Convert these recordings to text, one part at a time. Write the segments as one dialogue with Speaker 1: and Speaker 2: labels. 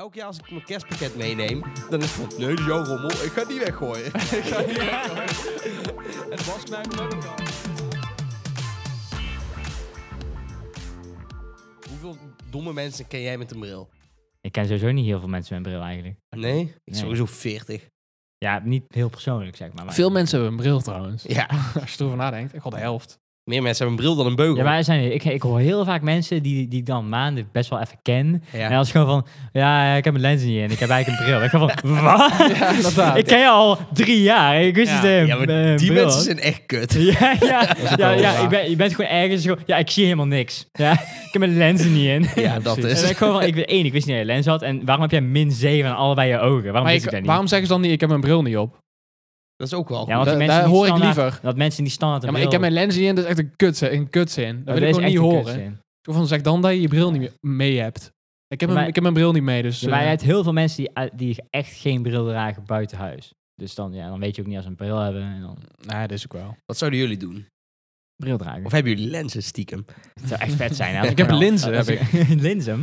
Speaker 1: Elk jaar als ik mijn kerstpakket meeneem, dan is het van, nee, die is jouw rommel, ik ga het niet weggooien.
Speaker 2: Ik ga niet weggooien. Het was mijn leuk.
Speaker 1: Hoeveel domme mensen ken jij met een bril?
Speaker 3: Ik ken sowieso niet heel veel mensen met een bril eigenlijk.
Speaker 1: Nee? Ik
Speaker 3: Nee.
Speaker 1: sowieso 40.
Speaker 3: Ja, niet heel persoonlijk zeg maar. maar-
Speaker 2: Veel mensen hebben een bril trouwens.
Speaker 1: Ja,
Speaker 2: Als je erover nadenkt. Ik had de helft.
Speaker 1: meer mensen hebben een bril dan een beugel.
Speaker 3: Ja, maar er zijn, ik, ik hoor heel vaak mensen die, die ik dan maanden best wel even ken.
Speaker 1: Ja.
Speaker 3: En als gewoon van, ja, ik heb mijn lens niet en ik heb eigenlijk een bril. Ik ga van, wat?
Speaker 2: Ja, inderdaad.
Speaker 3: ik ken je al drie jaar. Ik wist
Speaker 2: Ja.
Speaker 3: het. eh,
Speaker 1: Ja, maar
Speaker 3: eh,
Speaker 1: die mensen
Speaker 3: bril had.
Speaker 1: zijn echt kut.
Speaker 3: Ja, ja, ja, ja,
Speaker 2: wel waar.
Speaker 3: ik ben, je bent gewoon ergens. gewoon- Ja, ik zie helemaal niks. Ja, ik heb mijn lenzen niet in.
Speaker 1: Ja, dat
Speaker 3: En
Speaker 1: is.
Speaker 3: dan ik gewoon van, ik, weet- één, ik wist niet dat je lens had. En waarom heb jij min 7 aan allebei je ogen? Waarom
Speaker 2: Maar
Speaker 3: wist
Speaker 2: ik-
Speaker 3: ik dat niet?
Speaker 2: waarom zeggen ze dan niet, ik heb mijn bril niet op?
Speaker 1: Dat is ook wel
Speaker 3: Ja, want die
Speaker 2: Daar-
Speaker 3: mensen
Speaker 2: daar
Speaker 3: die
Speaker 2: hoor ik
Speaker 3: standaard-
Speaker 2: liever.
Speaker 3: Dat mensen die standaard
Speaker 2: Ja,
Speaker 3: een
Speaker 2: maar ik heb
Speaker 3: bril-
Speaker 2: mijn lens niet in, dat is echt een kutzin. Een kutzin. Dat
Speaker 3: Oh,
Speaker 2: wil ik
Speaker 3: is
Speaker 2: gewoon niet
Speaker 3: echt een
Speaker 2: horen.
Speaker 3: kutzin.
Speaker 2: Zo van, zeg dan dat je je bril niet meer- mee hebt. Ik heb,
Speaker 3: Ja,
Speaker 2: mijn,
Speaker 3: maar-
Speaker 2: ik heb mijn bril niet mee, dus...
Speaker 3: Ja, maar je
Speaker 2: eh,
Speaker 3: hebt heel veel mensen die, uit- die echt geen bril dragen buiten huis. Dus dan, ja, dan weet je ook niet als ze een bril hebben en dan
Speaker 2: nee, dat is ook wel.
Speaker 1: Wat zouden jullie doen?
Speaker 3: bril dragen.
Speaker 1: Of hebben jullie lenzen stiekem?
Speaker 3: Het zou echt vet zijn. hè, als
Speaker 2: Ik heb
Speaker 3: gewoon al-
Speaker 2: linzen,
Speaker 3: als
Speaker 2: heb
Speaker 3: ik- linzen? mm.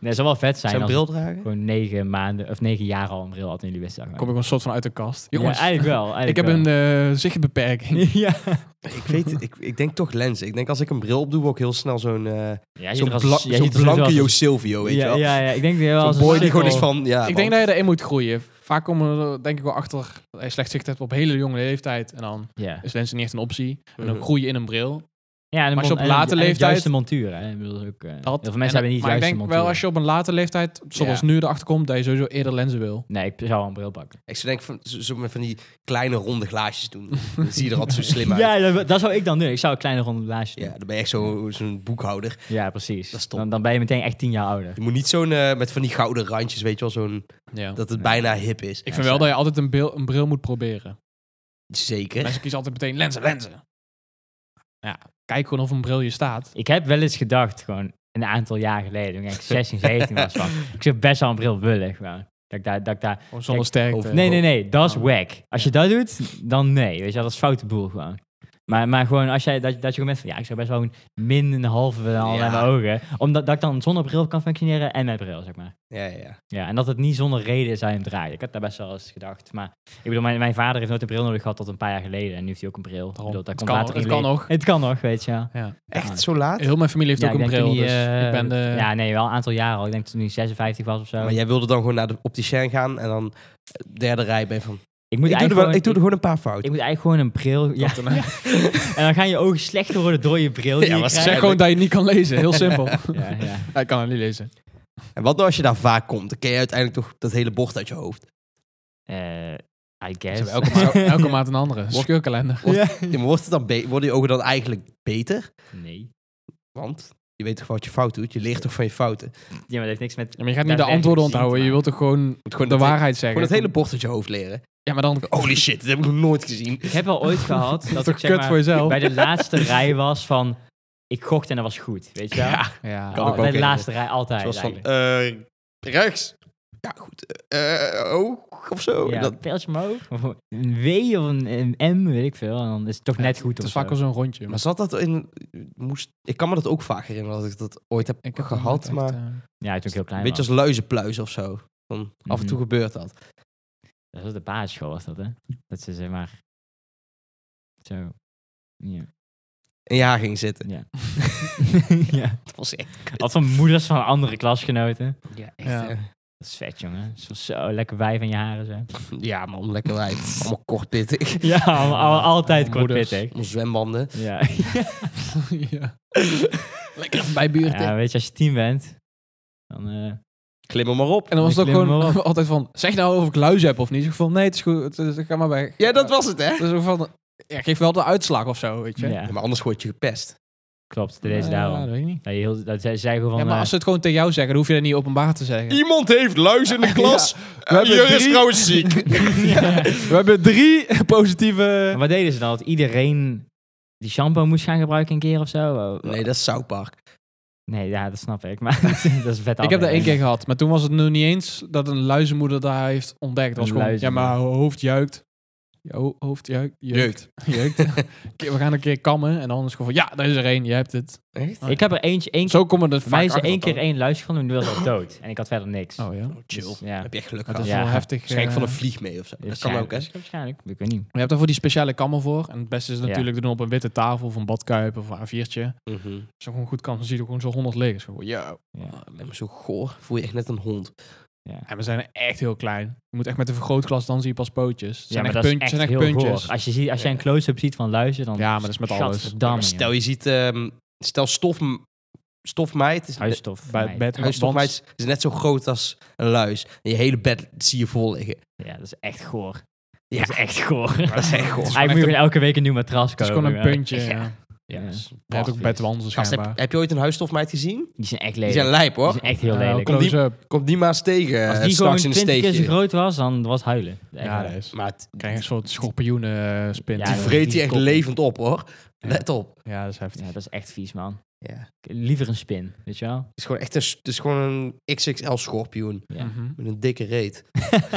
Speaker 3: Nee, het zou wel vet zijn
Speaker 1: Zijn
Speaker 3: als
Speaker 1: bril dragen?
Speaker 3: gewoon negen maanden of negen jaar al een bril had en jullie wisten dat
Speaker 2: kom
Speaker 3: gewoon.
Speaker 2: ik een soort van uit de kast.
Speaker 3: Ja,
Speaker 2: Jongens,
Speaker 3: eigenlijk wel. eigenlijk
Speaker 2: ik heb
Speaker 3: wel.
Speaker 2: een eh zichtbeperking.
Speaker 3: ja.
Speaker 1: Ik weet ik, ik denk toch lenzen. Ik denk als ik een bril opdoe, word ik heel snel zo'n eh
Speaker 3: ja,
Speaker 1: zo'n
Speaker 3: je ziet er als-
Speaker 1: bla-
Speaker 3: jij
Speaker 1: zo'n
Speaker 3: ziet er sowieso
Speaker 1: blanke
Speaker 3: als-
Speaker 1: Jo Silvio, weet je
Speaker 3: ja,
Speaker 1: wel.
Speaker 3: ja, ja, ik denk dat je wel als
Speaker 1: Zo'n
Speaker 3: een
Speaker 1: boy die gewoon is
Speaker 3: sukkel-
Speaker 1: van, ja
Speaker 2: ik
Speaker 1: man.
Speaker 2: denk dat je daarin moet groeien. Vaak komen we er denk ik wel achter dat je slecht zicht hebt op hele jonge leeftijd. En dan
Speaker 3: Ja,
Speaker 2: is lenzen niet echt een optie. En dan
Speaker 1: Mhm.
Speaker 2: groei je in een bril.
Speaker 3: ja en
Speaker 2: Maar als je
Speaker 3: mon-
Speaker 2: op
Speaker 3: en-
Speaker 2: late
Speaker 3: en het
Speaker 2: leeftijd-
Speaker 3: juiste montuur, hè. Ik bedoel, dat is ook, eh, heel
Speaker 2: Dat.
Speaker 3: veel
Speaker 2: En-
Speaker 3: mensen hebben niet
Speaker 2: Maar ik
Speaker 3: juiste
Speaker 2: denk
Speaker 3: montuur.
Speaker 2: wel als je op een late leeftijd, zoals
Speaker 1: Ja.
Speaker 2: nu, erachter komt dat je sowieso eerder lenzen wil.
Speaker 3: Nee, ik zou wel een bril pakken.
Speaker 1: Ik zou denken van, zo, zo met van die kleine ronde glaasjes doen. Dan zie je er altijd zo slim uit. Ja,
Speaker 3: Ja, dat, dat zou ik dan doen. Ik zou een kleine ronde blaasje doen.
Speaker 1: dan ben je echt zo- zo'n boekhouder.
Speaker 3: Ja, precies.
Speaker 1: Dat is top.
Speaker 3: dan, dan ben je meteen echt tien jaar ouder.
Speaker 1: Je moet niet zo'n, eh, met van die gouden randjes, weet je wel, zo'n,
Speaker 2: Ja.
Speaker 1: dat het bijna hip is.
Speaker 2: ik vind wel dat je altijd een, beel- een bril moet proberen.
Speaker 1: Zeker.
Speaker 2: Mensen kiezen altijd meteen lenzen, lenzen. Ja, kijk gewoon of een bril je staat.
Speaker 3: Ik heb wel eens gedacht, gewoon een aantal jaar geleden, toen ik eigenlijk 16, 17 was, van, ik zou best wel een bril willen. Gewoon. Dat ik daar, dat ik
Speaker 1: Eh,
Speaker 3: daar...
Speaker 2: Gewoon zonder
Speaker 3: Kijk,
Speaker 2: sterkte.
Speaker 1: of-
Speaker 3: Nee, nee, nee, dat is
Speaker 2: Oh.
Speaker 3: wack. Als je dat doet, dan nee. Weet je, wel, dat is foute boel gewoon. Maar, maar gewoon als jij, dat, dat je gewoon bent van, ja, ik zou best wel een min een halve willen halen aan
Speaker 1: Ja.
Speaker 3: mijn ogen. Omdat dat ik dan zonder bril kan functioneren en met bril, zeg maar.
Speaker 1: Ja, ja, ja.
Speaker 3: Ja, en dat het niet zonder reden is dat je hem draait. Ik had daar best wel eens gedacht. Maar ik bedoel, mijn, mijn vader heeft nooit een bril nodig gehad tot een paar jaar geleden. En nu heeft hij ook een bril. Ik
Speaker 2: Daarom.
Speaker 3: bedoel, dat
Speaker 2: Het
Speaker 3: komt
Speaker 2: kan-
Speaker 3: later in
Speaker 2: het
Speaker 3: je
Speaker 2: kan
Speaker 3: leven.
Speaker 2: nog.
Speaker 3: Het kan nog, weet je wel.
Speaker 2: Ja.
Speaker 3: Ja.
Speaker 1: Echt zo laat?
Speaker 2: Heel mijn familie heeft
Speaker 3: Ja,
Speaker 2: ook een
Speaker 3: ik denk
Speaker 2: bril,
Speaker 3: toen
Speaker 2: dus
Speaker 3: hij, eh,
Speaker 2: ik ben de...
Speaker 3: Ja, nee, wel een aantal jaren al. Ik denk toen hij 56 was of zo.
Speaker 1: Maar jij wilde dan gewoon naar de opticien gaan en dan eh, derde rij ben je van... Ik doe,
Speaker 3: ik, moet
Speaker 1: er
Speaker 3: eigenlijk
Speaker 1: wel,
Speaker 3: gewoon,
Speaker 1: ik doe er
Speaker 3: ik,
Speaker 1: gewoon een paar fouten.
Speaker 3: ik moet eigenlijk gewoon een bril... Ja,
Speaker 2: Kapitein.
Speaker 3: en dan gaan je ogen slechter worden door je bril die
Speaker 1: Ja,
Speaker 3: je
Speaker 1: maar
Speaker 3: krijgt.
Speaker 2: Zeg gewoon dat je niet kan lezen, heel simpel.
Speaker 3: Ja, ja.
Speaker 2: Hij kan het niet lezen.
Speaker 1: En wat nou als je daar vaak komt? Dan ken je uiteindelijk toch dat hele bord uit je hoofd.
Speaker 3: Eh, I
Speaker 2: Ze
Speaker 3: guess.
Speaker 2: hebben elke, maand, elke maand een andere. Scheurkalender.
Speaker 1: Wordt-
Speaker 3: Ja.
Speaker 1: Ja, maar wordt het dan be- worden je ogen dan eigenlijk beter?
Speaker 3: Nee.
Speaker 1: Want je weet toch wat je fout doet? Je leert toch van je fouten? Je
Speaker 3: Ja, maar dat heeft niks met...
Speaker 2: Ja, maar je gaat niet de
Speaker 3: Daar werkt
Speaker 2: antwoorden
Speaker 3: het niet,
Speaker 2: onthouden. Je
Speaker 3: maar-
Speaker 2: wilt toch gewoon
Speaker 1: moet gewoon
Speaker 2: de
Speaker 1: dat he-
Speaker 2: waarheid zeggen.
Speaker 1: Gewoon het hele bord uit je hoofd leren.
Speaker 2: Ja, maar dan...
Speaker 1: Holy shit, dat heb ik nog nooit gezien.
Speaker 3: Ik heb wel ooit gehad dat
Speaker 2: toch
Speaker 3: ik zeg
Speaker 2: kut
Speaker 3: maar,
Speaker 2: voor jezelf?
Speaker 3: bij de laatste rij was van... Ik gocht en dat was goed, weet je wel?
Speaker 1: Ja,
Speaker 2: Ja, Oh,
Speaker 1: Kan ook
Speaker 3: Al- bij de
Speaker 1: helemaal.
Speaker 3: laatste rij altijd
Speaker 1: het was van
Speaker 3: eigenlijk.
Speaker 1: eh, rechts. Ja, goed. Eh oog of zo.
Speaker 3: ja,
Speaker 1: Dat,
Speaker 3: een pijltje omhoog. Of een W of een, een M, weet ik veel. En dan is het toch net goed
Speaker 2: Het
Speaker 3: of
Speaker 2: is
Speaker 3: zo.
Speaker 2: vaak wel zo'n rondje.
Speaker 1: maar zat dat in... Moest, ik kan me dat ook vaak herinneren dat ik dat ooit heb
Speaker 2: ik heb hem nooit
Speaker 1: gehad.
Speaker 2: echt,
Speaker 1: Maar
Speaker 2: eh,
Speaker 3: Ja, toen ik heel klein
Speaker 1: een beetje
Speaker 3: was.
Speaker 1: als luizenpluis of zo. Van, Af en toe gebeurt dat.
Speaker 3: Dat was de basisschool, was dat, hè? Dat ze zeg maar... Zo... Ja.
Speaker 1: Een jaar ging zitten.
Speaker 3: ja. ja.
Speaker 1: Dat was echt...
Speaker 3: Wat van moeders van andere klasgenoten.
Speaker 1: Ja, echt.
Speaker 2: Ja.
Speaker 1: eh,
Speaker 3: Dat is vet, jongen. Zo, zo lekker wij van je haren, zo.
Speaker 1: Ja, man, lekker wijf. Allemaal kortpittig.
Speaker 3: Ja, al- al- altijd kort
Speaker 2: Moeders.
Speaker 3: pittig.
Speaker 1: Allemaal zwembanden.
Speaker 3: Ja.
Speaker 2: eh, ja. Lekker bij buurt.
Speaker 3: ja, weet je, als je tien bent, dan... eh,
Speaker 1: Klim er maar op.
Speaker 2: En dan was
Speaker 3: Ik
Speaker 2: het ook
Speaker 3: klim hem
Speaker 2: gewoon altijd van, zeg nou of ik luizen heb of niet. Ik van, nee, het is goed, het is- ga maar weg.
Speaker 1: Ja, dat was het, hè?
Speaker 2: Dus ook van, ja, geef wel de uitslag of zo, weet je. Eh,
Speaker 3: ja,
Speaker 1: maar anders word je gepest.
Speaker 3: klopt. Deze
Speaker 2: Ja,
Speaker 3: daarom.
Speaker 2: dat
Speaker 3: Dat,
Speaker 2: weet ik niet.
Speaker 3: je heel, dat zij, zij gewoon
Speaker 2: Ja,
Speaker 3: van... eh,
Speaker 2: maar als ze het gewoon tegen jou zeggen, dan hoef je dat niet openbaar te zeggen.
Speaker 1: Iemand heeft luis in de
Speaker 2: klas.
Speaker 1: We
Speaker 2: hebben Jurre is drie-
Speaker 1: trouwens ziek.
Speaker 3: eh,
Speaker 2: We hebben drie positieve...
Speaker 3: wat deden ze dan? Dat iedereen die shampoo moest gaan gebruiken een keer of zo? Oh,
Speaker 1: Nee, dat is Southpark.
Speaker 3: Nee, ja, dat snap ik. Maar dat is vet
Speaker 2: Ik heb dat één
Speaker 3: aflevering.
Speaker 2: keer gehad, maar toen was het nog niet eens dat een luizenmoeder daar heeft ontdekt. Dat was
Speaker 3: Een
Speaker 2: gewoon, ja,
Speaker 3: luizenmoeder.
Speaker 2: maar haar hoofd juikt. je ho- hoofd jeukt. Jeukt. jeukt. Oké, We gaan een keer kammen en dan is het gewoon van, ja, daar is er één, je hebt het.
Speaker 1: Echt?
Speaker 3: Ik heb er eentje, één keer,
Speaker 2: Zo komen er
Speaker 3: voor mij
Speaker 2: vaak
Speaker 3: is er
Speaker 2: achter
Speaker 3: één keer
Speaker 2: dan.
Speaker 3: één luisje van en die was al dood. En ik had verder niks.
Speaker 2: Oh ja.
Speaker 1: Chill.
Speaker 3: Dus, ja.
Speaker 1: Heb je echt geluk
Speaker 2: Dat
Speaker 1: gehad.
Speaker 2: is
Speaker 3: Ja.
Speaker 2: wel heftig.
Speaker 1: Waarschijnlijk van
Speaker 2: eh,
Speaker 1: een vlieg mee of zo. Dat kan
Speaker 3: Waarschijnlijk-
Speaker 1: ook, hè?
Speaker 3: Dus Waarschijnlijk, ik weet niet.
Speaker 2: Maar je hebt daarvoor die speciale kammen voor. En het beste is
Speaker 3: Ja.
Speaker 2: natuurlijk te doen op een witte tafel of een badkuip of een A4'tje. Als
Speaker 1: Mhm.
Speaker 2: je gewoon goed kan, dan zie je er gewoon zo 100 liggen. Zo, ja.
Speaker 3: Ja.
Speaker 1: Ah, lijkt me zo goor. Voel je echt net een hond.
Speaker 2: En we zijn echt heel klein. Je moet echt met een vergrootglas, dan zie je pas pootjes. Het
Speaker 3: Ja,
Speaker 2: zijn
Speaker 3: maar
Speaker 2: echt
Speaker 3: dat is
Speaker 2: puntjes.
Speaker 3: echt
Speaker 2: zijn echt
Speaker 3: heel
Speaker 2: puntjes.
Speaker 3: goor. Als je, ziet, als je
Speaker 1: Ja.
Speaker 3: een close-up ziet van luizen, dan...
Speaker 2: Ja, maar dat is met alles.
Speaker 3: Gadverdamme,
Speaker 1: Stel,
Speaker 3: joh.
Speaker 1: je ziet... ehm, stel, stof, stofmeid... Is
Speaker 3: Huisstof.
Speaker 2: Bij
Speaker 3: nee.
Speaker 2: het bed.
Speaker 1: Huisstofmeid is, is net zo groot als een luis. En je hele bed zie je vol liggen.
Speaker 3: Ja, dat is echt goor.
Speaker 1: Ja.
Speaker 3: Dat is echt goor.
Speaker 1: Maar dat is echt goor.
Speaker 3: Eigenlijk moet je gewoon elke week een nieuw matras
Speaker 2: Het is
Speaker 3: kopen.
Speaker 2: gewoon een
Speaker 3: joh.
Speaker 2: puntje.
Speaker 1: Ja.
Speaker 2: Ja.
Speaker 3: Ja.
Speaker 1: dat is
Speaker 2: Je hebt ook
Speaker 1: belachelijk.
Speaker 2: bedwanden
Speaker 1: Gast,
Speaker 2: schijnbaar.
Speaker 1: heb, heb je ooit een huisstofmeid gezien?
Speaker 3: Die zijn echt
Speaker 1: Die zijn
Speaker 3: lelijk.
Speaker 1: lijp,
Speaker 3: Die
Speaker 1: hoor.
Speaker 3: zijn echt heel
Speaker 2: Ja,
Speaker 3: lelijk.
Speaker 1: Kom die-
Speaker 2: close-up.
Speaker 1: Komt die maar eens tegen.
Speaker 3: Als
Speaker 1: eh,
Speaker 3: die gewoon
Speaker 1: straks in een
Speaker 3: 20 keer zo
Speaker 1: steekje.
Speaker 3: groot was, dan was huilen. Echt
Speaker 2: Ja,
Speaker 3: waar.
Speaker 2: dat is.
Speaker 1: Maar het-
Speaker 2: Krijg je een soort schorpioenen eh, spin.
Speaker 3: Ja,
Speaker 1: die
Speaker 3: dat-
Speaker 1: vreet
Speaker 3: die
Speaker 1: hij echt
Speaker 3: kop-
Speaker 1: levend op, hoor. Let op.
Speaker 2: Ja, dat is heftig.
Speaker 3: Ja, dat is echt vies, man.
Speaker 1: Ja. Het
Speaker 3: Liever een spin, weet je wel?
Speaker 1: is gewoon echt een, s- het is gewoon een XXL-schorpioen.
Speaker 3: Ja.
Speaker 2: Mhm.
Speaker 1: Met een dikke reet.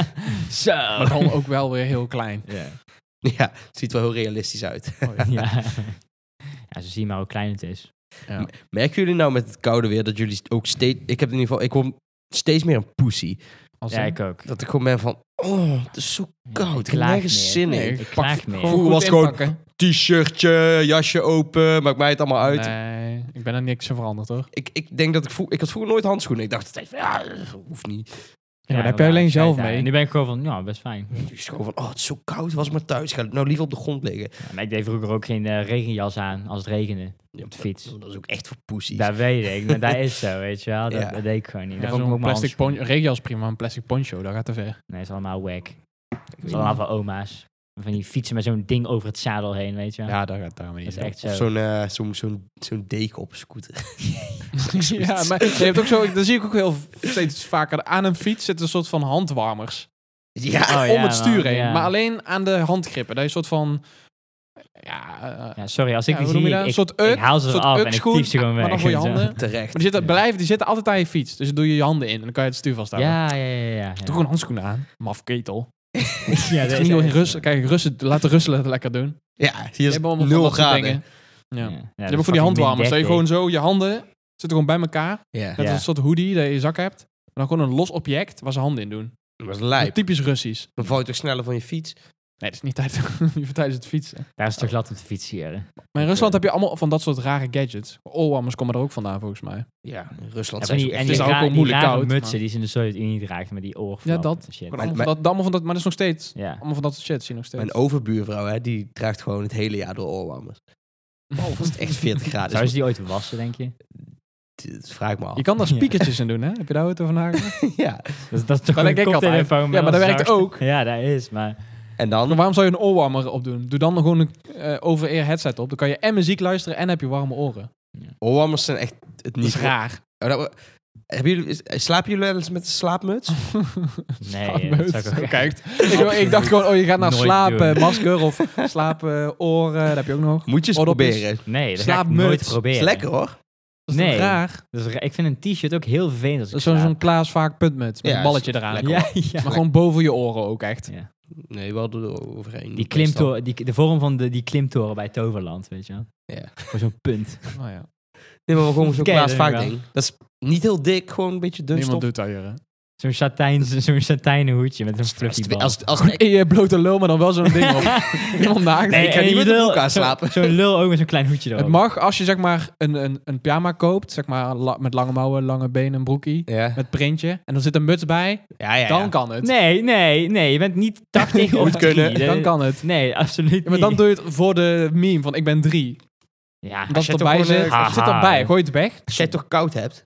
Speaker 3: Zo!
Speaker 2: Maar dan ook wel weer heel klein.
Speaker 3: Ja.
Speaker 1: Ja, het ziet wel heel realistisch uit.
Speaker 2: Oh, ja.
Speaker 3: ja. ja, zo zie je maar hoe klein het is.
Speaker 1: Merken jullie nou met het koude weer dat jullie ook steeds... Ik heb in ieder geval... Ik word steeds meer een pussy.
Speaker 2: Als
Speaker 3: Ja,
Speaker 2: een-
Speaker 3: ik ook.
Speaker 1: Dat ik gewoon ben van... Oh, het is zo
Speaker 3: Ja,
Speaker 1: koud.
Speaker 3: ik
Speaker 1: Ik heb
Speaker 3: klaag
Speaker 1: nergens
Speaker 3: meer.
Speaker 1: zin
Speaker 2: Nee,
Speaker 1: in.
Speaker 3: Ik
Speaker 2: pak-
Speaker 3: klaag meer.
Speaker 2: gewoon
Speaker 1: Vroeger
Speaker 2: goed
Speaker 1: was het gewoon-
Speaker 2: inpakken.
Speaker 1: T-shirtje, jasje open, maakt mij het allemaal uit.
Speaker 2: Nee, ik ben er niks aan veranderd hoor.
Speaker 1: Ik, ik denk dat ik vroeg, ik had vroeger nooit handschoenen. Ik dacht steeds van, ja, eh, hoeft niet.
Speaker 2: Ja, maar daar heb
Speaker 3: wel,
Speaker 2: jij alleen
Speaker 3: ik zei
Speaker 2: zelf
Speaker 3: het,
Speaker 2: mee.
Speaker 3: ja. Nu ben ik gewoon van, ja, best fijn.
Speaker 1: Dus het is gewoon van, oh, het is zo koud, was maar thuis. Ga nou liever op de grond liggen.
Speaker 3: Ja, maar ik deed vroeger ook geen eh, regenjas aan als het regende. Op de fiets.
Speaker 1: Dat, dat is ook echt voor poesies.
Speaker 3: Dat weet ik, maar dat is zo, weet je wel. Dat,
Speaker 1: Ja.
Speaker 3: dat deed ik gewoon niet.
Speaker 2: Ja,
Speaker 3: Dat vond ik
Speaker 2: zo'n
Speaker 3: ook maar
Speaker 2: plastic poncho.
Speaker 3: handschoenen.
Speaker 2: Regio is prima, maar een plastic poncho, dat gaat te ver.
Speaker 3: Nee, het is allemaal wack. Het is allemaal van oma's. Van die fietsen met zo'n ding over het zadel heen, weet je wel.
Speaker 2: Ja, dat gaat daarmee
Speaker 3: dat is echt zo.
Speaker 1: Of zo'n eh, zo'n zo'n zo'n deken op een scooter.
Speaker 2: ja, maar je hebt ook zo, dan zie ik ook heel v- steeds vaker aan een fiets zitten een soort van handwarmers
Speaker 1: ja,
Speaker 3: Oh,
Speaker 2: om
Speaker 3: ja, man,
Speaker 2: het stuur heen,
Speaker 3: ja.
Speaker 2: maar alleen aan de handgrippen. Dat je een soort van ja, eh,
Speaker 3: Ja, sorry, als ik
Speaker 2: ja,
Speaker 3: die
Speaker 2: hoe noem
Speaker 3: zie,
Speaker 2: je dat?
Speaker 3: ik,
Speaker 2: Een
Speaker 3: ik,
Speaker 2: soort
Speaker 3: ik
Speaker 2: uk,
Speaker 3: haal ze
Speaker 2: soort
Speaker 3: eraf en ik
Speaker 2: ukschoen,
Speaker 3: tief ze gewoon weg.
Speaker 2: maar dan voor je
Speaker 3: weet wel.
Speaker 2: handen.
Speaker 1: terecht.
Speaker 2: Maar die zitten, blijven, die zitten altijd aan je fiets, dus dan doe je je handen in en dan kan je het stuur vasthouden.
Speaker 3: Ja, ja, ja. ja, ja.
Speaker 2: Doe gewoon handschoenen aan, maf ketel.
Speaker 3: Ja, dat
Speaker 2: Ja,
Speaker 3: is
Speaker 2: niet in
Speaker 3: echt-
Speaker 2: Russen, kijk Russen, laten Russen het lekker doen. Die
Speaker 1: Ja, hier is
Speaker 2: hebben allemaal van
Speaker 1: nul
Speaker 2: dat soort
Speaker 1: graden.
Speaker 2: dingen.
Speaker 3: Ja.
Speaker 2: Ja.
Speaker 3: Ja,
Speaker 2: Je
Speaker 3: dat
Speaker 2: hebt ook
Speaker 3: is
Speaker 2: van die
Speaker 3: fucking
Speaker 2: handwarmers. Dat je
Speaker 3: min
Speaker 2: gewoon zo je handen zitten gewoon bij elkaar.
Speaker 1: Ja,
Speaker 2: Net
Speaker 3: Ja.
Speaker 2: als een soort hoodie dat je in je zak hebt. En dan gewoon een los object waar ze handen in doen.
Speaker 1: dat was lijp.
Speaker 2: Typisch Russisch.
Speaker 1: Dan val je toch sneller van je fiets?
Speaker 2: Nee, dat is niet tijdens, niet voor tijdens het fietsen.
Speaker 3: 30. Daar is het toch glad om te fietsen.
Speaker 2: Maar in Rusland heb je allemaal van dat soort rare gadgets. Oorwarmers komen er ook vandaan volgens mij.
Speaker 1: Ja, in Rusland
Speaker 3: En
Speaker 1: zijn
Speaker 3: van
Speaker 1: ze ook
Speaker 3: die, en
Speaker 1: echt...
Speaker 3: die,
Speaker 2: is daar ook
Speaker 3: ra-
Speaker 2: wel
Speaker 3: die
Speaker 2: moeilijk
Speaker 3: rare
Speaker 2: koud,
Speaker 3: mutsen
Speaker 2: maar-
Speaker 3: die ze in de Sovjet-Unie dragen met die oorvlappen.
Speaker 2: dat.
Speaker 3: en shit.
Speaker 2: Gewoon allemaal
Speaker 1: Maar-
Speaker 2: van dat, allemaal van dat, maar dat is nog steeds.
Speaker 3: Ja.
Speaker 2: Allemaal van dat soort shit zie je nog steeds.
Speaker 1: Mijn overbuurvrouw, hè, die draagt gewoon het hele jaar door oorwarmers.
Speaker 2: Oh,
Speaker 1: Of als het echt 40 graden
Speaker 3: Zou
Speaker 1: is.
Speaker 3: ze die ooit wassen, denk je?
Speaker 1: Dat vraag ik me af.
Speaker 2: Je kan daar
Speaker 3: Ja.
Speaker 2: spiekertjes in doen, hè? Heb je daar ooit over nagedacht?
Speaker 1: Ja,
Speaker 3: Dat, dat is toch
Speaker 2: Daar
Speaker 3: een
Speaker 2: denk ik altijd.
Speaker 3: koptelefoon.
Speaker 2: Ja, maar dat werkt
Speaker 3: zacht.
Speaker 2: ook.
Speaker 3: Ja, dat is, maar...
Speaker 1: en dan?
Speaker 2: Maar waarom zou je een oorwarmer opdoen? Doe dan gewoon een eh, over-ear headset op. Dan kan je en muziek luisteren en heb je warme oren.
Speaker 1: Oorwarmers zijn echt het
Speaker 2: Dat
Speaker 1: niet
Speaker 2: is raar.
Speaker 1: Oh, dat we- hebben jullie, is- eh, slapen jullie wel eens met een slaapmuts?
Speaker 2: Oh,
Speaker 3: Nee, eh, dat zou ik ook...
Speaker 2: Kijkt. Ik, ik dacht gewoon, oh, je gaat naar
Speaker 3: Nooit
Speaker 2: slapen,
Speaker 3: doen.
Speaker 2: masker of slapen, oren. oh, Dat heb je ook nog.
Speaker 1: Moet je eens
Speaker 2: Oordopjes.
Speaker 1: proberen.
Speaker 3: Nee, dat ga ik
Speaker 2: Slaapmuts.
Speaker 3: nooit proberen.
Speaker 1: Is lekker hoor.
Speaker 2: Dat is toch
Speaker 3: Nee.
Speaker 2: raar.
Speaker 3: Dus ra- ik vind een t-shirt ook heel vervelend als
Speaker 2: Dat
Speaker 3: ik
Speaker 2: is zo'n
Speaker 3: slaap.
Speaker 2: zo'n Klaas vaak puntmuts met
Speaker 1: Ja,
Speaker 2: een balletje
Speaker 1: is
Speaker 2: eraan.
Speaker 1: lekker.
Speaker 3: Ja, ja.
Speaker 2: Maar gewoon boven je oren ook echt.
Speaker 3: Ja.
Speaker 1: Nee, wel door overheen.
Speaker 3: Die klimtoren, die, de vorm van de, die klimtoren bij Toverland, weet je wel.
Speaker 1: Ja.
Speaker 3: Gewoon zo'n punt.
Speaker 2: Oh, ja.
Speaker 1: Nee, maar gewoon zo'n
Speaker 3: Ken je
Speaker 1: Klaas
Speaker 3: dat
Speaker 1: vaak
Speaker 3: wel?
Speaker 1: ding. Dat is niet heel dik, gewoon een beetje dun
Speaker 2: Niemand
Speaker 1: stof.
Speaker 2: doet dat hier. hè.
Speaker 3: Zo'n satijn, zo'n satijnen hoedje met een
Speaker 1: Als,
Speaker 3: fluffy
Speaker 1: het-
Speaker 3: bal.
Speaker 1: als, het- als, het-
Speaker 2: In je blote lul, maar dan wel zo'n ding op. Helemaal naakt.
Speaker 1: Nee, ik ga
Speaker 3: en
Speaker 1: niet
Speaker 3: je
Speaker 1: met een
Speaker 3: lul-
Speaker 1: broek aan
Speaker 3: zo-
Speaker 1: slapen.
Speaker 3: Zo'n lul ook met zo'n klein hoedje
Speaker 2: Het
Speaker 3: erop.
Speaker 2: mag als je zeg maar een, een, een pyjama koopt, zeg maar la- met lange mouwen, lange benen, een broekie,
Speaker 1: ja.
Speaker 2: met printje. En dan zit een muts bij,
Speaker 1: Ja, ja, ja.
Speaker 2: dan kan het.
Speaker 3: Nee, nee, nee. Je bent niet 80 of
Speaker 1: Moet kunnen.
Speaker 3: drie.
Speaker 2: Dan kan het.
Speaker 3: Nee, absoluut
Speaker 2: Ja, maar dan
Speaker 3: niet.
Speaker 2: doe je het voor de meme van ik ben drie.
Speaker 3: Ja,
Speaker 2: Dat
Speaker 1: je
Speaker 2: het
Speaker 1: toch
Speaker 2: erbij
Speaker 1: gewoon,
Speaker 2: zit.
Speaker 3: eh,
Speaker 2: Het zit erbij,
Speaker 3: haha.
Speaker 2: gooi het weg.
Speaker 1: Als jij het toch koud hebt?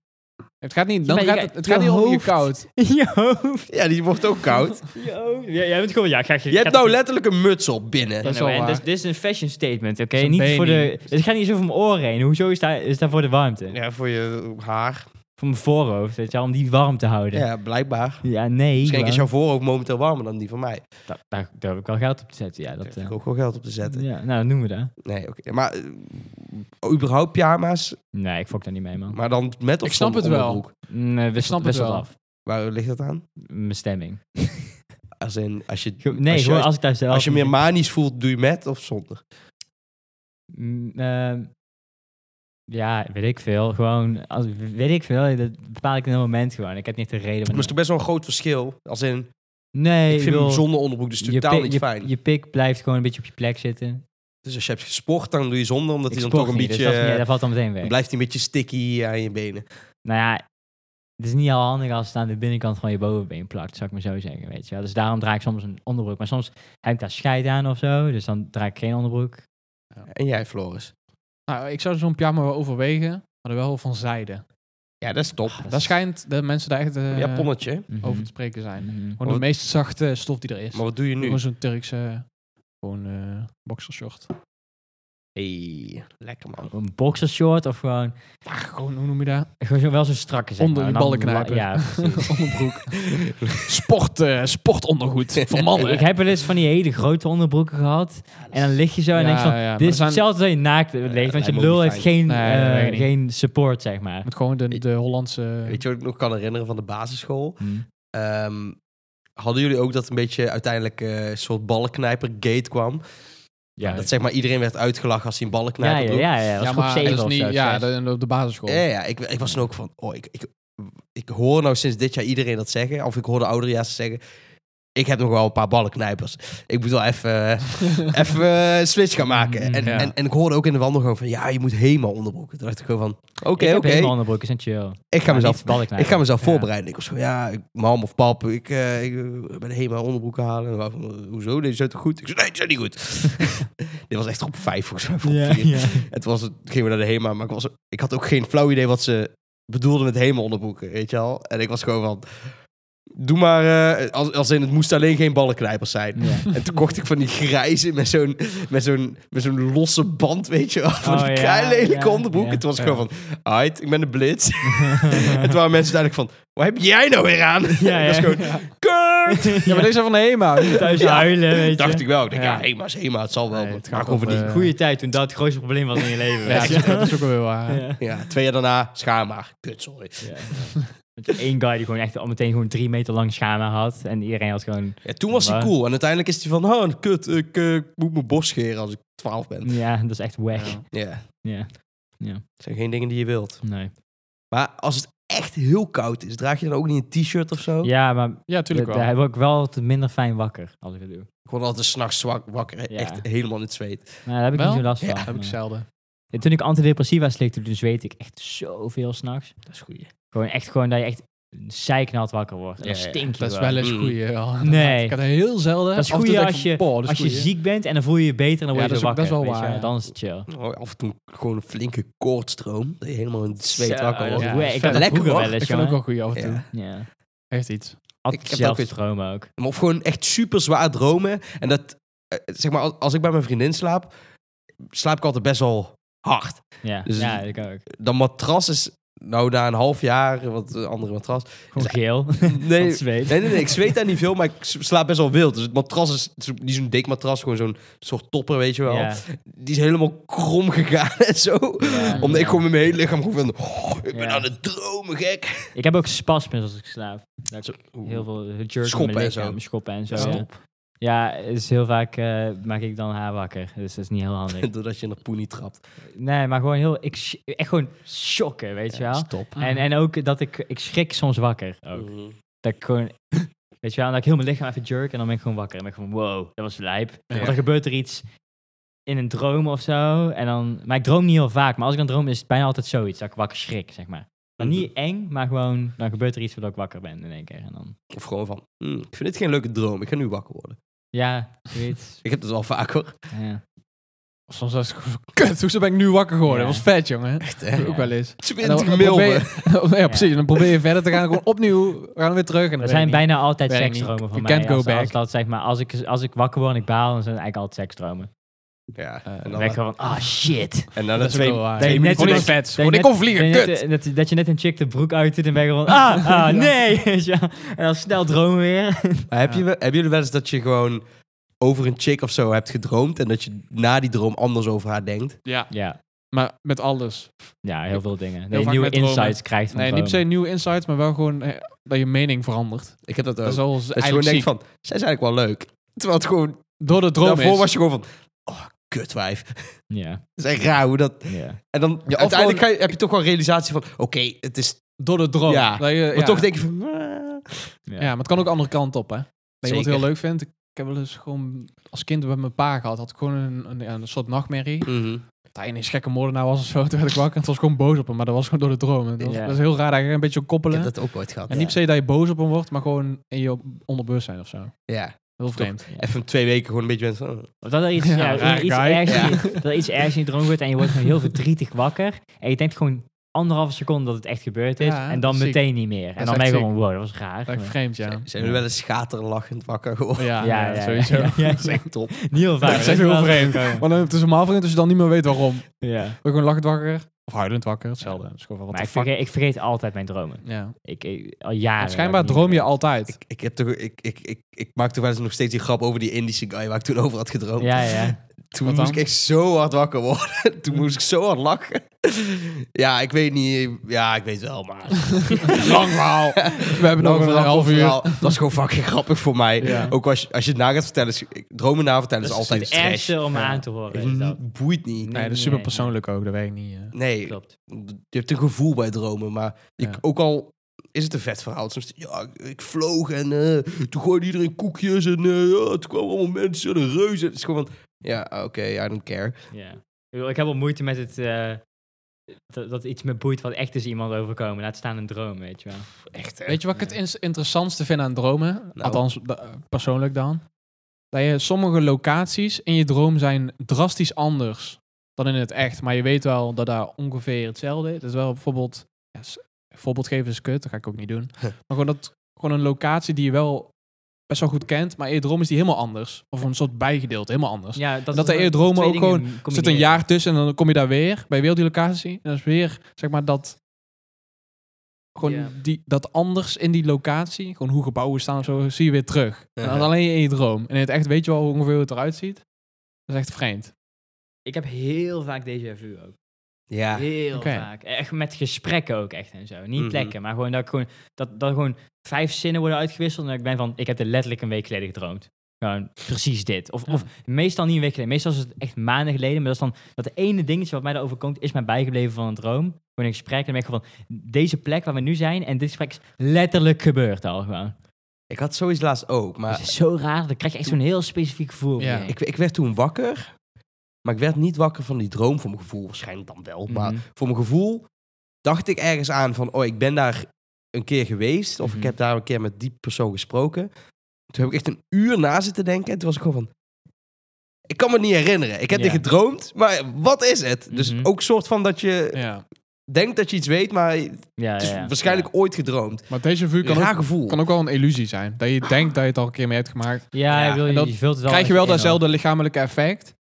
Speaker 2: Het gaat niet,
Speaker 3: Ja,
Speaker 2: dan
Speaker 3: maar je
Speaker 2: gaat,
Speaker 3: gaat-
Speaker 2: het, het
Speaker 3: je
Speaker 2: gaat niet om je
Speaker 3: hoofd.
Speaker 2: koud.
Speaker 3: je hoofd.
Speaker 1: Ja, die wordt ook koud.
Speaker 3: Je hoofd. Ja, jij bent gewoon... Ja, ga,
Speaker 1: Je hebt nou letterlijk een muts op binnen.
Speaker 2: Dat is
Speaker 3: Ja, nou,
Speaker 2: wel
Speaker 3: en
Speaker 2: waar.
Speaker 3: dit- Dit is een fashion statement, oké?
Speaker 2: Dat is een
Speaker 3: Niet voor de...
Speaker 2: beanie.
Speaker 3: Het gaat niet zo voor mijn oren heen. Hoezo is dat, is dat voor de warmte?
Speaker 1: Ja, voor je haar.
Speaker 3: Voor mijn voorhoofd, weet je wel, om die warm te houden. Ja,
Speaker 1: Ja, blijkbaar.
Speaker 3: nee.
Speaker 1: Misschien
Speaker 3: man.
Speaker 1: Dus is jouw voorhoofd momenteel warmer dan die van mij.
Speaker 3: Da- daar, daar heb ik wel geld op te zetten, ja.
Speaker 1: Daar
Speaker 3: Dat,
Speaker 1: heb ik
Speaker 3: eh,
Speaker 1: ook wel geld op te zetten.
Speaker 3: ja, nou, dat noemen we dat.
Speaker 1: Nee, oké. Maar eh, überhaupt pyjama's,
Speaker 3: Nee, ik fok daar niet mee, man. Mm, eh,
Speaker 1: maar dan met of
Speaker 2: Ik snap
Speaker 1: zonder
Speaker 2: het wel.
Speaker 1: onderbroek.
Speaker 3: Nee, wist
Speaker 2: snap
Speaker 3: wist
Speaker 2: het
Speaker 3: dat
Speaker 2: wel.
Speaker 3: af.
Speaker 1: Waar ligt dat aan?
Speaker 3: Mijn stemming.
Speaker 1: Als in, als je,
Speaker 3: Ge- Nee,
Speaker 1: als je,
Speaker 3: gewoon
Speaker 1: als,
Speaker 3: als ik thuis zelf...
Speaker 1: als je meer manisch voelt, doe je met of zonder?
Speaker 3: Mm, ehm, ja, weet ik veel. Gewoon, als, weet ik veel. Dat bepaal ik in een moment gewoon. Ik heb niet de reden.
Speaker 1: Maar
Speaker 3: waarom-
Speaker 1: is toch best wel een groot verschil. Als in,
Speaker 3: nee,
Speaker 1: ik vind
Speaker 3: bedoel,
Speaker 1: hem zonder onderbroek dus
Speaker 3: je,
Speaker 1: totaal
Speaker 3: pik-
Speaker 1: niet
Speaker 3: je,
Speaker 1: fijn.
Speaker 3: Je pik blijft gewoon een beetje op je plek zitten.
Speaker 1: dus als je hebt gesport, dan doe je zonder, omdat
Speaker 3: Ik
Speaker 1: hij dan
Speaker 3: sport
Speaker 1: toch een
Speaker 3: niet, dus
Speaker 1: beetje... eh,
Speaker 3: dat, is niet- dat valt dan meteen weg.
Speaker 1: dan blijft hij een beetje sticky aan je benen.
Speaker 3: Nou ja, het is niet heel handig als het aan de binnenkant van je bovenbeen plakt, zou ik maar zo zeggen, weet je wel. Dus daarom draag ik soms een onderbroek. Maar soms heb ik daar scheid aan of zo, dus dan draag ik geen onderbroek.
Speaker 1: En jij, Floris?
Speaker 2: Nou, ik zou zo'n pyjama wel overwegen, maar dan wel van zijde.
Speaker 1: Ja, dat is top.
Speaker 3: Ah, dat
Speaker 2: Daar
Speaker 3: is-
Speaker 2: schijnt de mensen daar echt eh,
Speaker 1: ja, ponnetje.
Speaker 3: Mhm.
Speaker 2: over te spreken zijn.
Speaker 3: Mhm.
Speaker 2: Gewoon de meest zachte stof die er is.
Speaker 1: Maar wat doe je nu?
Speaker 2: Gewoon zo'n Turkse, gewoon eh boxershort.
Speaker 1: Hey, lekker man.
Speaker 3: Een boxershort of gewoon,
Speaker 2: Ja, gewoon, hoe noem je dat?
Speaker 3: gewoon zo, wel zo strakke, zeg
Speaker 2: Onder
Speaker 3: maar.
Speaker 2: je
Speaker 3: En dan
Speaker 2: ballen knijpen.
Speaker 3: la- Ja, precies.
Speaker 2: Onderbroek. Sport, eh, sportondergoed voor mannen.
Speaker 3: ik heb wel eens van die hele grote onderbroeken gehad. En dan lig je zo en
Speaker 2: Ja,
Speaker 3: denk je van,
Speaker 2: ja, maar
Speaker 3: dit
Speaker 2: er
Speaker 3: is
Speaker 2: zijn-
Speaker 3: hetzelfde als je naakt ligt, want
Speaker 1: lijkt
Speaker 3: je
Speaker 1: me
Speaker 3: lul
Speaker 1: ook niet
Speaker 3: heeft geen,
Speaker 2: Nee, dat
Speaker 3: eh,
Speaker 2: weet ik niet.
Speaker 3: geen support, zeg maar.
Speaker 2: Met gewoon de, de Hollandse...
Speaker 1: Weet je wat ik nog kan herinneren van de basisschool?
Speaker 3: Mhm.
Speaker 1: Ehm, hadden jullie ook dat een beetje uiteindelijk eh, een soort ballenknijper gate kwam?
Speaker 3: Ja,
Speaker 1: Dat zeg maar iedereen werd uitgelachen als hij een
Speaker 3: ja,
Speaker 1: ballenknijper
Speaker 3: ja,
Speaker 1: droeg.
Speaker 3: ja, ja, dat was groep
Speaker 2: dat
Speaker 3: zeven
Speaker 2: is
Speaker 3: of
Speaker 2: niet,
Speaker 3: zo, Eh.
Speaker 2: ja,
Speaker 3: zes.
Speaker 2: de, de- op de basisschool.
Speaker 1: Ja, ja, ik, ik was dan ook van, oh, ik, ik, ik hoor nou sinds dit jaar iedereen dat zeggen. Of ik hoorde ouderjaars zeggen, ik heb nog wel een paar ballenknijpers. Ik moet wel even, even eh, een switch gaan maken.
Speaker 3: Mm,
Speaker 1: En,
Speaker 2: Ja.
Speaker 1: en, en ik hoorde ook in de wandelgang van, ja, je moet helemaal onderbroeken. Toen dacht ik gewoon van, oké,
Speaker 3: ik heb
Speaker 1: oké,
Speaker 3: helemaal onderbroeken, zijn chill.
Speaker 1: ik ga
Speaker 3: Maar
Speaker 1: mezelf
Speaker 3: niet ballenknijpen.
Speaker 1: Ik ga mezelf
Speaker 3: Ja.
Speaker 1: voorbereiden. Ik was gewoon, ja, ik- mam of pap, ik, eh, ik eh, ben helemaal onderbroeken halen. En waarvan, eh, hoezo, deze zijn toch goed? Ik zei, nee, die zijn niet goed. Dit was echt groep vijf, volgens mij, of groep
Speaker 3: Ja,
Speaker 1: vier.
Speaker 3: ja.
Speaker 1: En toen was het, gingen we naar de HEMA, maar ik, was, ik had ook geen flauw idee wat ze bedoelden met HEMA onderbroeken, weet je wel? En ik was gewoon van, doe maar, eh, als, als in het moest alleen geen ballenknijpers zijn.
Speaker 3: Ja.
Speaker 1: En toen kocht ik van die grijze met zo'n, met zo'n, met zo'n losse band, weet je wel, van
Speaker 3: Oh,
Speaker 1: die
Speaker 3: ja,
Speaker 1: kleine lelijke
Speaker 3: ja,
Speaker 1: onderbroek.
Speaker 3: ja.
Speaker 1: En toen was ik gewoon van, alright, ik ben de blitz. En toen waren mensen duidelijk van, wat heb jij nou weer aan?
Speaker 3: Ja,
Speaker 1: dat is
Speaker 3: ja.
Speaker 1: gewoon, kut!
Speaker 2: Ja, maar deze zijn van de HEMA.
Speaker 3: Thuis
Speaker 1: Ja.
Speaker 3: huilen, weet je.
Speaker 1: Dacht ik wel. Ik denk, ja,
Speaker 2: Ja.
Speaker 1: HEMA is HEMA, het zal wel.
Speaker 2: Nee,
Speaker 1: maar
Speaker 2: het
Speaker 1: het maar
Speaker 2: gaat
Speaker 1: gewoon
Speaker 2: over,
Speaker 1: verdiend.
Speaker 2: eh,
Speaker 3: Goede tijd toen dat het grootste probleem was in je leven.
Speaker 2: Ja,
Speaker 3: weet je.
Speaker 2: dat is ook wel weer waar.
Speaker 3: Ja.
Speaker 1: Ja, twee jaar daarna, schaam maar. Kut, sorry.
Speaker 3: Ja. Met die één guy die gewoon echt al meteen gewoon drie meter lang schamen had. En iedereen had gewoon...
Speaker 1: Ja, toen was hij
Speaker 3: Maar-
Speaker 1: cool. En uiteindelijk is hij van, oh, kut, ik eh, moet mijn bos scheren als ik 12 ben.
Speaker 3: Ja, dat is echt wack. Ja.
Speaker 2: Ja.
Speaker 1: Ja,
Speaker 3: ja.
Speaker 1: het zijn geen dingen die je wilt.
Speaker 3: Nee.
Speaker 1: Maar als het echt heel koud is, draag je dan ook niet een t-shirt of zo?
Speaker 3: Ja, maar
Speaker 2: Ja,
Speaker 3: da-
Speaker 2: Oh. tuurlijk wel.
Speaker 3: daar word ik wel altijd minder fijn wakker als ik dat doe.
Speaker 1: Ik word altijd s'nachts zwak- wakker,
Speaker 3: Ja.
Speaker 1: echt helemaal in het zweet.
Speaker 3: Nou, daar heb ik
Speaker 2: Wel?
Speaker 3: niet zo last
Speaker 1: Ja,
Speaker 3: van.
Speaker 2: Dat heb ik
Speaker 3: maar-
Speaker 2: zelden.
Speaker 3: Ja, Toen ik antidepressiva slikte, toen zweet ik echt zoveel s'nachts.
Speaker 1: Dat is goed.
Speaker 3: Gewoon echt gewoon dat je echt zeiknat wakker wordt. En
Speaker 1: Ja,
Speaker 3: dan
Speaker 1: ja,
Speaker 3: stink je
Speaker 2: Dat is
Speaker 3: gewoon.
Speaker 2: wel eens
Speaker 1: Mm.
Speaker 2: goeie. ja.
Speaker 3: Nee.
Speaker 2: Ik had het heel zelden.
Speaker 3: Dat is
Speaker 2: Af en toe
Speaker 3: goeie
Speaker 2: denk ik
Speaker 3: als
Speaker 2: van,
Speaker 3: je-
Speaker 2: "Poh, dat is
Speaker 3: Als je
Speaker 2: goeie."
Speaker 3: ziek bent en dan voel je je beter en dan
Speaker 2: Ja,
Speaker 3: word je
Speaker 2: dat
Speaker 3: zo
Speaker 2: is ook-
Speaker 3: wakker.
Speaker 2: dat is wel
Speaker 3: weet je
Speaker 2: waar, ja.
Speaker 3: Dan is het chill.
Speaker 1: Oh, af en toe gewoon een flinke koortstroom. Dat je helemaal in het zweet
Speaker 3: Zo,
Speaker 1: wakker wordt.
Speaker 3: dat
Speaker 2: Ja,
Speaker 3: doe ik.
Speaker 2: dat is
Speaker 3: Ik had dat
Speaker 1: lekker,
Speaker 3: vroeger
Speaker 1: hoor.
Speaker 3: wel
Speaker 2: Ik
Speaker 3: eens,
Speaker 2: vind het ook
Speaker 3: jongen.
Speaker 2: wel goeie af en toe.
Speaker 1: Ja.
Speaker 3: Ja.
Speaker 2: Echt iets.
Speaker 3: Altijd
Speaker 1: Ik heb dat ook
Speaker 3: dezelfde
Speaker 1: weer-
Speaker 3: stromen ook.
Speaker 1: Maar Of gewoon echt super zwaar dromen. En dat, eh, zeg maar, als, als ik bij mijn vriendin slaap, slaap ik altijd best wel hard.
Speaker 3: Ja,
Speaker 1: Dus-
Speaker 3: ja ik ook.
Speaker 1: Dat matras is, nou na een half jaar, wat een andere matras.
Speaker 3: Gewoon geel.
Speaker 1: Nee,
Speaker 3: Van zweet.
Speaker 1: Nee, nee, nee. Ik zweet daar niet veel, maar ik s- slaap best wel wild. Dus het matras is zo- niet zo'n dik matras, gewoon zo'n soort topper, weet je wel.
Speaker 3: Ja.
Speaker 1: Die is helemaal krom gegaan en zo.
Speaker 3: Ja.
Speaker 1: Omdat ik gewoon met mijn hele lichaam gewoon van... "Oh, ik ben
Speaker 3: Ja.
Speaker 1: aan het dromen, gek.
Speaker 3: Ik heb ook spasmes als ik slaap. Dat ik
Speaker 1: Zo, oeh.
Speaker 3: heel veel jerk in
Speaker 1: Schoppen
Speaker 3: mijn
Speaker 1: en zo.
Speaker 3: lichaam, Schoppen en zo.
Speaker 1: Ja.
Speaker 3: Ja, ja dus heel vaak eh, maak ik dan haar wakker. Dus dat is niet heel handig.
Speaker 1: Doordat je in de poenie trapt.
Speaker 3: nee, maar gewoon heel... Ik, sch- echt gewoon shocken, weet je wel.
Speaker 1: Stop. Mm.
Speaker 3: En, en ook dat ik... Ik schrik soms wakker ook. Dat ik gewoon... Weet je wel, dat ik heel mijn lichaam even jerk en dan ben ik gewoon wakker. En ben ik gewoon, wow, dat was lijp. Want dan gebeurt er iets in een droom of zo. En dan, maar ik droom niet heel vaak. Maar als ik dan droom, is het bijna altijd zoiets. Dat ik wakker schrik, zeg maar. Maar niet
Speaker 2: Mm-hmm.
Speaker 3: eng, maar gewoon, dan gebeurt er iets waardoor ik wakker ben in één keer. En dan,
Speaker 1: Of gewoon van... "Hmm, ik vind dit geen leuke droom. Ik ga nu wakker worden.
Speaker 3: ja, zoiets.
Speaker 1: Ik heb dat wel vaak, hoor.
Speaker 3: ja.
Speaker 2: Of soms was ik gewoon zo, kut, hoezo ben ik nu wakker
Speaker 3: Ja.
Speaker 2: geworden? Dat was vet, jongen.
Speaker 1: Echt, hè?
Speaker 2: Ook wel eens. En
Speaker 3: Nou,
Speaker 1: 20
Speaker 2: probeer
Speaker 1: mil. hè?
Speaker 2: je- ja, precies. En dan probeer je verder te gaan. Gewoon opnieuw. We gaan weer terug. En
Speaker 3: Er zijn bijna altijd
Speaker 2: Werkt niet.
Speaker 3: seksdromen van
Speaker 2: You
Speaker 3: mij.
Speaker 2: can't go
Speaker 3: als, als
Speaker 2: back.
Speaker 3: dat, zeg maar, als, ik, als ik wakker word en ik baal, dan zijn het eigenlijk altijd seksdromen.
Speaker 1: Ja.
Speaker 2: Eh,
Speaker 1: En
Speaker 3: Dan
Speaker 1: dan,
Speaker 3: ben ik gewoon, ah shit.
Speaker 1: en dan
Speaker 2: Dat
Speaker 1: dat
Speaker 2: is ook
Speaker 1: twee...
Speaker 2: wel waar.
Speaker 3: twee
Speaker 2: Nee,
Speaker 3: minuten
Speaker 2: Gewoon iets
Speaker 3: dat-
Speaker 2: vets.
Speaker 3: dat
Speaker 2: Gewoon
Speaker 3: je
Speaker 2: ik
Speaker 3: net-
Speaker 2: kon vliegen,
Speaker 3: dat je
Speaker 2: kut.
Speaker 3: net- dat, dat je net een chick de broek uitdoet en ben je gewoon, ah, ah nee. weet je wel. en dan snel dromen weer.
Speaker 1: Maar heb je, wel- hebben jullie wel eens dat je gewoon over een chick of zo hebt gedroomd... en dat je na die droom anders over haar denkt?
Speaker 2: Ja.
Speaker 3: ja,
Speaker 2: Maar met alles.
Speaker 3: Ja, heel veel dingen. Dat
Speaker 2: vaak
Speaker 3: je nieuwe
Speaker 2: met dromen.
Speaker 3: insights krijgt van
Speaker 2: Nee, niet per se
Speaker 3: dromen.
Speaker 2: nieuwe insights, maar wel gewoon eh, dat je mening verandert.
Speaker 1: Ik heb dat ook. Dat,
Speaker 2: Dat is wel eens
Speaker 1: je gewoon
Speaker 2: eigenlijk
Speaker 1: denkt
Speaker 2: ziek.
Speaker 1: van, zij is eigenlijk wel leuk. Terwijl het gewoon,
Speaker 2: Door de droom
Speaker 1: daarvoor
Speaker 2: is.
Speaker 1: was je gewoon van, oh, kutwijf.
Speaker 3: Ja,
Speaker 1: Het is echt raar hoe dat...
Speaker 3: ja.
Speaker 1: En dan
Speaker 2: of
Speaker 1: uiteindelijk
Speaker 2: gewoon-
Speaker 1: ga je- heb je toch wel een realisatie van, oké, het is...
Speaker 2: Door de droom.
Speaker 1: Ja,
Speaker 2: Dat je,
Speaker 1: Maar toch denk je van... eh.
Speaker 2: Ja, maar het kan ook de andere kant op, hè. Dat je wat
Speaker 1: Zeker.
Speaker 2: heel leuk vindt. Ik heb wel eens gewoon als kind bij mijn pa gehad, had ik gewoon een, een, ja, een soort nachtmerrie.
Speaker 1: Mhm.
Speaker 2: Dat hij ineens gekke moordenaar was of zo. Toen werd ik wakker en toen was ik gewoon boos op hem. Maar dat was gewoon door de droom. En Dat, was-
Speaker 3: Ja.
Speaker 2: dat is heel raar dat je een beetje
Speaker 1: Ik
Speaker 2: koppelen.
Speaker 1: heb dat ook ooit gehad.
Speaker 2: En niet per se dat je boos op hem wordt, maar gewoon in je onderbewustzijn of zo.
Speaker 1: Ja.
Speaker 2: Heel vreemd.
Speaker 1: Even twee weken gewoon een beetje bent van... oh,
Speaker 3: Of dat er iets,
Speaker 2: Ja,
Speaker 3: ja,
Speaker 2: raar
Speaker 3: iets,
Speaker 2: guy.
Speaker 3: ergs,
Speaker 1: Ja.
Speaker 3: dat er iets ergs in je droom wordt en je wordt gewoon heel verdrietig wakker. En je denkt gewoon anderhalve seconde dat het echt gebeurd is.
Speaker 2: Ja,
Speaker 3: en dan
Speaker 2: ziek.
Speaker 3: meteen niet meer. En
Speaker 2: is
Speaker 3: dan
Speaker 2: echt
Speaker 3: ben je
Speaker 2: ziek.
Speaker 3: gewoon, wow, dat was raar.
Speaker 2: Dat is
Speaker 3: Maar-
Speaker 2: vreemd, ja.
Speaker 1: Zijn we wel eens schaterlachend wakker geworden?
Speaker 2: Ja,
Speaker 3: ja,
Speaker 2: ja,
Speaker 3: ja,
Speaker 2: sowieso.
Speaker 3: ja, ja.
Speaker 1: Dat is echt top.
Speaker 3: Niet heel vaak.
Speaker 2: Dat is echt heel vreemd. Maar dan, het is normaal vreemd als je dan niet meer weet waarom. Word
Speaker 3: Ja.
Speaker 2: je gewoon lachend wakker. Of huilend wakker, hetzelfde. Dat is gewoon van,
Speaker 3: Maar
Speaker 2: what
Speaker 3: ik
Speaker 2: the fuck.
Speaker 3: vergeet, ik vergeet altijd mijn dromen.
Speaker 2: Ja.
Speaker 3: Ik, ik- al jaren.
Speaker 2: Want schijnbaar
Speaker 3: dat ik
Speaker 2: droom
Speaker 3: niet
Speaker 2: je
Speaker 3: meer-
Speaker 2: altijd.
Speaker 1: Ik, ik, heb toch, ik, ik, ik, ik maak toch wel eens nog steeds die grap over die Indische guy waar ik toen over had gedroomd.
Speaker 3: Ja, ja.
Speaker 1: Toen
Speaker 2: Wat
Speaker 1: moest ik
Speaker 2: dan?
Speaker 1: echt zo hard wakker worden. Toen moest ik zo hard lachen. Ja, ik weet niet. Ja, ik weet wel, maar...
Speaker 2: Lang verhaal. We hebben nog een
Speaker 1: verhaal,
Speaker 2: half
Speaker 1: kort
Speaker 2: uur.
Speaker 1: verhaal. Dat is gewoon fucking grappig voor mij.
Speaker 2: Ja.
Speaker 1: Ook als je, als je het na gaat vertellen, is, dromen na vertellen is,
Speaker 3: Dat
Speaker 1: altijd
Speaker 3: het
Speaker 1: stress.
Speaker 3: ergste om me
Speaker 2: Ja.
Speaker 3: aan te horen. is dat.
Speaker 1: Het boeit niet.
Speaker 2: Nee, dat is
Speaker 3: Nee,
Speaker 2: super persoonlijk ook, dat weet ik niet. eh.
Speaker 1: Nee,
Speaker 3: Klopt.
Speaker 1: je hebt een gevoel bij dromen, maar je,
Speaker 2: Ja.
Speaker 1: ook al is het een vet verhaal. Soms, ja, ik- ik vloog en eh, toen gooide iedereen koekjes en eh, ja, toen kwamen allemaal mensen en een reus. En Het is gewoon van, ja, oké, I don't care.
Speaker 3: Ja. Ik, bedoel, ik heb wel moeite met het... eh, dat, dat iets me boeit wat echt is iemand overkomen. Laat staan een droom, weet je wel.
Speaker 1: Echt,
Speaker 2: Weet je wat ik het ins- interessantste vind aan dromen? Althans, da- eh, persoonlijk dan. Dat je sommige locaties in je droom zijn drastisch anders dan in het echt. Maar je weet wel dat daar ongeveer hetzelfde is. Dat is wel bijvoorbeeld... Ja, s- voorbeeld geven is kut, dat ga ik ook niet doen. Maar gewoon, dat, gewoon een locatie die je wel best wel goed kent, maar in je droom is die helemaal anders. Of een soort bijgedeelte, helemaal anders.
Speaker 3: Ja, dat,
Speaker 2: dat er in je dromen ook gewoon- Er zit een jaar tussen en dan kom je daar weer bij weer die locatie. En dan is weer, zeg maar, dat. Gewoon
Speaker 3: Ja.
Speaker 2: die, dat anders in die locatie, gewoon hoe gebouwen staan of zo, zie je weer terug. En dat is
Speaker 1: Ja.
Speaker 2: alleen in je droom. En in het echt weet je wel ongeveer hoe het eruit ziet. Dat is echt vreemd.
Speaker 3: Ik heb heel vaak déjà vu ook.
Speaker 1: Ja,
Speaker 3: Heel
Speaker 2: Oké.
Speaker 3: vaak. Echt met gesprekken ook echt en zo. Niet
Speaker 1: Mhm.
Speaker 3: plekken, maar gewoon dat, ik gewoon dat, dat gewoon vijf zinnen worden uitgewisseld. En dat ik ben van, ik heb er letterlijk een week geleden gedroomd. Gewoon precies dit. Of, of meestal niet een week geleden. Meestal is het echt maanden geleden. Maar dat is dan dat ene dingetje wat mij daarover komt, is mij bijgebleven van een droom. Gewoon een gesprek. En dan ben ik gewoon van, deze plek waar we nu zijn en dit gesprek is letterlijk gebeurd al gewoon.
Speaker 1: ik had zoiets laatst ook,
Speaker 3: Dat
Speaker 1: maar
Speaker 3: is zo raar. Dan krijg je echt zo'n heel specifiek gevoel.
Speaker 2: Ja.
Speaker 1: ik, ik werd toen wakker. Maar ik werd niet wakker van die droom, voor mijn gevoel waarschijnlijk dan wel. Maar
Speaker 3: Mhm.
Speaker 1: voor mijn gevoel dacht ik ergens aan van, oh, ik ben daar een keer geweest. Of ik
Speaker 3: Mhm.
Speaker 1: heb daar een keer met die persoon gesproken. Toen heb ik echt een uur na zitten denken. En toen was ik gewoon van, ik kan me niet herinneren. Ik heb
Speaker 3: Ja.
Speaker 1: dit gedroomd, maar wat is het? Dus
Speaker 3: Mhm.
Speaker 1: ook soort van dat je
Speaker 2: Ja.
Speaker 1: denkt dat je iets weet, maar het
Speaker 3: Ja,
Speaker 1: is
Speaker 3: ja, ja.
Speaker 1: waarschijnlijk ooit gedroomd.
Speaker 2: Maar deze vuur
Speaker 1: Een
Speaker 2: kan
Speaker 1: raar
Speaker 2: ook,
Speaker 1: gevoel.
Speaker 2: kan ook wel een illusie zijn. Dat je denkt dat je het al een keer mee hebt gemaakt.
Speaker 3: Ja,
Speaker 1: Ja,
Speaker 3: ik wil je,
Speaker 2: en dat
Speaker 3: je vult het al
Speaker 2: krijg
Speaker 3: echt
Speaker 2: je wel
Speaker 3: in, hoor.
Speaker 2: datzelfde lichamelijke effect.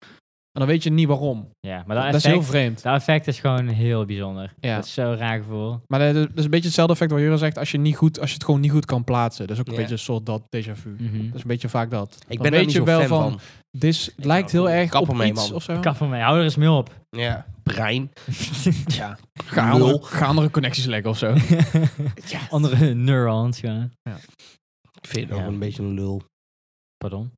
Speaker 2: En dan weet je niet waarom.
Speaker 3: Ja, maar dat,
Speaker 2: Dat
Speaker 3: effect,
Speaker 2: is heel vreemd.
Speaker 3: dat effect is gewoon heel bijzonder.
Speaker 2: Ja.
Speaker 3: Dat is zo'n raar gevoel.
Speaker 2: Maar dat is- dat is een beetje hetzelfde effect wat Jura zegt. Als je, niet goed, als je het gewoon niet goed kan plaatsen. Dat is ook een
Speaker 1: Ja.
Speaker 2: beetje een soort dat déjà vu.
Speaker 3: Mhm.
Speaker 2: Dat is een beetje vaak dat.
Speaker 1: Ik
Speaker 2: Dan
Speaker 1: ben daar niet zo fan van.
Speaker 2: Dit lijkt heel
Speaker 1: wel.
Speaker 2: erg
Speaker 1: Kap
Speaker 2: op
Speaker 1: ermee,
Speaker 2: iets
Speaker 1: man.
Speaker 2: of zo.
Speaker 3: Kap van mij, hou er eens mee op.
Speaker 1: Ja, brein.
Speaker 2: Ja. Ga andere,
Speaker 1: Lul.
Speaker 2: ga andere connecties leggen of zo.
Speaker 3: Andere neurons, ja.
Speaker 1: Ik vind het nog
Speaker 3: Ja.
Speaker 1: een beetje een lul.
Speaker 3: Pardon.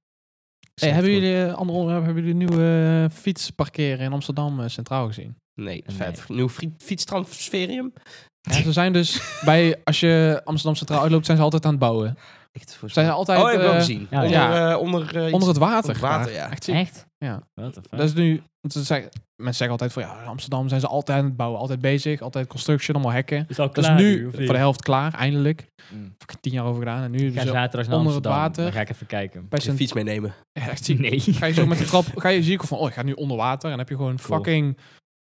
Speaker 2: Hey, hebben jullie eh, andere onderwerpen? Hebben jullie de nieuwe eh, fietsparkeren in Amsterdam eh, Centraal gezien?
Speaker 1: Nee,
Speaker 3: Nee.
Speaker 1: vet. Nieuw fri- fietstransferium.
Speaker 2: Ja, ze zijn dus bij als je Amsterdam Centraal uitloopt, zijn ze altijd aan het bouwen.
Speaker 1: Echt voor
Speaker 2: Zijn ze altijd
Speaker 1: Oh, ik heb wel
Speaker 2: eh,
Speaker 1: gezien.
Speaker 3: ja,
Speaker 1: onder,
Speaker 2: ja.
Speaker 1: eh, onder, eh, iets-
Speaker 2: onder het water.
Speaker 1: Onder het water,
Speaker 2: daar.
Speaker 1: ja.
Speaker 2: Echt ziek.
Speaker 3: Echt?
Speaker 2: Ja.
Speaker 3: What the fuck?
Speaker 2: Dat is nu. want ze zeggen- mensen zeggen altijd van ja, in Amsterdam zijn ze altijd aan het bouwen, altijd bezig, altijd construction, allemaal hekken.
Speaker 3: is al
Speaker 2: Dat is nu voor de helft klaar, eindelijk.
Speaker 3: Mm.
Speaker 2: Heb ik tien jaar over gedaan en nu
Speaker 3: Ik ga
Speaker 2: zo-
Speaker 3: zaterdag naar
Speaker 2: onder het
Speaker 3: Amsterdam.
Speaker 2: water.
Speaker 3: Dan ga ik even kijken.
Speaker 2: bij
Speaker 1: Een
Speaker 2: Centraal.
Speaker 1: fiets meenemen.
Speaker 2: Ja, echt ziek.
Speaker 3: Nee.
Speaker 2: ga je zo met de trap, ga je zie ik van, oh, ik ga nu onder water. En dan heb je gewoon
Speaker 3: Cool.
Speaker 2: fucking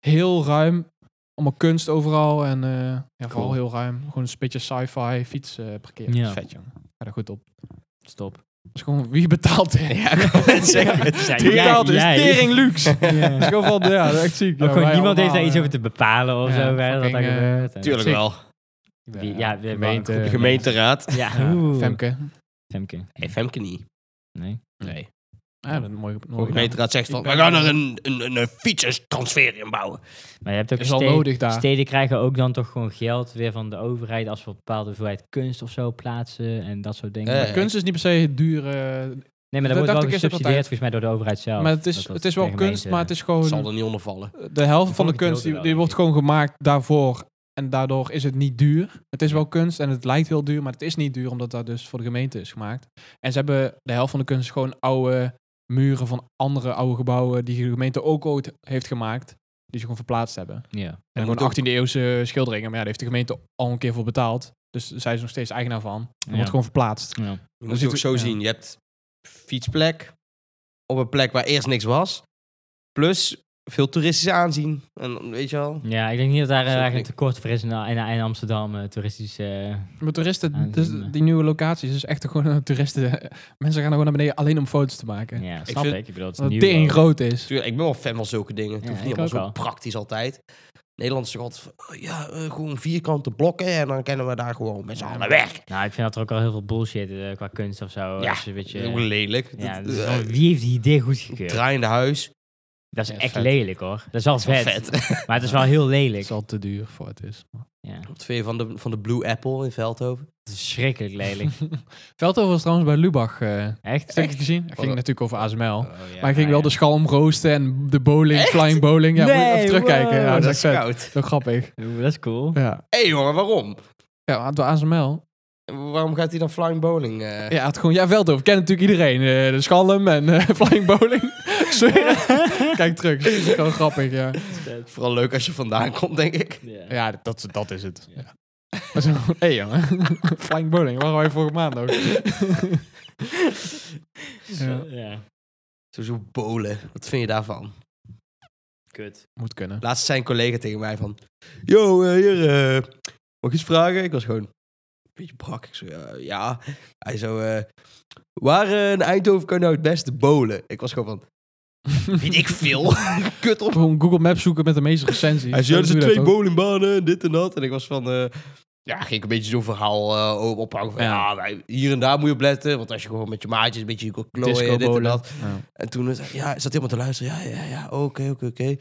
Speaker 2: heel ruim. Allemaal kunst overal. En eh, ja, vooral
Speaker 3: Cool.
Speaker 2: heel ruim. Gewoon een beetje sci-fi fiets eh parkeren.
Speaker 3: Ja.
Speaker 2: Dat is vet, jong. Ga er goed op.
Speaker 3: Stop.
Speaker 2: Dat is gewoon, wie betaalt dit?
Speaker 1: Ja, ik wou het zeggen. Het is
Speaker 3: Ja,
Speaker 1: duur.
Speaker 3: jij-
Speaker 2: betaalt is
Speaker 3: jij.
Speaker 2: tering luxe.
Speaker 3: Ja.
Speaker 2: Dat is gewoon van, ja, dat is echt ziek.
Speaker 3: Ook
Speaker 2: Ja,
Speaker 3: gewoon
Speaker 2: wij
Speaker 3: niemand heeft daar
Speaker 2: allemaal,
Speaker 3: iets over
Speaker 2: eh,
Speaker 3: te bepalen of
Speaker 2: ja,
Speaker 3: zo. Hè, dat daar
Speaker 2: fucking, eh,
Speaker 3: gebeurt. En-
Speaker 1: Tuurlijk
Speaker 2: Zeker.
Speaker 1: wel.
Speaker 3: Wie- ja, de
Speaker 2: eh, gemeente.
Speaker 3: waar-
Speaker 1: De gemeenteraad.
Speaker 3: Ja,
Speaker 2: Ja,
Speaker 3: oeh.
Speaker 2: Femke.
Speaker 3: Femke.
Speaker 1: Hey, Femke niet.
Speaker 3: Nee.
Speaker 1: Nee.
Speaker 2: Ja, dat is mooi. mooi
Speaker 1: Metra
Speaker 2: gedaan.
Speaker 1: had zegt van,
Speaker 2: nou? Ik ben
Speaker 1: we gaan
Speaker 2: wel-
Speaker 1: er een, een, een, een fietsentransferium bouwen.
Speaker 3: Maar je hebt ook
Speaker 2: Is wel
Speaker 3: steden-
Speaker 2: nodig daar.
Speaker 3: Steden krijgen ook dan toch gewoon geld weer van de overheid als we een bepaalde hoeveelheid kunst of zo plaatsen en dat soort dingen.
Speaker 1: Ja,
Speaker 3: Maar-
Speaker 1: ja.
Speaker 2: Kunst is niet per se duur. eh,
Speaker 3: Nee, maar dat
Speaker 2: Dat
Speaker 3: wordt wel
Speaker 2: dacht ik eerst ook
Speaker 3: gesubsidieerd
Speaker 2: altijd.
Speaker 3: volgens mij door de overheid zelf.
Speaker 2: maar het
Speaker 3: Oh,
Speaker 2: is,
Speaker 3: Dat dat eh,
Speaker 2: het is
Speaker 3: de
Speaker 2: wel kunst,
Speaker 3: gemeente-
Speaker 2: maar het is
Speaker 1: Het
Speaker 2: gewoon...
Speaker 1: zal er niet onder vallen.
Speaker 2: de helft van de
Speaker 3: Volgend
Speaker 2: kunst
Speaker 3: deel
Speaker 2: die,
Speaker 3: wel,
Speaker 2: die
Speaker 3: denk
Speaker 2: wordt
Speaker 3: ik.
Speaker 2: gewoon gemaakt daarvoor. En daardoor is het niet duur. Het is wel kunst en het lijkt heel duur, maar het is niet duur omdat dat dus voor de gemeente is gemaakt. En ze hebben de helft van de kunst gewoon oude muren van andere oude gebouwen die de gemeente ook ooit heeft gemaakt. Die ze gewoon verplaatst hebben. En,
Speaker 3: Ja.
Speaker 1: moet
Speaker 2: gewoon
Speaker 1: ook-
Speaker 2: 18e eeuwse schilderingen. Maar ja, daar heeft de gemeente al een keer voor betaald. Dus zij is nog steeds eigenaar van. En wordt gewoon verplaatst.
Speaker 3: Ja.
Speaker 1: Je
Speaker 2: Dan
Speaker 1: moet
Speaker 2: ziet
Speaker 1: het ook
Speaker 2: u-
Speaker 1: zo
Speaker 2: ja.
Speaker 1: zien. Je hebt fietsplek op een plek waar eerst niks was. Plus veel toeristisch aanzien. En weet je wel.
Speaker 3: Ja, ik denk niet dat daar
Speaker 2: Dus
Speaker 1: Zo
Speaker 3: eh, eigenlijk
Speaker 1: klinkt-
Speaker 3: een tekort voor is in, in, in Amsterdam, eh, toeristische... eh,
Speaker 2: Maar toeristen,
Speaker 3: Aanzien,
Speaker 2: dus
Speaker 3: eh.
Speaker 2: die nieuwe locaties, is echt gewoon eh, toeristen. Mensen gaan er gewoon naar beneden alleen om foto's te maken.
Speaker 3: ja, snap ik.
Speaker 1: vind-
Speaker 3: Ik bedoel, het is
Speaker 2: Dat het
Speaker 3: nieuw.
Speaker 2: ding
Speaker 3: wel.
Speaker 2: groot is.
Speaker 1: Tuurlijk, ik ben wel fan van zulke dingen. Het
Speaker 3: Ja,
Speaker 1: hoeft
Speaker 3: ik
Speaker 1: niet allemaal zo
Speaker 3: ook wel.
Speaker 1: praktisch altijd. Nederland is toch altijd van, oh ja, eh, gewoon vierkante blokken en dan kennen we daar gewoon met z'n allen weg.
Speaker 3: Nou, ik vind dat er ook al heel veel bullshit eh, qua kunst of zo.
Speaker 1: Ja,
Speaker 3: Dat is een beetje...
Speaker 1: Heel lelijk.
Speaker 3: ja,
Speaker 1: Dat-
Speaker 3: dat is
Speaker 1: eh,
Speaker 3: wel- wie heeft die idee goedgekeurd?
Speaker 1: draaiende huis.
Speaker 3: Dat is
Speaker 2: Ja,
Speaker 3: echt
Speaker 2: vet.
Speaker 3: lelijk hoor. Dat is wel vet.
Speaker 1: Vet.
Speaker 3: Maar het is wel heel
Speaker 2: Het
Speaker 3: lelijk.
Speaker 2: is al te duur voor het is.
Speaker 3: Ja,
Speaker 1: Wat vind je van de, van de Blue Apple in Veldhoven?
Speaker 3: het is schrikkelijk lelijk.
Speaker 2: Veldhoven was trouwens bij Lubach. eh
Speaker 3: Echt?
Speaker 2: stukje te zien. Dat ging
Speaker 1: Wat-
Speaker 2: natuurlijk over ASML.
Speaker 3: Oh,
Speaker 2: maar hij ging wel dus- de schalm roosten en de bowling,
Speaker 1: Echt?
Speaker 2: flying bowling. Ja, moet je
Speaker 3: Nee,
Speaker 2: even terugkijken.
Speaker 3: wow.
Speaker 2: Ja, dat is echt vet.
Speaker 1: koud.
Speaker 2: Heel grappig.
Speaker 3: de... dat is cool.
Speaker 2: Ja.
Speaker 1: Hé hey, jongen, waarom?
Speaker 2: Ja, maar door ASML.
Speaker 1: Waarom gaat hij dan flying bowling? eh?
Speaker 2: Ja, het gewoon, ja, Veldhoven kent natuurlijk iedereen. Eh, de schalm en eh, flying bowling. Ik zweer het. Kijk terug. Dat is gewoon grappig, ja.
Speaker 1: Vooral leuk als je vandaan komt, denk ik.
Speaker 3: Ja.
Speaker 2: Ja, dat, dat is het. Ja. Maar zo, Hé jongen, flying bowling. Waarom wij vorige maand ook? Ja.
Speaker 3: Ja.
Speaker 1: Sowieso bolen. Wat vind je daarvan?
Speaker 3: Kut.
Speaker 2: Moet kunnen.
Speaker 1: Laatst zei een collega tegen mij van... Yo, eh, hier, eh, mag ik iets vragen? Ik was gewoon een beetje brak. Ik zo, ja. ja. Hij zo, eh, waar eh, in Eindhoven kan je nou het beste bolen? Ik was gewoon van, weet ik veel. Kut op.
Speaker 2: Gewoon Google Maps zoeken met de meeste recensies.
Speaker 1: Hij zei, ja, er zijn
Speaker 2: Doe dat
Speaker 1: twee
Speaker 2: ook.
Speaker 1: bowlingbanen en dit en dat. En ik was van, eh, ja, ging ik een beetje zo'n verhaal eh, op- ophangen. Van,
Speaker 2: Ja.
Speaker 1: ja. wij- hier en daar moet je op letten. Want als je gewoon met je maatjes een beetje wil klooien en dit en dat. En toen was- ja, zat helemaal te luisteren. Ja, ja, ja, oké, oké, oké.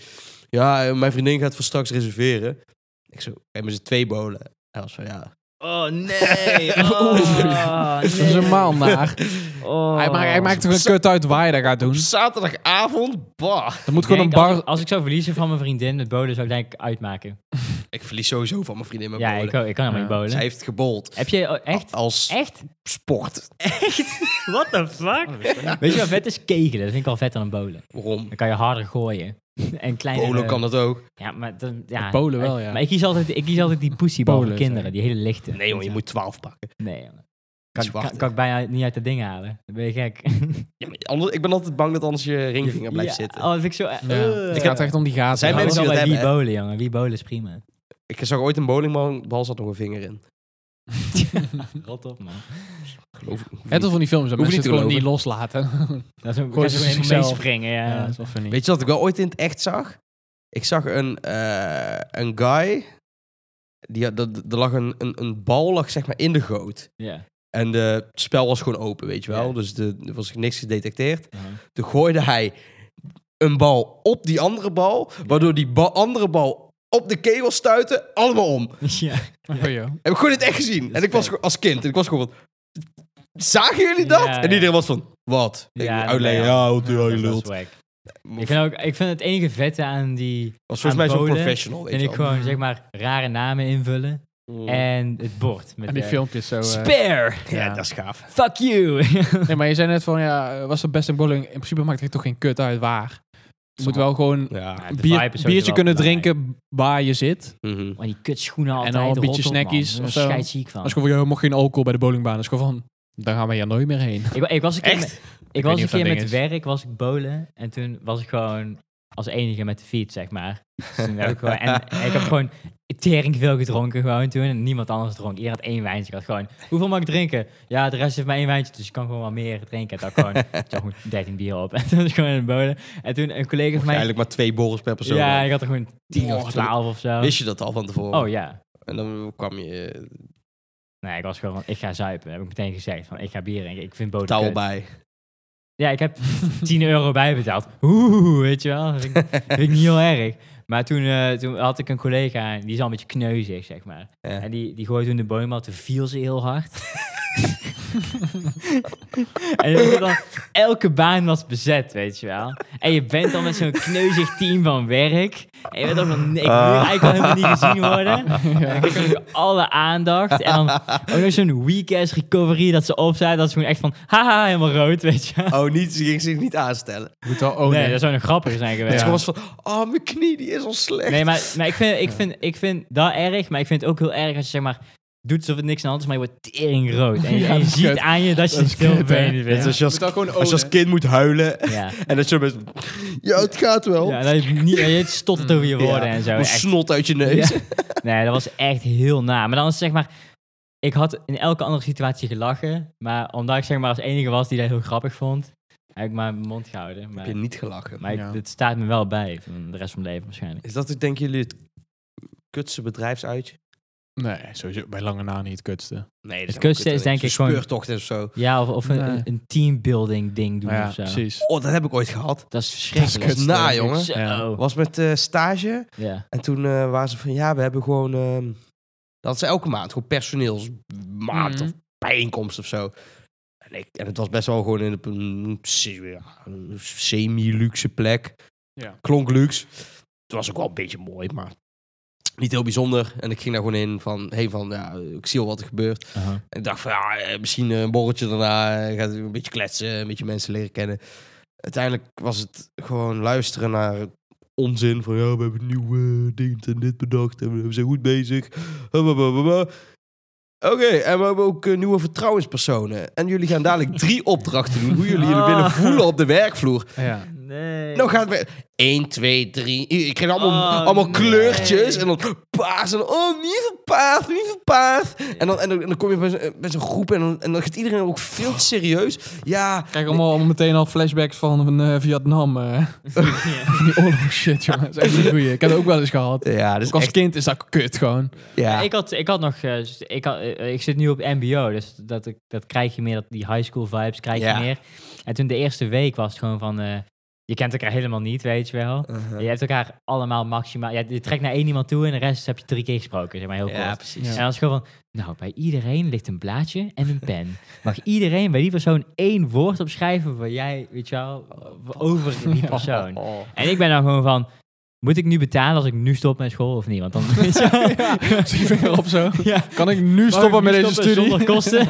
Speaker 1: Ja, eh, mijn vriendin gaat voor straks reserveren. Ik zo, hebben ze twee bolen? Hij was van, ja.
Speaker 3: Oh nee.
Speaker 2: Oeh.
Speaker 3: Oh,
Speaker 2: Dat is
Speaker 3: nee.
Speaker 2: helemaal naar.
Speaker 3: Oh.
Speaker 2: Hij, maakt, hij maakt er een kut uit waar je dat gaat doen.
Speaker 1: Op zaterdagavond, bah.
Speaker 2: Er moet
Speaker 3: Ik denk,
Speaker 2: gewoon een
Speaker 3: Als,
Speaker 2: bar...
Speaker 3: ik- als ik zou verliezen van mijn vriendin met bolen, zou ik denk ik uitmaken.
Speaker 1: Ik verlies sowieso van mijn vriendin mijn
Speaker 3: ja,
Speaker 1: bolen.
Speaker 3: ik, ook, ik kan helemaal
Speaker 2: Ja.
Speaker 3: niet
Speaker 1: Zij
Speaker 3: bolen.
Speaker 1: heeft gebold.
Speaker 3: Heb je oh, echt?
Speaker 1: Als
Speaker 3: Echt?
Speaker 1: sport.
Speaker 3: What the fuck? Weet je wat vet is? Kegelen. Dat vind ik al vet aan een bolen.
Speaker 1: Waarom?
Speaker 3: Dan kan je harder gooien. en kleiner.
Speaker 1: Bolen kan dat ook.
Speaker 3: Ja, maar dan, ja.
Speaker 2: Bolen wel, ja.
Speaker 3: Maar ik kies altijd, ik kies altijd die pussybal voor
Speaker 2: Bolen,
Speaker 3: kinderen.
Speaker 2: sorry.
Speaker 3: Die hele lichte.
Speaker 1: Nee, jongen, je moet 12 pakken.
Speaker 3: Nee, jongen. Kan, ik-
Speaker 1: Zwarte.
Speaker 3: kan, kan ik bijna niet uit dat ding halen. Dan ben je gek.
Speaker 1: Ja, maar anders, ik ben altijd bang dat anders je ringvinger blijft
Speaker 3: Ja,
Speaker 1: zitten.
Speaker 3: Oh, dat vind ik zo... Eh.
Speaker 2: Ja. Het gaat echt om die gaten.
Speaker 1: Zijn
Speaker 3: Zijn
Speaker 2: Ja,
Speaker 1: mensen
Speaker 3: mensen
Speaker 1: die dat
Speaker 3: bij wie
Speaker 1: hebben,
Speaker 3: bolen, jongen. Wie bolen is prima.
Speaker 1: Ik zag ooit een bowlingbal, bal zat nog een vinger in.
Speaker 3: Rot op, man.
Speaker 1: Geloof ik. hoef
Speaker 2: Net als
Speaker 1: niet.
Speaker 2: van die films, dat
Speaker 1: Hoef
Speaker 2: mensen
Speaker 1: niet
Speaker 2: het
Speaker 1: te
Speaker 2: gewoon niet loslaten.
Speaker 3: Dat is ook Gooi
Speaker 2: Gooi ze
Speaker 3: ze helemaal
Speaker 2: zichzelf.
Speaker 3: meespringen, ja.
Speaker 2: Ja, dat is wel funny.
Speaker 1: Weet je wat ik wel ooit in het echt zag? Ik zag een, eh, een guy. Die, had- dat- er lag een, een, een bal lag zeg maar in de goot.
Speaker 3: Ja.
Speaker 1: En eh, het spel was gewoon open, weet je wel.
Speaker 3: Ja.
Speaker 1: Dus de, er was niks gedetecteerd.
Speaker 3: Uh-huh.
Speaker 1: Toen gooide hij een bal op die andere bal. Waardoor die ba- andere bal op de kegel stuitte. Allemaal om.
Speaker 3: ja.
Speaker 2: Oh, joh.
Speaker 1: Heb ik gewoon in het echt gezien.
Speaker 3: is
Speaker 1: En ik was
Speaker 3: vet.
Speaker 1: gewoon- als kind. En ik was gewoon van, Zagen jullie dat?
Speaker 3: Ja,
Speaker 1: en
Speaker 3: ja.
Speaker 1: iedereen was van... Wat? Ik
Speaker 3: Ja,
Speaker 1: moet
Speaker 3: dat
Speaker 1: uitleggen.
Speaker 3: ben je
Speaker 1: Ja, wat doe
Speaker 3: Dat
Speaker 1: je
Speaker 3: is wel
Speaker 1: lult.
Speaker 3: swag. Ik vind, ook, ik vind het enige vette aan die...
Speaker 1: Was volgens mij zo'n
Speaker 3: Aanboden.
Speaker 1: professional, weet
Speaker 3: Vind
Speaker 1: je
Speaker 3: ik
Speaker 1: wel. Mm.
Speaker 3: gewoon, zeg maar, rare namen invullen. En het bord. Met
Speaker 2: En die
Speaker 3: eh,
Speaker 2: filmpjes zo... eh.
Speaker 3: Spare!
Speaker 1: Ja,
Speaker 2: Ja.
Speaker 1: dat is gaaf.
Speaker 3: Fuck you!
Speaker 2: Nee, maar je zei net van, ja, eh, was het best in bowling? In principe maakt het toch geen kut uit waar. Je moet wel gewoon
Speaker 1: Ja.
Speaker 3: de
Speaker 2: bier-
Speaker 3: vibe is sowieso
Speaker 2: biertje
Speaker 3: wel
Speaker 2: kunnen
Speaker 3: belangrijk.
Speaker 2: drinken waar je zit.
Speaker 1: Mhm.
Speaker 3: Maar die kutschoenen altijd.
Speaker 2: dan een
Speaker 3: rot
Speaker 2: beetje
Speaker 3: op, man.
Speaker 2: snackies
Speaker 3: Daar
Speaker 2: of
Speaker 3: ben ik
Speaker 2: zo.
Speaker 3: scheidsziek van.
Speaker 2: Als ik gewoon, je mocht geen alcohol bij de bowlingbaan. Dat is gewoon van, daar gaan we hier nooit meer heen.
Speaker 3: Ik, wa- ik was een keer,
Speaker 1: Echt?
Speaker 3: met, ik was
Speaker 2: weet niet
Speaker 3: een
Speaker 2: of dat
Speaker 3: keer
Speaker 2: ding
Speaker 3: met
Speaker 2: is.
Speaker 3: werk, was ik bolen. En toen was ik gewoon als enige met de fiets, zeg maar. Dus toen heb ik gewoon, en ik heb gewoon tering veel gedronken gewoon toen. En niemand anders dronk. Iedereen had één wijntje. Ik had gewoon, hoeveel mag ik drinken? Ja, de rest heeft maar één wijntje, dus ik kan gewoon wat meer drinken. En dan gewoon, ik had gewoon 13 bier op. En toen was ik gewoon in de bolen. En toen een collega van mij...
Speaker 1: Eigenlijk maar twee borrels per persoon.
Speaker 3: Ja, ik had er gewoon 10
Speaker 1: Oh,
Speaker 3: of 12 of zo.
Speaker 1: Wist je dat al van tevoren?
Speaker 3: Oh ja.
Speaker 1: En dan kwam je eh,
Speaker 3: Nee, ik was gewoon, van, ik ga zuipen. Heb ik meteen gezegd. Van, ik ga bier drinken. Ik vind boter
Speaker 1: touw
Speaker 3: kut.
Speaker 1: bij.
Speaker 3: Ja, ik heb 10 euro bijbetaald. Oeh, weet je wel. Dat vind ik, vind ik niet heel erg. Maar toen, eh, toen had ik een collega, en die is al een beetje kneuzig, zeg maar.
Speaker 1: Ja.
Speaker 3: En die, die gooide toen de boom af, toen viel ze heel hard. en dan, dan- elke baan was bezet, weet je wel. En je bent dan met zo'n kneuzig team van werk. En je bent dan van, nee, ik wil eigenlijk wel helemaal niet gezien worden. En dan krijg je alle aandacht. En dan ook nog zo'n weekend recovery dat ze op zijn. Dat ze gewoon echt van, haha, helemaal rood, weet je wel.
Speaker 1: Oh, niet, ze ging zich niet aanstellen.
Speaker 2: Moet wel ownen.
Speaker 3: nee, dat zou nog grappiger zijn
Speaker 1: Het
Speaker 3: geweest.
Speaker 1: is gewoon van, oh, mijn knie die is al slecht.
Speaker 3: Nee, maar, maar ik, vind, ik, vind, ik vind dat erg, maar ik vind het ook heel erg als je zeg maar doet alsof het niks aan de hand is, maar je wordt tering rood. En je,
Speaker 2: Ja,
Speaker 3: en je
Speaker 2: dat is
Speaker 3: ziet
Speaker 2: kut.
Speaker 3: aan je dat je
Speaker 2: Dat is
Speaker 3: veel
Speaker 2: kut, hè?
Speaker 3: beter bent.
Speaker 1: Dus als je als,
Speaker 2: Moet dat gewoon
Speaker 1: als, je als
Speaker 2: ownen.
Speaker 1: kind moet huilen
Speaker 3: Ja.
Speaker 1: en dat je best... Ja, het gaat wel.
Speaker 3: Ja, dat je, niet, je stottert over je
Speaker 2: Mm,
Speaker 3: woorden
Speaker 1: Ja,
Speaker 3: en zo.
Speaker 1: een
Speaker 3: Echt.
Speaker 1: snot uit je neus.
Speaker 3: Ja. Nee, dat was echt heel na. Maar dan is het zeg maar, ik had in elke andere situatie gelachen, maar omdat ik zeg maar als enige was die dat heel grappig vond, heb ik maar mijn mond gehouden. Maar,
Speaker 1: Heb je niet gelachen.
Speaker 3: maar ik-
Speaker 2: Ja.
Speaker 3: dit staat me wel bij van de rest van mijn leven waarschijnlijk.
Speaker 1: Is dat, denken jullie, het kutse bedrijfsuitje?
Speaker 2: Nee, sowieso bij lange na niet het kutste.
Speaker 1: Nee,
Speaker 3: Het kutste is denk ik gewoon-
Speaker 1: speurtocht of zo.
Speaker 3: Ja, of, of een,
Speaker 2: Nee.
Speaker 3: een- een teambuilding ding doen
Speaker 2: Maar ja,
Speaker 3: of zo.
Speaker 2: precies.
Speaker 1: Oh, dat heb ik ooit gehad.
Speaker 3: Dat is verschrikkelijk.
Speaker 1: Dat is na,
Speaker 3: Zo.
Speaker 1: jongen.
Speaker 3: Zo.
Speaker 1: Was met eh, stage.
Speaker 3: Ja.
Speaker 1: En toen eh, waren ze van, ja, we hebben gewoon... ehm, dat is elke maand, gewoon personeelsmaand
Speaker 2: Mhm.
Speaker 1: of bijeenkomst of zo. En, ik, en het was best wel gewoon in een, een se- ja, een semi-luxe plek.
Speaker 2: Ja.
Speaker 1: Klonk luxe. Het was ook wel een beetje mooi, maar niet heel bijzonder. En ik ging daar gewoon in van, hey, van ja, ik zie al wat er gebeurt.
Speaker 2: Uh-huh.
Speaker 3: Aha.
Speaker 1: En ik dacht van, ja, eh, misschien eh, een borreltje daarna. eh, Gaat een beetje kletsen, een beetje mensen leren kennen. Uiteindelijk was het gewoon luisteren naar onzin. Van, ja, we hebben een nieuw eh, ding en dit bedacht. En we zijn goed bezig. Blablabla. Oké, en we hebben ook eh, nieuwe vertrouwenspersonen. En jullie gaan dadelijk drie opdrachten doen. Hoe jullie jullie willen
Speaker 3: Ah.
Speaker 1: voelen op de werkvloer.
Speaker 2: Ja.
Speaker 3: Nee.
Speaker 1: Nou gaat het weer. 1, 2, 3. Ik kreeg allemaal,
Speaker 3: Oh,
Speaker 1: allemaal
Speaker 3: nee.
Speaker 1: kleurtjes. En dan paars. En oh, niet verpaard, niet verpaard. En dan, en dan, en dan kom je bij zo'n- eh, bij zo'n groep. En dan, en dan gaat iedereen ook veel te serieus. Ja,
Speaker 2: Krijg allemaal meteen al flashbacks van, eh, Vietnam. eh. Van die oorlog shit, jongen. Dat is echt een goeie. Ik heb het ook wel eens gehad.
Speaker 1: ja, dus
Speaker 2: Ook als kind is dat kut gewoon.
Speaker 1: ja.
Speaker 3: Ik, had, ik had nog... eh, s- ik, had, eh, ik zit nu op mbo, dus dat, ik- dat krijg je meer. Dat, die high school vibes krijg
Speaker 1: Ja.
Speaker 3: je meer. En toen de eerste week was het gewoon van... eh, je kent elkaar helemaal niet, weet je wel.
Speaker 1: Uh-huh.
Speaker 3: Je hebt elkaar allemaal maximaal... Ja, je trekt naar één iemand toe en de rest heb je drie keer gesproken, zeg maar heel kort.
Speaker 1: precies.
Speaker 2: Ja.
Speaker 3: En dan is het gewoon van, nou, bij iedereen ligt een blaadje en een pen. Mag iedereen bij die persoon één woord opschrijven waar jij, weet je wel, over die persoon.
Speaker 1: Oh.
Speaker 3: En ik ben dan gewoon van, moet ik nu betalen als ik nu stop met school of niet? Want dan weet je wel,
Speaker 2: Zie je vinger op zo.
Speaker 3: ja.
Speaker 2: Kan ik nu stoppen
Speaker 3: Mag ik
Speaker 2: met
Speaker 3: nu
Speaker 2: deze studie?
Speaker 3: zonder kosten.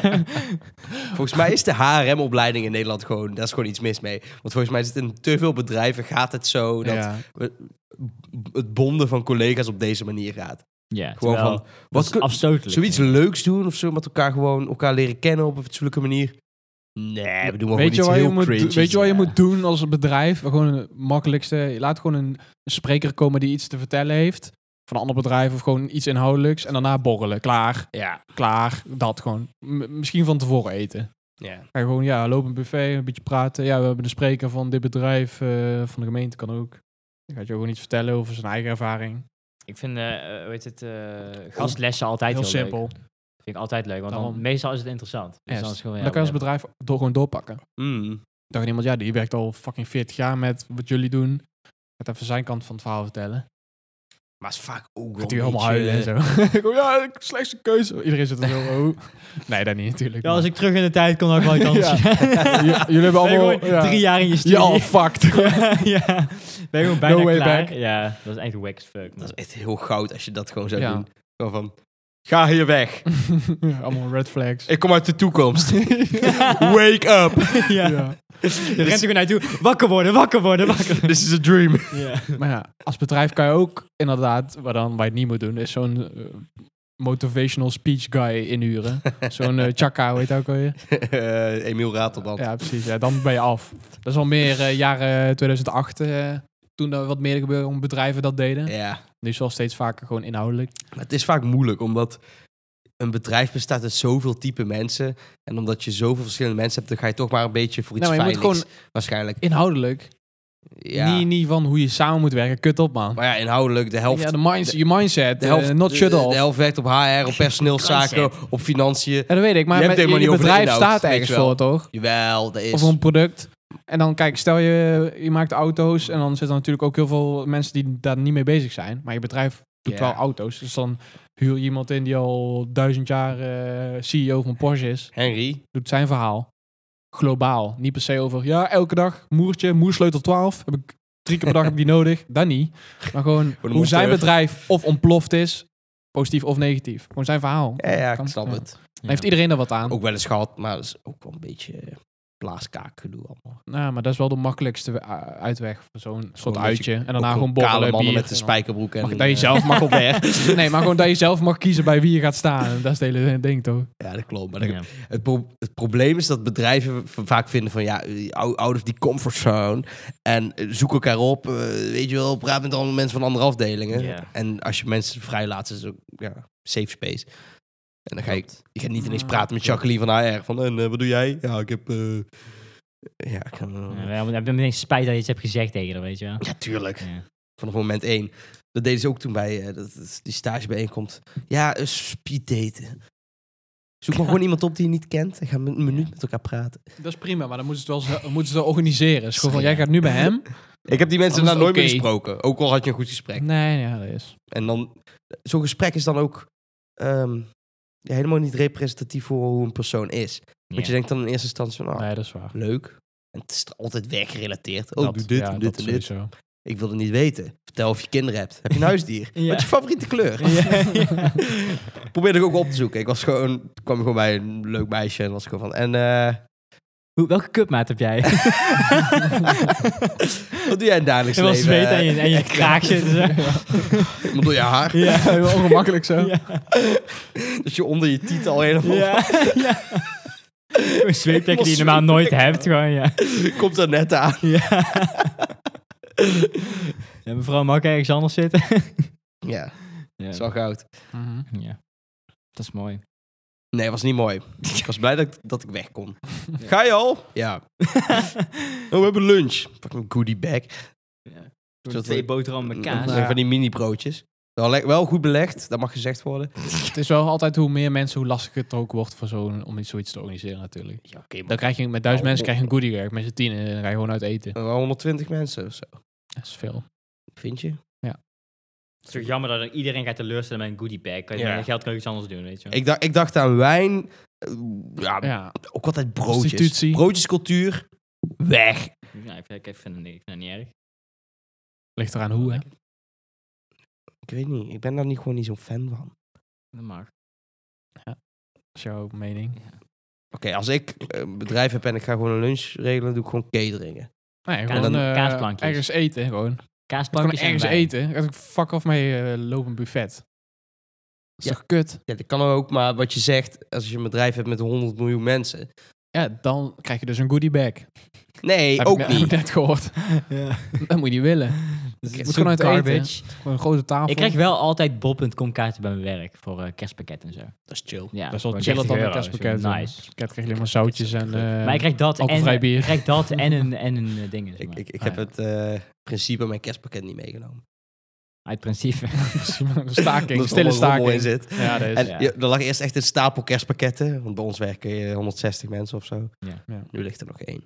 Speaker 1: Volgens mij is de HRM-opleiding in Nederland gewoon... Daar is gewoon iets mis mee. Want volgens mij is het in te veel bedrijven gaat het zo... dat
Speaker 2: Ja.
Speaker 1: het bonden van collega's op deze manier gaat.
Speaker 3: ja,
Speaker 1: Gewoon
Speaker 3: terwijl, dus
Speaker 1: van... Wat
Speaker 3: dat is
Speaker 1: kun-
Speaker 3: afstotelijk.
Speaker 1: Zoiets leuks doen of zo, met elkaar gewoon elkaar leren kennen op een fatsoenlijke manier. Nee, we doen wel
Speaker 2: Weet je,
Speaker 1: gewoon iets
Speaker 2: wat je,
Speaker 1: heel
Speaker 2: moet,
Speaker 1: cringes.
Speaker 2: weet je wat je
Speaker 1: Ja.
Speaker 2: moet doen als bedrijf? Gewoon het makkelijkste. Laat gewoon een spreker komen die iets te vertellen heeft. Van een ander bedrijf of gewoon iets inhoudelijks. En daarna borrelen. Klaar,
Speaker 1: Ja,
Speaker 2: klaar. Dat gewoon. M- misschien van tevoren eten.
Speaker 1: ja.
Speaker 2: Ga je gewoon, ja, loop een buffet, een beetje praten. Ja, we hebben een spreker van dit bedrijf, eh, van de gemeente kan ook. Dan gaat je gewoon iets vertellen over zijn eigen ervaring.
Speaker 3: Ik vind, eh eh, hoe heet het, eh, gastlessen altijd heel,
Speaker 2: Heel
Speaker 3: leuk.
Speaker 2: simpel.
Speaker 3: Vind ik altijd leuk, want dan,
Speaker 2: Daarom.
Speaker 3: meestal is het interessant. Dus
Speaker 2: Yes.
Speaker 3: dan is het gewoon, ja,
Speaker 2: Dan kan je als
Speaker 3: ja.
Speaker 2: bedrijf door, gewoon doorpakken.
Speaker 1: Mm.
Speaker 2: dacht iemand, ja, die werkt al fucking 40 jaar met wat jullie doen. Gaat even zijn kant van het verhaal vertellen.
Speaker 1: Maar het is vaak ook wel
Speaker 2: Gaat
Speaker 1: een
Speaker 2: hij helemaal
Speaker 1: beetje,
Speaker 2: huilen en
Speaker 1: eh,
Speaker 2: zo. Ik kom, ja, ik- slechtste keuze. Iedereen zit er zo, oh. Nee, dat niet natuurlijk.
Speaker 3: Ja, als ik terug in de tijd kon, had ik wel iets
Speaker 2: Ja.
Speaker 3: anders.
Speaker 2: maar- J- jullie hebben
Speaker 3: Ben je
Speaker 2: allemaal...
Speaker 3: gewoon drie jaar in je studie.
Speaker 2: Ja, al fucked.
Speaker 3: ja, ja. Ben je gewoon bijna
Speaker 2: way
Speaker 3: klaar.
Speaker 2: back.
Speaker 3: Ja, dat is echt wack as fuck. man.
Speaker 1: Dat is echt heel goud als je dat gewoon zou
Speaker 2: Ja.
Speaker 1: doen. Gewoon van, ga hier weg.
Speaker 2: allemaal red flags.
Speaker 1: Ik kom uit de toekomst. Wake up.
Speaker 3: ja.
Speaker 2: Ja.
Speaker 3: Je rent er gewoon naartoe. Wakker worden, wakker worden, wakker.
Speaker 1: This is a dream.
Speaker 3: Ja.
Speaker 2: Maar ja, als bedrijf kan je ook inderdaad, waar dan waar je het niet moet doen, is zo'n eh, motivational speech guy inhuren. Zo'n eh, Chaka, weet je ook alweer?
Speaker 1: Eh, Emiel Ratelband.
Speaker 2: Ja, precies. Ja, dan ben je af. Dat is al meer eh, jaren 2008, eh, toen er wat meer gebeurde om bedrijven dat deden.
Speaker 1: ja.
Speaker 2: Nu is het wel steeds vaker gewoon inhoudelijk.
Speaker 1: Maar het is vaak moeilijk, omdat een bedrijf bestaat uit zoveel type mensen. En omdat je zoveel verschillende mensen hebt, dan ga je toch maar een beetje voor iets
Speaker 2: Nou, maar je
Speaker 1: veiligs.
Speaker 2: moet
Speaker 1: waarschijnlijk.
Speaker 2: Inhoudelijk.
Speaker 1: Ja.
Speaker 2: Niet, niet van hoe je samen moet werken. Kut op, man.
Speaker 1: Maar ja, inhoudelijk de helft.
Speaker 2: ja, de minds, je mindset.
Speaker 1: de helft,
Speaker 2: eh, not
Speaker 1: de-
Speaker 2: shut
Speaker 1: de,
Speaker 2: off.
Speaker 1: de helft werkt op HR, op personeelszaken, op financiën.
Speaker 2: ja, dat weet ik. Maar
Speaker 1: Je
Speaker 2: je,
Speaker 1: hebt helemaal
Speaker 2: je
Speaker 1: niet over de
Speaker 2: bedrijf
Speaker 1: inhoud,
Speaker 2: staat
Speaker 1: weet
Speaker 2: ergens
Speaker 1: je wel.
Speaker 2: voor, toch?
Speaker 1: Jawel, dat is.
Speaker 2: Of een product. En dan kijk, stel je, je maakt auto's en dan zitten er natuurlijk ook heel veel mensen die daar niet mee bezig zijn. Maar je bedrijf doet
Speaker 1: Ja.
Speaker 2: wel auto's. Dus dan huur je iemand in die al duizend jaar eh, CEO van Porsche is.
Speaker 1: Henry.
Speaker 2: Doet zijn verhaal. Globaal. Niet per se over, ja, elke dag moertje, moersleutel 12. Heb ik drie keer per dag heb ik die nodig. Dat niet. Maar gewoon
Speaker 1: de
Speaker 2: hoe zijn
Speaker 1: monteur.
Speaker 2: bedrijf of ontploft is, positief of negatief. Gewoon zijn verhaal.
Speaker 1: Ja, ja, ik
Speaker 2: Kan-
Speaker 1: snap
Speaker 2: ja.
Speaker 1: het.
Speaker 2: Dan heeft iedereen er wat aan.
Speaker 1: Ook wel eens gehad, maar dat is ook wel een beetje eh, blaaskaak gedoe allemaal.
Speaker 2: Nou, maar dat is wel de makkelijkste eh, uitweg voor zo'n soort
Speaker 1: dat je
Speaker 2: uitje. En
Speaker 1: Ook
Speaker 2: daarna gewoon
Speaker 1: kale
Speaker 2: borrelen,
Speaker 1: mannen
Speaker 2: bier.
Speaker 1: met de spijkerbroek. En, eh,
Speaker 2: Mag, dat je zelf mag op weg. nee, maar gewoon dat je zelf mag kiezen bij wie je gaat staan. Dat is het hele ding, toch?
Speaker 1: Ja, dat klopt. Maar dat-
Speaker 3: Ja.
Speaker 1: het, pro- het probleem is dat bedrijven v- vaak vinden van... ja, eh, out out of die comfortzone. En eh, zoek elkaar op. eh, weet je wel, praat met andere mensen van andere afdelingen.
Speaker 3: Ja.
Speaker 1: En als je mensen vrij laat, is het ook ja, safe space. En dan ga je, je gaat niet ineens
Speaker 2: Ja,
Speaker 1: praten met Jacqueline van HR. Van, en eh, wat doe jij? Ja, ik heb... eh, ja, ik kan,
Speaker 3: Ja, maar dan heb je meteen spijt dat je iets hebt gezegd tegen haar, weet je wel.
Speaker 1: ja, tuurlijk.
Speaker 3: Ja.
Speaker 1: vanaf moment één. Dat deden ze ook toen bij eh, dat, dat- die stagebijeenkomst. Ja, eh, speed daten. Zoek maar gewoon iemand op die je niet kent en ga een minuut met elkaar praten.
Speaker 2: Dat is prima, maar dan moeten ze het wel, moeten ze het wel organiseren. Dus gewoon van, jij gaat nu bij hem?
Speaker 1: Ik heb die mensen
Speaker 2: Oh,
Speaker 1: daar
Speaker 2: dat is
Speaker 1: nooit meer
Speaker 2: oké.
Speaker 1: gesproken, ook al had je een goed gesprek.
Speaker 2: Nee, ja, dat is.
Speaker 1: En dan, zo'n gesprek is dan ook ehm, ja, helemaal niet representatief voor hoe een persoon is. Want je denkt dan in eerste instantie van, ah,
Speaker 2: Nee, dat is waar.
Speaker 1: leuk. En het is altijd werkgerelateerd. Oh,
Speaker 2: Dat-
Speaker 1: doe dit
Speaker 2: ja,
Speaker 1: en
Speaker 2: dat
Speaker 1: dit en dit.
Speaker 2: sowieso.
Speaker 1: Ik wil het niet weten. Vertel of je kinderen hebt. Heb je een huisdier?
Speaker 3: Ja.
Speaker 1: Wat is je favoriete kleur? probeerde ik ook op te zoeken. Ik was gewoon, kwam gewoon bij een leuk meisje en was gewoon van. En eh,
Speaker 3: Hoe, welke cupmaat heb jij?
Speaker 1: wat doe jij in het dagelijks
Speaker 3: Heel veel
Speaker 1: leven? Eh,
Speaker 3: zweet aan je, aan je kraakje. en zo.
Speaker 1: Ik bedoel, je haar.
Speaker 3: Ja,
Speaker 2: Heel ongemakkelijk zo.
Speaker 3: Ja.
Speaker 1: Dat je onder je titel al helemaal
Speaker 3: Ja. ja. Een zweetplekje die je normaal nooit hebt, gewoon, ja.
Speaker 1: komt er net aan.
Speaker 3: Ja. ja mevrouw, mag ik ergens anders zitten?
Speaker 1: Ja,
Speaker 3: Ja.
Speaker 1: dat is wel goud.
Speaker 2: Mhm.
Speaker 3: ja. Dat is mooi.
Speaker 1: Nee, was niet mooi. Ik was blij dat ik, dat ik weg kon. Ga je al? Ja. Oh, we hebben lunch. Pak een goodie bag. Zodat
Speaker 3: twee
Speaker 1: we-
Speaker 3: boterhammen
Speaker 2: Mm,
Speaker 3: met kaas.
Speaker 1: Dat zijn Van die mini broodjes. Wel, le- wel goed belegd, dat mag gezegd worden.
Speaker 2: Het is wel altijd hoe meer mensen, hoe lastiger het ook wordt voor zo'n, om iets, zoiets te organiseren natuurlijk.
Speaker 1: Ja, oké,
Speaker 2: Dan
Speaker 1: maar
Speaker 2: krijg je met duizend mensen krijg je een goodie werk, met z'n tien en dan ga je gewoon uit eten.
Speaker 1: wel 120 mensen of zo.
Speaker 2: Dat is veel.
Speaker 1: Vind je?
Speaker 3: Het is toch jammer dat dan iedereen gaat teleurstellen met een goodie bag. Kan je
Speaker 1: Ja.
Speaker 3: met dat geld kan je iets anders doen, weet je wel.
Speaker 1: Ik, dacht, ik dacht aan wijn. eh, Ja,
Speaker 2: Ja,
Speaker 1: ook altijd broodjes.
Speaker 2: Prostitutie.
Speaker 1: Broodjescultuur. Weg.
Speaker 3: Ja, ik, vind- ik vind het niet, ik vind het niet erg.
Speaker 2: ligt eraan hoe hè.
Speaker 1: Ik weet niet. Ik ben daar niet gewoon niet zo'n fan van. Oké,
Speaker 3: Dat mag.
Speaker 2: is jouw mening.
Speaker 1: als ik eh, een bedrijf heb en ik ga gewoon een lunch regelen, doe ik gewoon cateringen.
Speaker 2: Nee,
Speaker 3: Kaas-
Speaker 2: gewoon eh,
Speaker 3: kaasplankjes.
Speaker 2: ergens eten gewoon. Gewoon
Speaker 3: Kaasplankjes en
Speaker 2: ergens
Speaker 3: wijn.
Speaker 2: eten. Dan Gaat ik fuck af mee eh, lopen buffet. Dat is
Speaker 1: Ja.
Speaker 2: toch kut?
Speaker 1: Ja, dat kan ook, maar wat je zegt, als je een bedrijf hebt met 100 miljoen mensen.
Speaker 2: Ja, dan krijg je dus een goodie bag.
Speaker 1: Nee,
Speaker 2: Heb
Speaker 1: ook
Speaker 2: ik, ne-
Speaker 1: niet.
Speaker 2: heb ik net gehoord.
Speaker 3: Ja.
Speaker 2: Dat moet je niet willen.
Speaker 3: Dus
Speaker 2: moet
Speaker 3: het is
Speaker 2: gewoon
Speaker 3: gewoon
Speaker 2: uit eten.
Speaker 3: garbage.
Speaker 2: Gewoon een grote tafel.
Speaker 3: Ik krijg wel altijd bol.com kaarten bij mijn werk voor eh, kerstpakket en zo.
Speaker 1: Dat is chill.
Speaker 3: Ja,
Speaker 2: dat is wel
Speaker 3: gewoon
Speaker 2: chill
Speaker 3: 30
Speaker 2: dat dan een
Speaker 3: euro, dus
Speaker 2: kerstpakket.
Speaker 3: wel
Speaker 2: Een
Speaker 3: Nice.
Speaker 2: kerstpakket krijg je alleen maar zoutjes en... eh,
Speaker 3: Maar ik krijg dat
Speaker 2: alcoholvrij
Speaker 3: en,
Speaker 2: bier.
Speaker 3: ik krijg dat en een, en een eh, ding. Zeg
Speaker 1: Ik,
Speaker 3: maar.
Speaker 1: ik, ik
Speaker 2: Ah,
Speaker 1: heb het eh, principe mijn kerstpakket niet meegenomen.
Speaker 3: Uit principe.
Speaker 2: een staking,
Speaker 1: Omdat
Speaker 2: een
Speaker 1: er
Speaker 2: stille
Speaker 1: allemaal rommel in
Speaker 2: staking. Dus
Speaker 1: zit.
Speaker 2: Ja, dat is.
Speaker 1: En
Speaker 3: Ja.
Speaker 1: ja, er lag eerst echt een stapel kerstpakketten. Want bij ons werken eh, 160 mensen of zo.
Speaker 3: Ja.
Speaker 2: Ja.
Speaker 1: Nu ligt er nog één.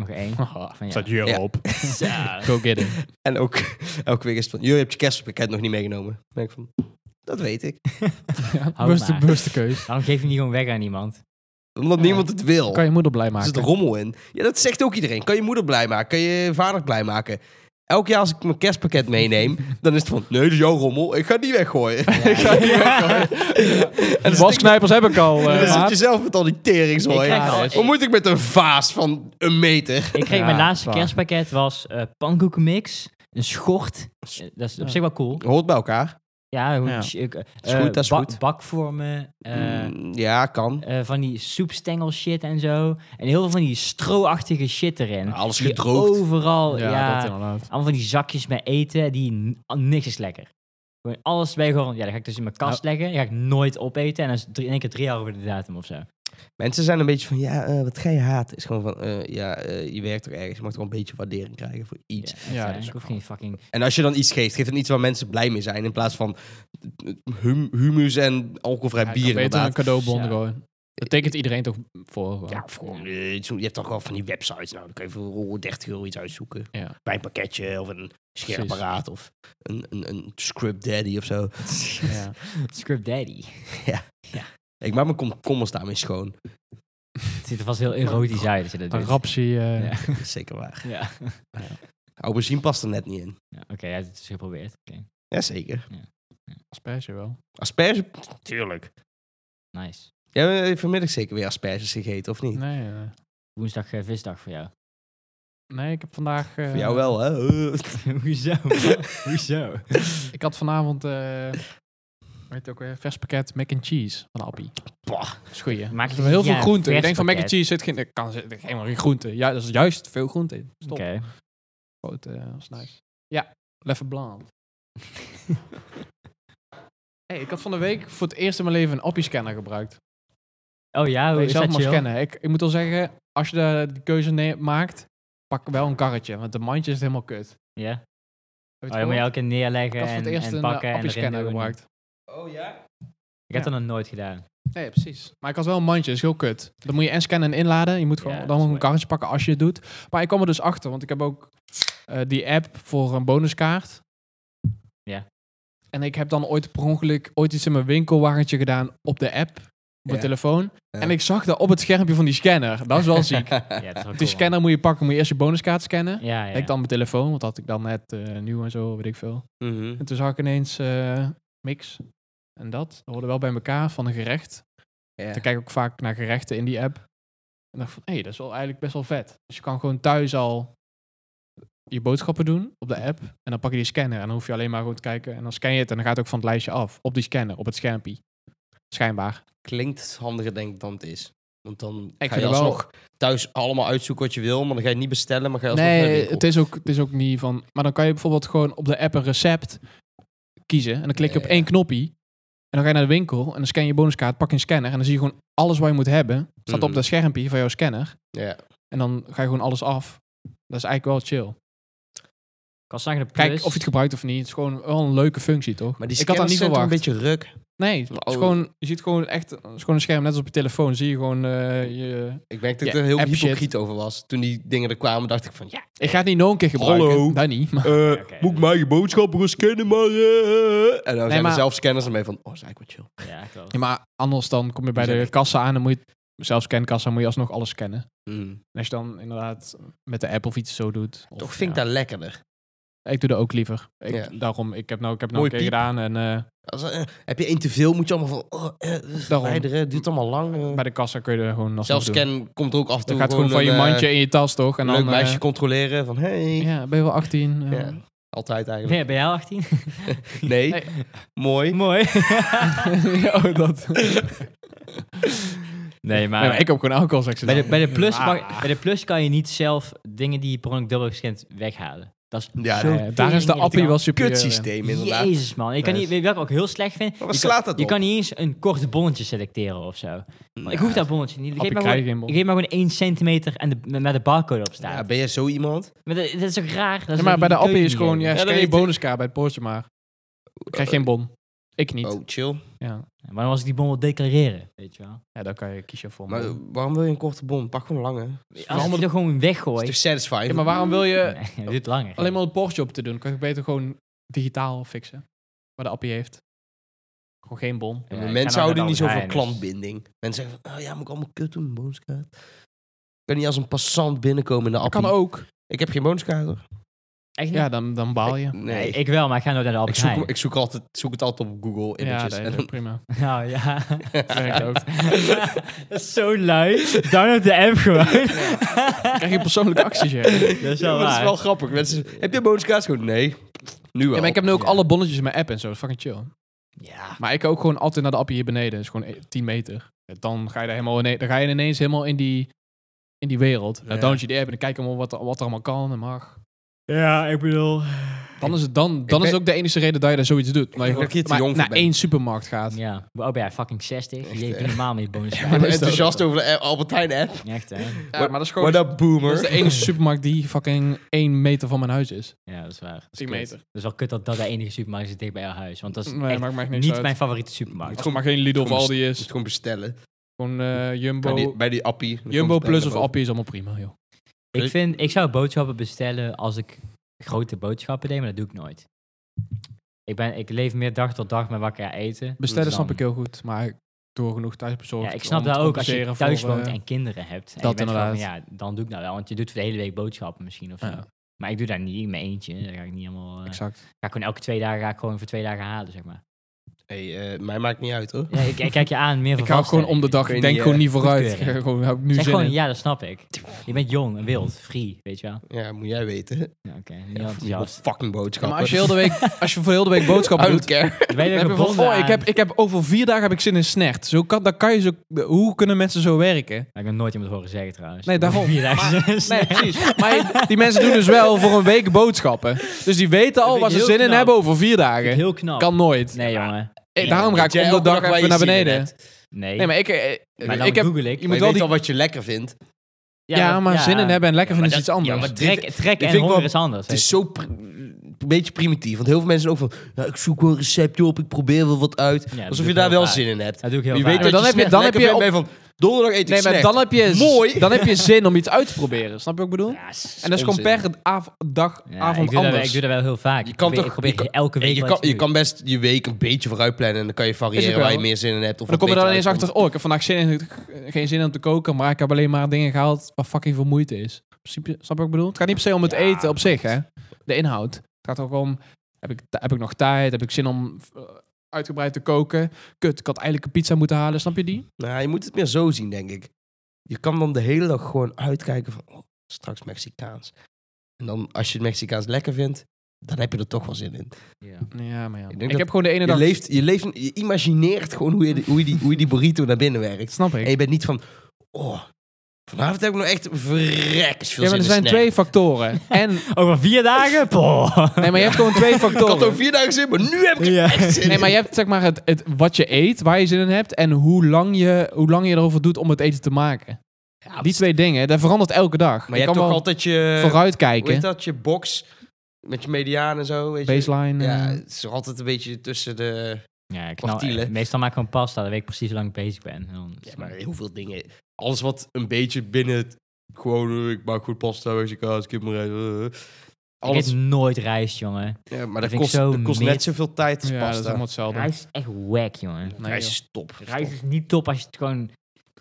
Speaker 3: Nog één. Van, ja.
Speaker 2: Staat hier
Speaker 1: Ja.
Speaker 2: op.
Speaker 3: Ja.
Speaker 2: Go get it.
Speaker 1: En ook elke week is het van, jullie hebt je kerstpakket nog niet meegenomen. Dan denk ik van, dat weet ik.
Speaker 2: Ja,
Speaker 3: Hou
Speaker 2: bewuste,
Speaker 3: maar.
Speaker 2: bewuste keus.
Speaker 3: Waarom geef je niet gewoon weg aan iemand?
Speaker 1: Omdat
Speaker 2: Ja.
Speaker 1: niemand het wil.
Speaker 2: Kan je moeder blij
Speaker 1: Er
Speaker 2: maken.
Speaker 1: zit rommel in. Ja, dat zegt ook iedereen. Kan je moeder blij maken? Kan je vader blij maken? Elk jaar als ik mijn kerstpakket meeneem, dan is het van... Nee, dat is jouw rommel. Ik ga die weggooien. ik ga die weggooien. En dan zit, ik-
Speaker 2: Wasknijpers heb ik al, eh,
Speaker 1: dan zit
Speaker 2: maat.
Speaker 1: je zelf met al die
Speaker 3: Ik
Speaker 1: teringzooi.
Speaker 3: krijg al-
Speaker 1: Hoe moet ik met een vaas van een meter?
Speaker 3: Ik kreeg
Speaker 2: Ja,
Speaker 3: mijn laatste
Speaker 2: waar.
Speaker 3: kerstpakket was eh pankoekenmix, een schort. Eh, dat is op
Speaker 2: Ja.
Speaker 3: zich wel cool.
Speaker 1: Hoort bij elkaar.
Speaker 3: Ja, hoe-
Speaker 2: Ja.
Speaker 3: sh- ik, eh,
Speaker 1: is goed,
Speaker 3: eh,
Speaker 1: dat is
Speaker 3: ba-
Speaker 1: goed.
Speaker 3: Bakvormen, eh,
Speaker 1: Mm, ja, kan.
Speaker 3: eh, van die soepstengel shit en zo. En heel veel van die stroachtige shit erin.
Speaker 1: Alles
Speaker 3: Die
Speaker 1: Ah, gedroogd.
Speaker 3: Overal, ja.
Speaker 2: Ja, dat inderdaad.
Speaker 3: allemaal van die zakjes met eten die n- niks is lekker. Gewoon alles bij gewoon, ja, dat ga ik dus in mijn kast
Speaker 1: Nou-
Speaker 3: leggen. Die ga ik nooit opeten. En dan is het drie, in één keer drie jaar over de datum of zo.
Speaker 1: Mensen zijn een beetje van, ja, eh, wat ga je haten? Is gewoon van, eh, ja, eh, je werkt toch ergens. Je mag toch wel een beetje waardering krijgen voor iets.
Speaker 3: Ja,
Speaker 2: Ja,
Speaker 3: ja,
Speaker 2: dat is
Speaker 3: ik hoef geen fucking...
Speaker 1: En als je dan iets geeft, geef dan iets waar mensen blij mee zijn. In plaats van eh, hum- humus en alcoholvrij
Speaker 2: Ja, ik kan
Speaker 1: bier
Speaker 2: beter
Speaker 1: inderdaad.
Speaker 2: een cadeaubon
Speaker 3: Ja.
Speaker 2: gewoon. Dat tekent iedereen toch voor?
Speaker 1: Ja, of gewoon, eh, zo- je hebt toch wel van die websites. Nou, dan kun je voor 30 euro iets uitzoeken.
Speaker 2: Ja.
Speaker 1: Bij een pakketje of een scherpapparaat of een, een, een Script Daddy of zo.
Speaker 2: ja.
Speaker 3: Script Daddy.
Speaker 1: Ik maak mijn kom- kommels daarmee schoon.
Speaker 3: Het ziet er vast heel erotisch uit als je dat
Speaker 2: Een
Speaker 3: doet.
Speaker 2: rapsie. eh,
Speaker 3: Ja.
Speaker 1: Dat is zeker waar.
Speaker 3: Ja.
Speaker 1: Aubergine past er net niet in.
Speaker 3: Ja, Oké, hij heeft het dus geprobeerd. Oké,
Speaker 1: Jazeker.
Speaker 2: asperge wel.
Speaker 1: Asperge? Tuurlijk.
Speaker 3: Nice.
Speaker 1: Jij hebt eh, vanmiddag zeker weer asperges gegeten, of niet?
Speaker 2: Nee, eh,
Speaker 3: Woensdag eh, visdag voor jou.
Speaker 2: nee, ik heb vandaag... eh,
Speaker 1: Voor jou wel, hè?
Speaker 3: Hoezo? Hoezo?
Speaker 2: Ik had vanavond, eh weet ook weer, vers pakket mac and cheese van Appie.
Speaker 1: Bah.
Speaker 2: Dat is goeie.
Speaker 3: Maak
Speaker 2: Er
Speaker 3: je
Speaker 2: zit heel
Speaker 3: ja,
Speaker 2: veel groenten.
Speaker 3: vers
Speaker 2: Ik denk van mac and
Speaker 3: pakket.
Speaker 2: cheese zit geen, er kan, zit er helemaal geen groente. Ja, dat is juist veel groente in. Stop.
Speaker 3: Oké.
Speaker 2: Groot, eh, dat is nice. Ja, Leffe Blanc. hey, ik had van de week voor het eerst in mijn leven een Appie-scanner gebruikt.
Speaker 3: Oh ja, hoe
Speaker 2: Dat je
Speaker 3: is dat
Speaker 2: zelf mag
Speaker 3: chill?
Speaker 2: scannen. Ik, ik moet al zeggen, als je de, de keuze ne- maakt, pak wel een karretje. Want de mandje is helemaal kut. Heb
Speaker 3: Ja.
Speaker 2: je
Speaker 3: Oh,
Speaker 2: het
Speaker 3: dan moet je
Speaker 2: gehoord?
Speaker 3: elke keer neerleggen
Speaker 2: ik had voor het
Speaker 3: en,
Speaker 2: eerst
Speaker 3: en
Speaker 2: een eh,
Speaker 3: pakken en erin
Speaker 2: Appie-scanner
Speaker 3: doen.
Speaker 2: gebruikt.
Speaker 1: Oh ja?
Speaker 3: Ik heb
Speaker 2: Ja.
Speaker 3: dat nog nooit gedaan.
Speaker 2: Nee, precies. Maar ik had wel een mandje, is heel kut. Dan moet je en scannen en inladen. Je moet gewoon
Speaker 3: Ja, dat
Speaker 2: dan
Speaker 3: is
Speaker 2: moet je een
Speaker 3: mooi.
Speaker 2: karretje pakken als je het doet. Maar ik kwam er dus achter, want ik heb ook eh, die app voor een bonuskaart.
Speaker 3: Ja.
Speaker 2: En ik heb dan ooit per ongeluk ooit iets in mijn winkelwagentje gedaan op de app, op mijn
Speaker 1: Ja.
Speaker 2: telefoon.
Speaker 1: Ja.
Speaker 2: En ik zag dat op het schermpje van die scanner. Dat is wel ziek.
Speaker 3: Ja, dat is wel
Speaker 2: Die
Speaker 3: cool, man.
Speaker 2: scanner moet je pakken, moet je eerst je bonuskaart scannen.
Speaker 3: Ja, ja.
Speaker 2: Ik dan mijn telefoon, want dat had ik dan net eh, nieuw en zo, weet ik veel.
Speaker 1: Mhm.
Speaker 2: En toen zag ik ineens eh, mix en dat. Dat hoorde wel bij elkaar van een gerecht.
Speaker 1: Ja.
Speaker 2: Dan kijk ik ook vaak naar gerechten in die app. En dacht van, hé, dat is wel eigenlijk best wel vet. Dus je kan gewoon thuis al je boodschappen doen op de app. En dan pak je die scanner. En dan hoef je alleen maar gewoon te kijken. En dan scan je het en dan gaat het ook van het lijstje af. Op die scanner, op het schermpje. Schijnbaar.
Speaker 1: Klinkt handiger denk ik dan het is. Want dan
Speaker 2: Ik
Speaker 1: ga je
Speaker 2: vind het wel-
Speaker 1: alsnog thuis allemaal uitzoeken wat je wil, maar dan ga je het niet bestellen, maar ga je alsnog naar de
Speaker 2: Nee,
Speaker 1: winkel.
Speaker 2: het is, ook, het is ook niet van... Maar dan kan je bijvoorbeeld gewoon op de app een recept kiezen. En dan klik je
Speaker 1: Ja,
Speaker 2: op
Speaker 1: ja.
Speaker 2: één knoppie. En dan ga je naar de winkel. En dan scan je je bonuskaart, pak je een scanner. En dan zie je gewoon alles wat je moet hebben. Staat op
Speaker 1: Mhm.
Speaker 2: dat schermpje van jouw scanner.
Speaker 1: Ja.
Speaker 2: En dan ga je gewoon alles af. Dat is eigenlijk wel chill.
Speaker 3: Ik was zagen de plus.
Speaker 2: Kijk of je het gebruikt of niet. Het is gewoon wel een leuke functie, toch?
Speaker 1: Maar die
Speaker 2: ik had dat
Speaker 1: scanners
Speaker 2: niet
Speaker 1: zijn toch
Speaker 2: verwacht.
Speaker 1: een beetje ruk.
Speaker 2: Nee, het is
Speaker 1: Oh.
Speaker 2: gewoon, je ziet gewoon echt... Het is gewoon een scherm, net als op je telefoon. Zie je gewoon eh, je...
Speaker 1: Ik merk dat ik
Speaker 2: Ja,
Speaker 1: er heel
Speaker 2: app shit.
Speaker 1: hypocriet over was. Toen die dingen er kwamen, dacht ik van, ja,
Speaker 2: Ik ga het niet nog een keer gebruiken.
Speaker 1: Hallo.
Speaker 2: Dat niet. Maar,
Speaker 1: eh,
Speaker 3: oké.
Speaker 1: moet ik mijn boodschappen gaan scannen, maar... eh. En dan zijn
Speaker 2: maar-
Speaker 1: er zelf scanners ermee van, oh, dat is eigenlijk wel chill.
Speaker 3: Ja, klopt.
Speaker 2: Ja, maar anders dan kom je bij
Speaker 1: Die zijn
Speaker 2: de
Speaker 1: echt-
Speaker 2: kassa aan. Dan moet je... Zelfs scankassa moet je alsnog alles scannen.
Speaker 1: Mm.
Speaker 2: En als je dan inderdaad met de app of iets zo doet. of-
Speaker 1: Toch vind ik
Speaker 2: ja.
Speaker 1: dat lekkerder.
Speaker 2: Ik doe dat ook liever. Ik,
Speaker 1: Ja.
Speaker 2: Daarom, ik heb nou, ik heb nou
Speaker 1: Mooi
Speaker 2: een keer
Speaker 1: piep.
Speaker 2: gedaan. En eh,
Speaker 1: Als, eh, heb je één te veel, moet je allemaal van, oh, eh, verwijderen, duurt allemaal lang. eh.
Speaker 2: bij de kassa kun je er gewoon... alsnog
Speaker 1: Zelf
Speaker 2: doen.
Speaker 1: scan komt er ook af en toe
Speaker 2: Dan gaat gewoon van je
Speaker 1: een, eh,
Speaker 2: mandje in je tas, toch? En
Speaker 1: leuk
Speaker 2: dan, eh,
Speaker 1: meisje controleren van, hey.
Speaker 2: Ja, ben je wel 18? eh,
Speaker 1: Ja. Altijd eigenlijk.
Speaker 3: Nee, ben jij 18?
Speaker 1: Nee,
Speaker 2: Nee.
Speaker 1: mooi.
Speaker 3: Mooi.
Speaker 2: oh, dat.
Speaker 3: nee, maar...
Speaker 2: Nee, maar ik heb gewoon alcohol seks.
Speaker 3: bij, de, bij, de plus
Speaker 2: Ah.
Speaker 3: mag- bij de plus kan je niet zelf dingen die je per ongeluk dubbel hebt gescand weghalen. Dat is
Speaker 1: Ja,
Speaker 3: zo
Speaker 1: nee.
Speaker 2: Eh, daar is
Speaker 3: tering
Speaker 2: de appie wel
Speaker 3: irritant.
Speaker 2: superieur eh. in.
Speaker 1: Kutsysteem inderdaad.
Speaker 3: eh, Jezus, man. Ik kan
Speaker 1: Nee.
Speaker 3: niet, weet je wat ik ook heel slecht vind?
Speaker 1: Maar wat
Speaker 3: je
Speaker 1: slaat
Speaker 3: kan,
Speaker 1: dat
Speaker 3: je
Speaker 1: op?
Speaker 3: kan niet eens een korte bonnetje selecteren of zo.
Speaker 1: Nou,
Speaker 3: ik hoef dat bonnetje niet. Geef
Speaker 2: Appie
Speaker 3: maar,
Speaker 2: krijg
Speaker 3: gewoon,
Speaker 2: je geen bon.
Speaker 3: geef maar gewoon 1 centimeter en de, met, met de barcode op staat.
Speaker 1: Ja, ben jij zo iemand?
Speaker 3: maar dat, dat is toch raar? Dat
Speaker 2: Ja,
Speaker 3: ze
Speaker 2: maar bij de
Speaker 3: die keuze
Speaker 2: appie is
Speaker 3: niet
Speaker 2: gewoon,
Speaker 3: hebben.
Speaker 2: ja,
Speaker 1: Ja, dat
Speaker 2: scan je
Speaker 1: weet ik.
Speaker 2: bonuskaart bij het poortje maar. Ik krijg geen bon. Ik niet.
Speaker 1: Oh, chill.
Speaker 2: Ja.
Speaker 3: Maar dan was ik die bon wil declareren, weet je wel.
Speaker 2: ja, dan kan je kiezen voor een
Speaker 1: Maar
Speaker 2: bon.
Speaker 1: waarom wil je een korte bon? Pak gewoon een lange. Dat
Speaker 3: Als je die toch gewoon
Speaker 1: is
Speaker 3: weggooit.
Speaker 1: toch satisfying?
Speaker 2: Ja, maar waarom wil je
Speaker 3: Nee, dat duurt langer.
Speaker 2: alleen maar het poortje op te doen? Kan je beter gewoon digitaal fixen? Waar de appie heeft. Gewoon geen bon.
Speaker 1: Ja, maar
Speaker 3: Ja, ik ga
Speaker 1: mensen
Speaker 3: nou
Speaker 1: houden
Speaker 3: naar
Speaker 1: niet
Speaker 3: de
Speaker 1: zo van
Speaker 3: Albert Heijn, dus-
Speaker 1: klantbinding. Mensen zeggen van, oh ja, moet ik allemaal kut doen, bonuskaart. Ik kan niet als een passant binnenkomen in de
Speaker 2: Dat
Speaker 1: appie.
Speaker 2: kan ook.
Speaker 1: Ik heb geen bonuskaart hoor.
Speaker 3: Echt niet?
Speaker 2: Ja, dan, dan baal je.
Speaker 1: Nee.
Speaker 3: Ik wel, maar ik ga nooit naar de
Speaker 1: ik
Speaker 3: Albert
Speaker 1: zoek,
Speaker 3: Heijn.
Speaker 1: ik zoek, altijd, zoek het altijd op Google
Speaker 2: Ja,
Speaker 1: images.
Speaker 2: dat
Speaker 1: en
Speaker 2: is
Speaker 1: dan-
Speaker 2: ook prima.
Speaker 3: Nou ja.
Speaker 2: Dat werkt ook.
Speaker 3: dat is zo lui. Download de app gewoon.
Speaker 2: krijg je persoonlijke acties, ja.
Speaker 3: Dat is
Speaker 1: Ja,
Speaker 3: wel
Speaker 1: maar dat is
Speaker 3: waar.
Speaker 1: wel grappig. Mensen, heb je een bonuskaart? Gewoon, nee. Nu wel.
Speaker 2: Ja, maar ik heb nu ook
Speaker 3: Ja.
Speaker 2: alle bonnetjes in mijn app en zo. Dat is fucking chill.
Speaker 3: Ja.
Speaker 2: Maar ik ook gewoon altijd naar de appie hier beneden. Dat is gewoon e- 10 meter. Dan ga je, daar helemaal ineens, dan ga je ineens helemaal in die, in die wereld. Dan
Speaker 1: Ja.
Speaker 2: download je die app en dan kijk je allemaal wat, er- wat er allemaal kan en mag.
Speaker 3: Ja, ik bedoel...
Speaker 2: Dan is het, dan, dan
Speaker 1: ben-
Speaker 2: is het ook de enige reden dat je daar zoiets doet. Maar je
Speaker 1: dat ik hier
Speaker 2: gewoon
Speaker 1: te
Speaker 2: maar
Speaker 1: jong voor
Speaker 2: naar
Speaker 1: ben.
Speaker 2: één supermarkt gaat.
Speaker 3: Ja. Hoe oud Oh, ben jij? Fucking 60?
Speaker 1: Echt,
Speaker 3: Je bent
Speaker 1: hè?
Speaker 3: normaal met je bonus.
Speaker 1: Ik ben
Speaker 2: dat is
Speaker 1: enthousiast over de Albert Heijn app.
Speaker 3: Echt, hè?
Speaker 2: Ja, maar dat is gewoon
Speaker 1: What up,
Speaker 2: dat is
Speaker 1: boomer?
Speaker 2: de enige supermarkt die fucking 1 meter van mijn huis is.
Speaker 3: Ja, dat is waar. Dat is
Speaker 2: 10
Speaker 3: kut.
Speaker 2: meter.
Speaker 3: Dat is wel kut dat dat de enige supermarkt is dicht bij jouw huis. Want dat is
Speaker 2: Nee,
Speaker 3: echt
Speaker 2: maakt mij echt niks
Speaker 3: niet
Speaker 2: uit.
Speaker 3: mijn favoriete supermarkt.
Speaker 2: Als het maar geen Lidl of
Speaker 1: Gewoon
Speaker 2: Aldi
Speaker 1: Moet
Speaker 2: is.
Speaker 1: gewoon bestellen.
Speaker 2: Gewoon eh, Jumbo,
Speaker 1: Bij die, bij die appie. Dan
Speaker 2: Jumbo
Speaker 1: komt het
Speaker 2: Plus
Speaker 1: naar
Speaker 2: of
Speaker 1: boven.
Speaker 2: Appie is allemaal prima, joh.
Speaker 3: Ik, vind, ik zou boodschappen bestellen als ik grote boodschappen deed, maar dat doe ik nooit. Ik, ben, ik leef meer dag tot dag met wat ik ga eten.
Speaker 2: Bestellen
Speaker 3: Dan-
Speaker 2: snap ik heel goed, maar door genoeg thuisbezorgd.
Speaker 3: Ja, ik snap
Speaker 2: om te
Speaker 3: dat ook als je
Speaker 2: compenseren
Speaker 3: thuis
Speaker 2: voor,
Speaker 3: woont
Speaker 2: eh,
Speaker 3: en kinderen hebt. En
Speaker 2: dat
Speaker 3: je bent gewoon van,
Speaker 2: inderdaad.
Speaker 3: ja, dan doe ik dat wel, want je doet voor de hele week boodschappen misschien of zo.
Speaker 2: Ja.
Speaker 3: Maar ik doe daar niet in mijn eentje. Daar ga ik niet helemaal. eh,
Speaker 2: Exact.
Speaker 3: ga ik gewoon elke twee dagen ga ik gewoon voor twee dagen halen, zeg maar.
Speaker 1: Hey, eh, mij maakt niet uit hoor.
Speaker 3: Ja, ik, ik kijk je aan meer van.
Speaker 2: Ik hou
Speaker 3: vasten.
Speaker 2: gewoon om de dag,
Speaker 1: Kun je
Speaker 2: ik denk
Speaker 1: niet,
Speaker 2: gewoon
Speaker 1: eh,
Speaker 2: niet vooruit.
Speaker 3: goedkeuren.
Speaker 2: Gewoon, heb ik nu
Speaker 3: Zeg
Speaker 2: zin
Speaker 3: gewoon,
Speaker 2: in.
Speaker 3: ja, dat snap ik. Je bent jong en wild, free, weet je wel.
Speaker 1: Ja, moet jij weten.
Speaker 3: Ja, Oké, niet
Speaker 1: Ja,
Speaker 3: enthousiast.
Speaker 1: fucking
Speaker 2: Ja,
Speaker 1: boodschap.
Speaker 2: maar als je, heel de week, als je voor heel de week boodschappen doet,
Speaker 3: Dan ben je
Speaker 2: dan
Speaker 3: er
Speaker 2: heb je van,
Speaker 3: gebonden
Speaker 2: oh, ik
Speaker 3: aan.
Speaker 2: heb, ik heb over vier dagen heb ik zin in snert. Zo kan, dan kan je zo, hoe kunnen mensen zo werken?
Speaker 3: Ja, ik heb nooit iemand horen zeggen trouwens.
Speaker 2: Nee, daarom.
Speaker 3: Vier dagen is-
Speaker 2: Nee, precies. Maar je- die mensen doen dus wel voor een week boodschappen. Dus die weten
Speaker 3: Dat
Speaker 2: al
Speaker 3: vind
Speaker 2: wat
Speaker 3: ik
Speaker 2: ze
Speaker 3: heel
Speaker 2: zin in
Speaker 3: knap.
Speaker 2: hebben over vier dagen.
Speaker 3: Heel knap.
Speaker 2: Kan nooit.
Speaker 3: Nee, jongen.
Speaker 2: Eh, Daarom ga ik om de dag even naar beneden.
Speaker 3: Nee.
Speaker 2: Nee, maar ik, eh,
Speaker 3: Maar dan
Speaker 2: ik heb...
Speaker 3: google ik.
Speaker 1: Maar
Speaker 2: je moet
Speaker 1: je
Speaker 2: wel
Speaker 1: weet
Speaker 2: die...
Speaker 1: al wat je lekker vindt.
Speaker 2: Ja, maar zin in hebben en lekker
Speaker 3: Ja, maar
Speaker 2: vinden is iets
Speaker 3: dat-
Speaker 2: anders.
Speaker 3: Ja, maar trek,
Speaker 1: Dit-
Speaker 3: trek
Speaker 1: vind
Speaker 3: en
Speaker 1: ik wel-
Speaker 3: honger is anders.
Speaker 1: Het is zo pri- een beetje primitief. Want heel veel mensen zijn ook van, ja, ik zoek wel een receptje op, ik probeer wel wat uit.
Speaker 3: dat
Speaker 1: Alsof
Speaker 3: doe
Speaker 1: je
Speaker 3: ik
Speaker 1: daar
Speaker 3: heel
Speaker 1: wel
Speaker 3: vaak.
Speaker 1: zin in hebt.
Speaker 3: Dat doe ik heel
Speaker 1: Je
Speaker 3: vaak.
Speaker 1: weet dat
Speaker 2: dan
Speaker 1: je
Speaker 2: heb je-
Speaker 1: snack
Speaker 2: dan heb je
Speaker 1: lekker
Speaker 2: op-
Speaker 1: vindt, ben je van, donderdag eet ik
Speaker 2: nee, maar
Speaker 1: snack.
Speaker 2: dan heb, je,
Speaker 1: Mooi.
Speaker 2: dan heb je zin om iets uit te proberen. Snap je wat ik bedoel?
Speaker 3: Ja, s-
Speaker 2: En dat is gewoon
Speaker 1: onzin.
Speaker 2: per av- dag,
Speaker 3: ja,
Speaker 2: avond
Speaker 3: ik doe dat wel-
Speaker 2: anders.
Speaker 3: Ik doe dat wel heel vaak.
Speaker 1: Je
Speaker 3: Ik
Speaker 1: kan
Speaker 3: probeer-
Speaker 1: toch-
Speaker 3: Ik probeer
Speaker 1: je
Speaker 3: elke
Speaker 1: En
Speaker 3: week
Speaker 1: je,
Speaker 3: wat
Speaker 1: kan,
Speaker 3: te
Speaker 1: je
Speaker 3: doen.
Speaker 1: kan best je week een beetje vooruit plannen. En dan kan je
Speaker 2: Is
Speaker 1: variëren
Speaker 2: het wel.
Speaker 1: waar je meer zin in hebt. Of
Speaker 2: Maar dan
Speaker 1: wat
Speaker 2: kom je
Speaker 1: beter
Speaker 2: dan ineens
Speaker 1: uitkomt.
Speaker 2: achter, oh, ik heb vandaag zin in, geen zin om te koken, maar ik heb alleen maar dingen gehaald waar fucking veel moeite is. In principe, snap je wat ik bedoel? Het gaat niet per se om het
Speaker 3: Ja,
Speaker 2: eten op zich,
Speaker 3: klopt.
Speaker 2: hè? De inhoud. Het gaat ook om, heb ik, heb ik nog tijd? Heb ik zin om eh, uitgebreid te koken? Kut, ik had eigenlijk een pizza moeten halen, snap je die?
Speaker 1: Nou, je moet het meer zo zien, denk ik. Je kan dan de hele dag gewoon uitkijken van oh, straks Mexicaans. En dan als je het Mexicaans lekker vindt, dan heb je er toch wel zin in.
Speaker 3: Ja.
Speaker 2: Ja, maar ja.
Speaker 1: denk
Speaker 2: Ik,
Speaker 1: dat
Speaker 2: heb gewoon de ene
Speaker 1: Je,
Speaker 2: dag...
Speaker 1: leeft, je, leeft, je imagineert gewoon hoe je, die- hoe, je die, hoe je die burrito naar binnen werkt.
Speaker 2: Snap ik.
Speaker 1: En je bent niet van, oh, vanavond heb ik nog echt verrekkers veel
Speaker 2: Ja, maar
Speaker 1: zin
Speaker 2: er
Speaker 1: in
Speaker 2: zijn
Speaker 1: snack.
Speaker 2: twee factoren. En,
Speaker 3: Over vier dagen? Poh.
Speaker 2: nee, maar je hebt gewoon twee
Speaker 1: Ik had
Speaker 2: factoren.
Speaker 1: al vier dagen zin, maar nu heb ik er
Speaker 3: Ja.
Speaker 1: echt zin
Speaker 2: Nee, maar je hebt zeg maar het, het, wat je eet, waar je zin in hebt en hoe lang je, hoe lang je erover doet om het eten te maken.
Speaker 1: in. Ja,
Speaker 2: Die twee dingen, dat verandert elke dag.
Speaker 1: Maar je hebt
Speaker 2: kan
Speaker 1: toch
Speaker 2: wel
Speaker 1: altijd je, hoe heet
Speaker 2: vooruitkijken.
Speaker 1: dat, je box met je mediaan en zo. Weet je?
Speaker 2: Baseline. eh,
Speaker 1: Ja, het is er altijd een beetje tussen de...
Speaker 3: Ja, ik
Speaker 1: Kwartiel, hè?
Speaker 3: nou, meestal maak ik gewoon pasta, dan weet ik precies hoe lang ik bezig ben. En dan-
Speaker 1: Ja, maar heel veel dingen. Alles wat een beetje binnen het... Gewoon, eh, ik maak goed pasta, weet je, kaas, kip, maar eh,
Speaker 3: Ik eet
Speaker 1: Alles.
Speaker 3: nooit rijst, jongen.
Speaker 1: Ja, maar
Speaker 3: dat
Speaker 1: dat,
Speaker 3: vind ik
Speaker 1: kost,
Speaker 3: zo
Speaker 1: dat kost
Speaker 3: mid.
Speaker 1: net zoveel tijd als
Speaker 2: ja, dat is
Speaker 1: pasta.
Speaker 2: helemaal hetzelfde.
Speaker 3: Rijst is echt wack, jongen.
Speaker 2: Nee,
Speaker 1: Rijst
Speaker 2: joh.
Speaker 1: is top.
Speaker 3: Rijst is niet top als je het gewoon,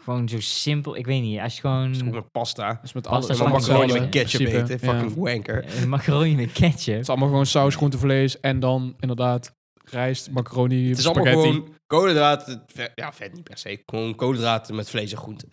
Speaker 3: gewoon zo simpel... Ik weet niet, als je
Speaker 1: is gewoon
Speaker 3: gewoon...
Speaker 1: met pasta.
Speaker 2: Mm. Dat is met
Speaker 3: Pasta
Speaker 2: alles.
Speaker 1: En
Speaker 3: is
Speaker 1: dan
Speaker 3: fucking
Speaker 1: macaroni
Speaker 3: hetzelfde,
Speaker 1: met ketchup
Speaker 2: in principe.
Speaker 1: eten.
Speaker 2: Ja.
Speaker 1: Fucking wanker.
Speaker 3: eh, Macaroni met ketchup.
Speaker 2: Het is allemaal gewoon saus, groente, vlees en dan inderdaad rijst, macaroni,
Speaker 1: Het is allemaal
Speaker 2: spaghetti.
Speaker 1: gewoon koolhydraten. vet- Ja, vet niet per se. Gewoon koolhydraten met vlees en groenten.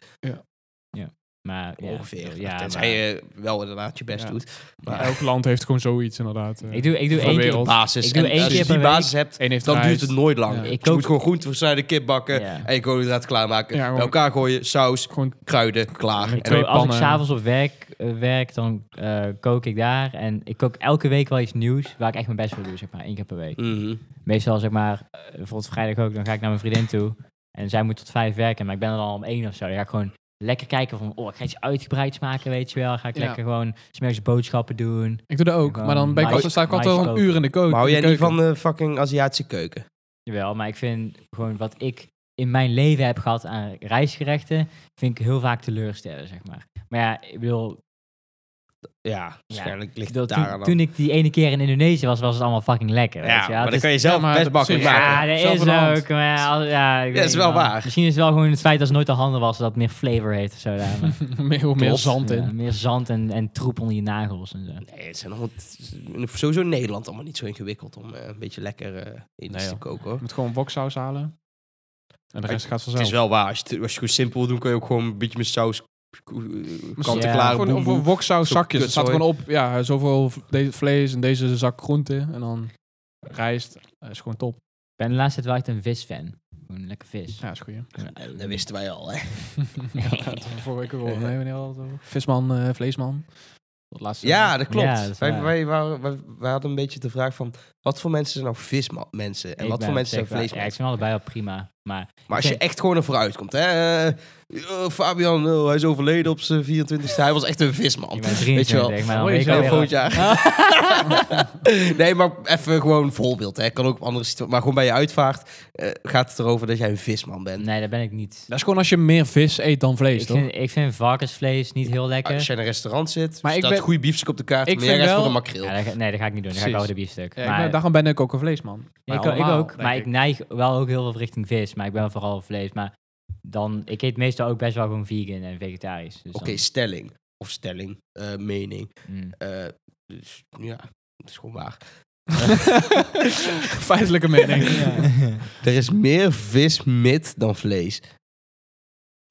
Speaker 3: Maar, ja,
Speaker 1: ongeveer.
Speaker 3: Ja,
Speaker 1: Tenzij
Speaker 3: maar-
Speaker 1: je wel inderdaad je best
Speaker 2: Ja.
Speaker 1: doet.
Speaker 2: Ja,
Speaker 1: Maar
Speaker 2: Elk land heeft gewoon zoiets inderdaad. eh.
Speaker 3: Ik doe, ik doe
Speaker 2: Van
Speaker 3: één keer...
Speaker 2: wereld.
Speaker 1: basis.
Speaker 3: Ik doe
Speaker 1: en
Speaker 3: één
Speaker 1: als je
Speaker 3: keer
Speaker 1: die
Speaker 3: per week.
Speaker 1: basis hebt,
Speaker 2: Eén heeft
Speaker 1: dan
Speaker 2: rijst.
Speaker 1: duurt het nooit lang.
Speaker 2: Ja.
Speaker 1: Dus
Speaker 2: Ik
Speaker 1: Je
Speaker 3: kook-
Speaker 1: moet gewoon groenten versnijden, kip bakken
Speaker 3: Ja.
Speaker 1: en je koolhydraten klaarmaken.
Speaker 2: Ja,
Speaker 1: bij
Speaker 2: gewoon-
Speaker 1: elkaar gooien, saus,
Speaker 2: Gewoon
Speaker 1: kruiden, klaar.
Speaker 2: Ik
Speaker 1: En
Speaker 2: twee
Speaker 3: Zo, als ik
Speaker 2: pannen.
Speaker 3: s'avonds op werk eh, werk, dan eh, kook ik daar. En ik kook elke week wel iets nieuws waar ik echt mijn best voor doe, zeg maar. één keer per week.
Speaker 1: Mhm.
Speaker 3: Meestal zeg maar, eh, bijvoorbeeld vrijdag ook, dan ga ik naar mijn vriendin toe. En zij moet tot vijf werken, maar ik ben er al om één of zo. Dan ga ik gewoon lekker kijken van, oh, ik ga iets uitgebreids maken, weet je wel. Ga ik
Speaker 2: Ja.
Speaker 3: lekker gewoon smiddags boodschappen doen.
Speaker 2: Ik doe dat ook,
Speaker 3: Gewoon
Speaker 2: maar dan ben ik
Speaker 3: mais-
Speaker 2: altijd, sta ik altijd wel een
Speaker 3: maiskoken.
Speaker 2: uur in de keuken.
Speaker 1: Maar hou
Speaker 2: in
Speaker 1: jij
Speaker 2: de
Speaker 1: niet
Speaker 2: keuken.
Speaker 1: van de fucking Aziatische keuken?
Speaker 3: Jawel, maar ik vind gewoon wat ik in mijn leven heb gehad aan reisgerechten, vind ik heel vaak teleurstellen, zeg maar. Maar ja, ik bedoel,
Speaker 1: Ja, waarschijnlijk
Speaker 3: ik
Speaker 1: ligt
Speaker 3: bedoel
Speaker 1: het
Speaker 3: toen,
Speaker 1: daar aan.
Speaker 3: toen ik die ene keer in Indonesië was, was het allemaal fucking lekker, weet
Speaker 1: ja,
Speaker 3: je wel.
Speaker 1: maar
Speaker 3: dus- Het
Speaker 1: dan
Speaker 3: is-
Speaker 1: kan je zelf
Speaker 2: Ja, maar
Speaker 1: best
Speaker 2: het is-
Speaker 1: makkelijk
Speaker 2: ja,
Speaker 1: maken.
Speaker 3: Ja, dat
Speaker 2: Zelf
Speaker 3: is
Speaker 2: in de hand.
Speaker 3: ook. Maar ja, als- ja, ik
Speaker 1: Ja, dat is
Speaker 3: weet
Speaker 1: wel
Speaker 3: niet, man.
Speaker 1: waar.
Speaker 3: Misschien is het wel gewoon het feit dat het nooit de handen was, dat het meer flavor heeft of zo. Daar, maar-
Speaker 2: meer, meer
Speaker 1: Klopt.
Speaker 2: zand in.
Speaker 3: Ja, meer zand en, en troep onder je nagels en zo.
Speaker 1: Nee, het zijn allemaal, het is in- sowieso in Nederland allemaal niet zo ingewikkeld om eh, een beetje lekker eh iets
Speaker 2: Nee,
Speaker 1: te
Speaker 2: joh.
Speaker 1: koken. Hoor.
Speaker 2: Je moet gewoon woksaus halen. En de rest gaat vanzelf.
Speaker 1: Het is wel waar. Als je, het- als je het gewoon simpel wil doen, kan je ook gewoon een beetje met saus
Speaker 2: Misschien
Speaker 1: kant en
Speaker 3: ja,
Speaker 1: klaar.
Speaker 2: Gewoon
Speaker 1: boem,
Speaker 2: over
Speaker 1: boem.
Speaker 2: woksaus
Speaker 1: Zo'n
Speaker 2: zakjes. Het staat
Speaker 1: kutzooi.
Speaker 2: gewoon op, ja, zoveel v- deze vlees en deze zak groente. En dan rijst. Dat is gewoon top.
Speaker 3: Ik ben de laatste tijd wel echt een visfan. Gewoon lekker vis. eh,
Speaker 2: Ja, is goed.
Speaker 1: Dat wisten wij al, hè.
Speaker 2: ja, dat was vorige week ook al. Nee, wanneer hadden we het over? Visman, eh, vleesman. Dat laatste.
Speaker 1: Ja, dat klopt.
Speaker 3: Ja, dat is
Speaker 1: wij,
Speaker 3: waar.
Speaker 1: wij, waren- wij, wij hadden een beetje de vraag van... Wat voor mensen zijn nou vismensen? En
Speaker 3: Ik
Speaker 1: wat
Speaker 3: ben
Speaker 1: voor mensen zijn
Speaker 3: op zich wel- Ja, ik
Speaker 1: vleesmensen?
Speaker 3: vind allebei wel prima. Maar
Speaker 1: Maar als je echt gewoon ervoor uitkomt, hè? eh, eh, Fabian, oh, hij is overleden op zijn 24e. Hij was echt een visman.
Speaker 3: ik ben
Speaker 1: Weet je wel.
Speaker 3: 23, maar dan
Speaker 2: Mooi
Speaker 3: ben ik
Speaker 2: zo.
Speaker 1: Ja,
Speaker 3: alweer-
Speaker 1: volgend jaar. nee, maar even gewoon een voorbeeld. Hè. Kan ook op andere situaties. Maar gewoon bij je uitvaart eh, gaat het erover dat jij een visman bent.
Speaker 3: Nee, dat ben ik niet.
Speaker 2: Dat is gewoon als je meer vis eet dan vlees,
Speaker 3: Ik
Speaker 2: toch?
Speaker 3: vind, ik vind varkensvlees niet heel lekker.
Speaker 1: Als je in een restaurant zit,
Speaker 2: Maar
Speaker 1: maar
Speaker 2: ik
Speaker 1: staat
Speaker 2: ben-
Speaker 1: goede biefstuk op de kaart.
Speaker 2: ik
Speaker 1: maar jij
Speaker 2: vind
Speaker 1: gaat voor
Speaker 2: wel-
Speaker 1: een makreel.
Speaker 3: Ja, dat ga- nee, dat ga ik niet doen. Dan ga
Speaker 2: Precies.
Speaker 3: ik oude biefstuk.
Speaker 2: Ja, ik
Speaker 3: maar
Speaker 2: ben- daarom ben ik ook een vleesman. Wij
Speaker 3: ik, ik
Speaker 2: allemaal,
Speaker 3: ook. Maar
Speaker 2: denk
Speaker 3: ik neig wel ook heel veel richting vis. Maar ik ben vooral vlees. Maar dan, ik eet meestal ook best wel gewoon vegan en vegetarisch. Dus
Speaker 1: Oké,
Speaker 3: dan-
Speaker 1: stelling. Of stelling. eh, mening.
Speaker 3: mm.
Speaker 1: Eh, dus, ja, dat is gewoon waar.
Speaker 2: Feitelijke mening.
Speaker 1: Er is meer vis mit dan vlees.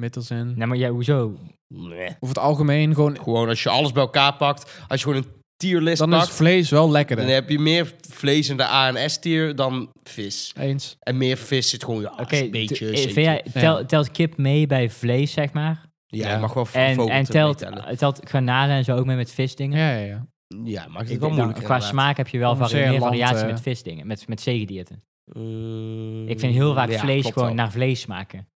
Speaker 2: Middels in.
Speaker 3: Nee, maar ja, hoezo?
Speaker 1: Nee.
Speaker 2: Over het algemeen gewoon...
Speaker 1: Gewoon als je alles bij elkaar pakt. Als je gewoon een tierlist
Speaker 2: Dan is
Speaker 1: pakt.
Speaker 2: vlees wel lekkerder.
Speaker 1: dan heb je meer vlees in de A en S-tier dan vis.
Speaker 2: Eens.
Speaker 1: En meer vis zit gewoon ja,
Speaker 3: Oké,
Speaker 1: een beetje.
Speaker 3: t- eh,
Speaker 1: zeker.
Speaker 3: vind jij-
Speaker 2: Ja.
Speaker 3: tel- telt kip mee bij vlees, zeg maar?
Speaker 1: Ja,
Speaker 2: Ja.
Speaker 1: je mag wel voor
Speaker 3: En,
Speaker 1: vogel
Speaker 3: en
Speaker 1: te- mee
Speaker 3: telt, eh,
Speaker 1: tellen.
Speaker 3: telt granalen en zo ook mee met visdingen?
Speaker 2: Ja, ja, ja.
Speaker 1: Ja, maakt
Speaker 3: Ik
Speaker 1: het wel
Speaker 3: denk,
Speaker 1: moeilijk.
Speaker 3: dan- qua smaak heb je wel
Speaker 2: Om
Speaker 3: vari-
Speaker 2: zeer
Speaker 3: meer
Speaker 2: land,
Speaker 3: variatie
Speaker 2: eh,
Speaker 3: met visdingen, met, met zeegdierten. Ik
Speaker 1: Mm,
Speaker 3: vind heel
Speaker 1: Eh,
Speaker 3: vaak vlees gewoon naar vlees smaken.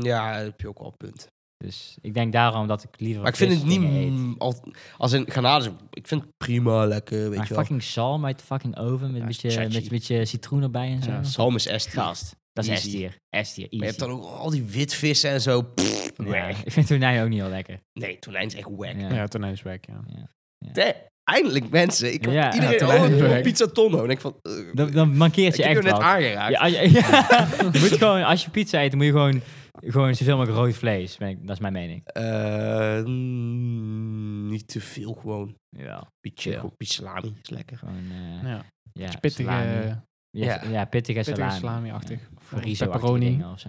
Speaker 1: Ja, daar heb je ook wel een punt.
Speaker 3: Dus ik denk daarom dat ik liever
Speaker 1: Maar ik vind het niet...
Speaker 3: visdingen eet.
Speaker 1: mm, al- Als in granalen, is- ik vind het prima, lekker, weet
Speaker 3: Maar
Speaker 1: je wel.
Speaker 3: fucking zalm uit de fucking oven met een beetje,
Speaker 1: chachi.
Speaker 3: met een beetje citroen erbij en zo.
Speaker 2: Ja,
Speaker 1: Zalm is S-tier.
Speaker 3: Gast, dat is
Speaker 1: Easy.
Speaker 3: S-tier. S-tier,
Speaker 1: Maar je
Speaker 3: easy.
Speaker 1: hebt dan ook al die witvissen en zo. Pff,
Speaker 3: Ja,
Speaker 1: nee.
Speaker 3: ik vind tonijn ook niet heel lekker.
Speaker 1: Nee, tonijn is echt wack.
Speaker 3: Ja.
Speaker 2: Ja, tonijn is weg, ja.
Speaker 1: Nee, eindelijk mensen. Ik
Speaker 3: Ja,
Speaker 1: iedereen
Speaker 2: ja,
Speaker 1: oh,
Speaker 2: tonijn is wack.
Speaker 1: pizza tonno. En ik van... eh,
Speaker 3: Dan, dan mankeert
Speaker 1: ik
Speaker 3: je
Speaker 1: heb je
Speaker 3: echt
Speaker 1: net
Speaker 3: wat.
Speaker 1: aangeraakt.
Speaker 3: Ja, als, je, ja. je moet gewoon, als je pizza eet, dan moet je gewoon, gewoon zoveel mogelijk rood vlees. Ben ik- Dat is mijn mening.
Speaker 1: Eh, mm, niet te veel gewoon.
Speaker 3: Jawel.
Speaker 1: Beetje,
Speaker 3: Ja.
Speaker 1: gewoon beetje salami is lekker.
Speaker 3: Gewoon, eh,
Speaker 2: Ja.
Speaker 3: ja,
Speaker 2: Pittige,
Speaker 3: salami. Ja,
Speaker 1: Ja.
Speaker 3: ja. pittige
Speaker 2: pittige
Speaker 3: salami.
Speaker 2: salami-achtig.
Speaker 3: Of
Speaker 2: Of
Speaker 3: Risotto-achtige
Speaker 2: pepperoni.
Speaker 3: dingen of zo.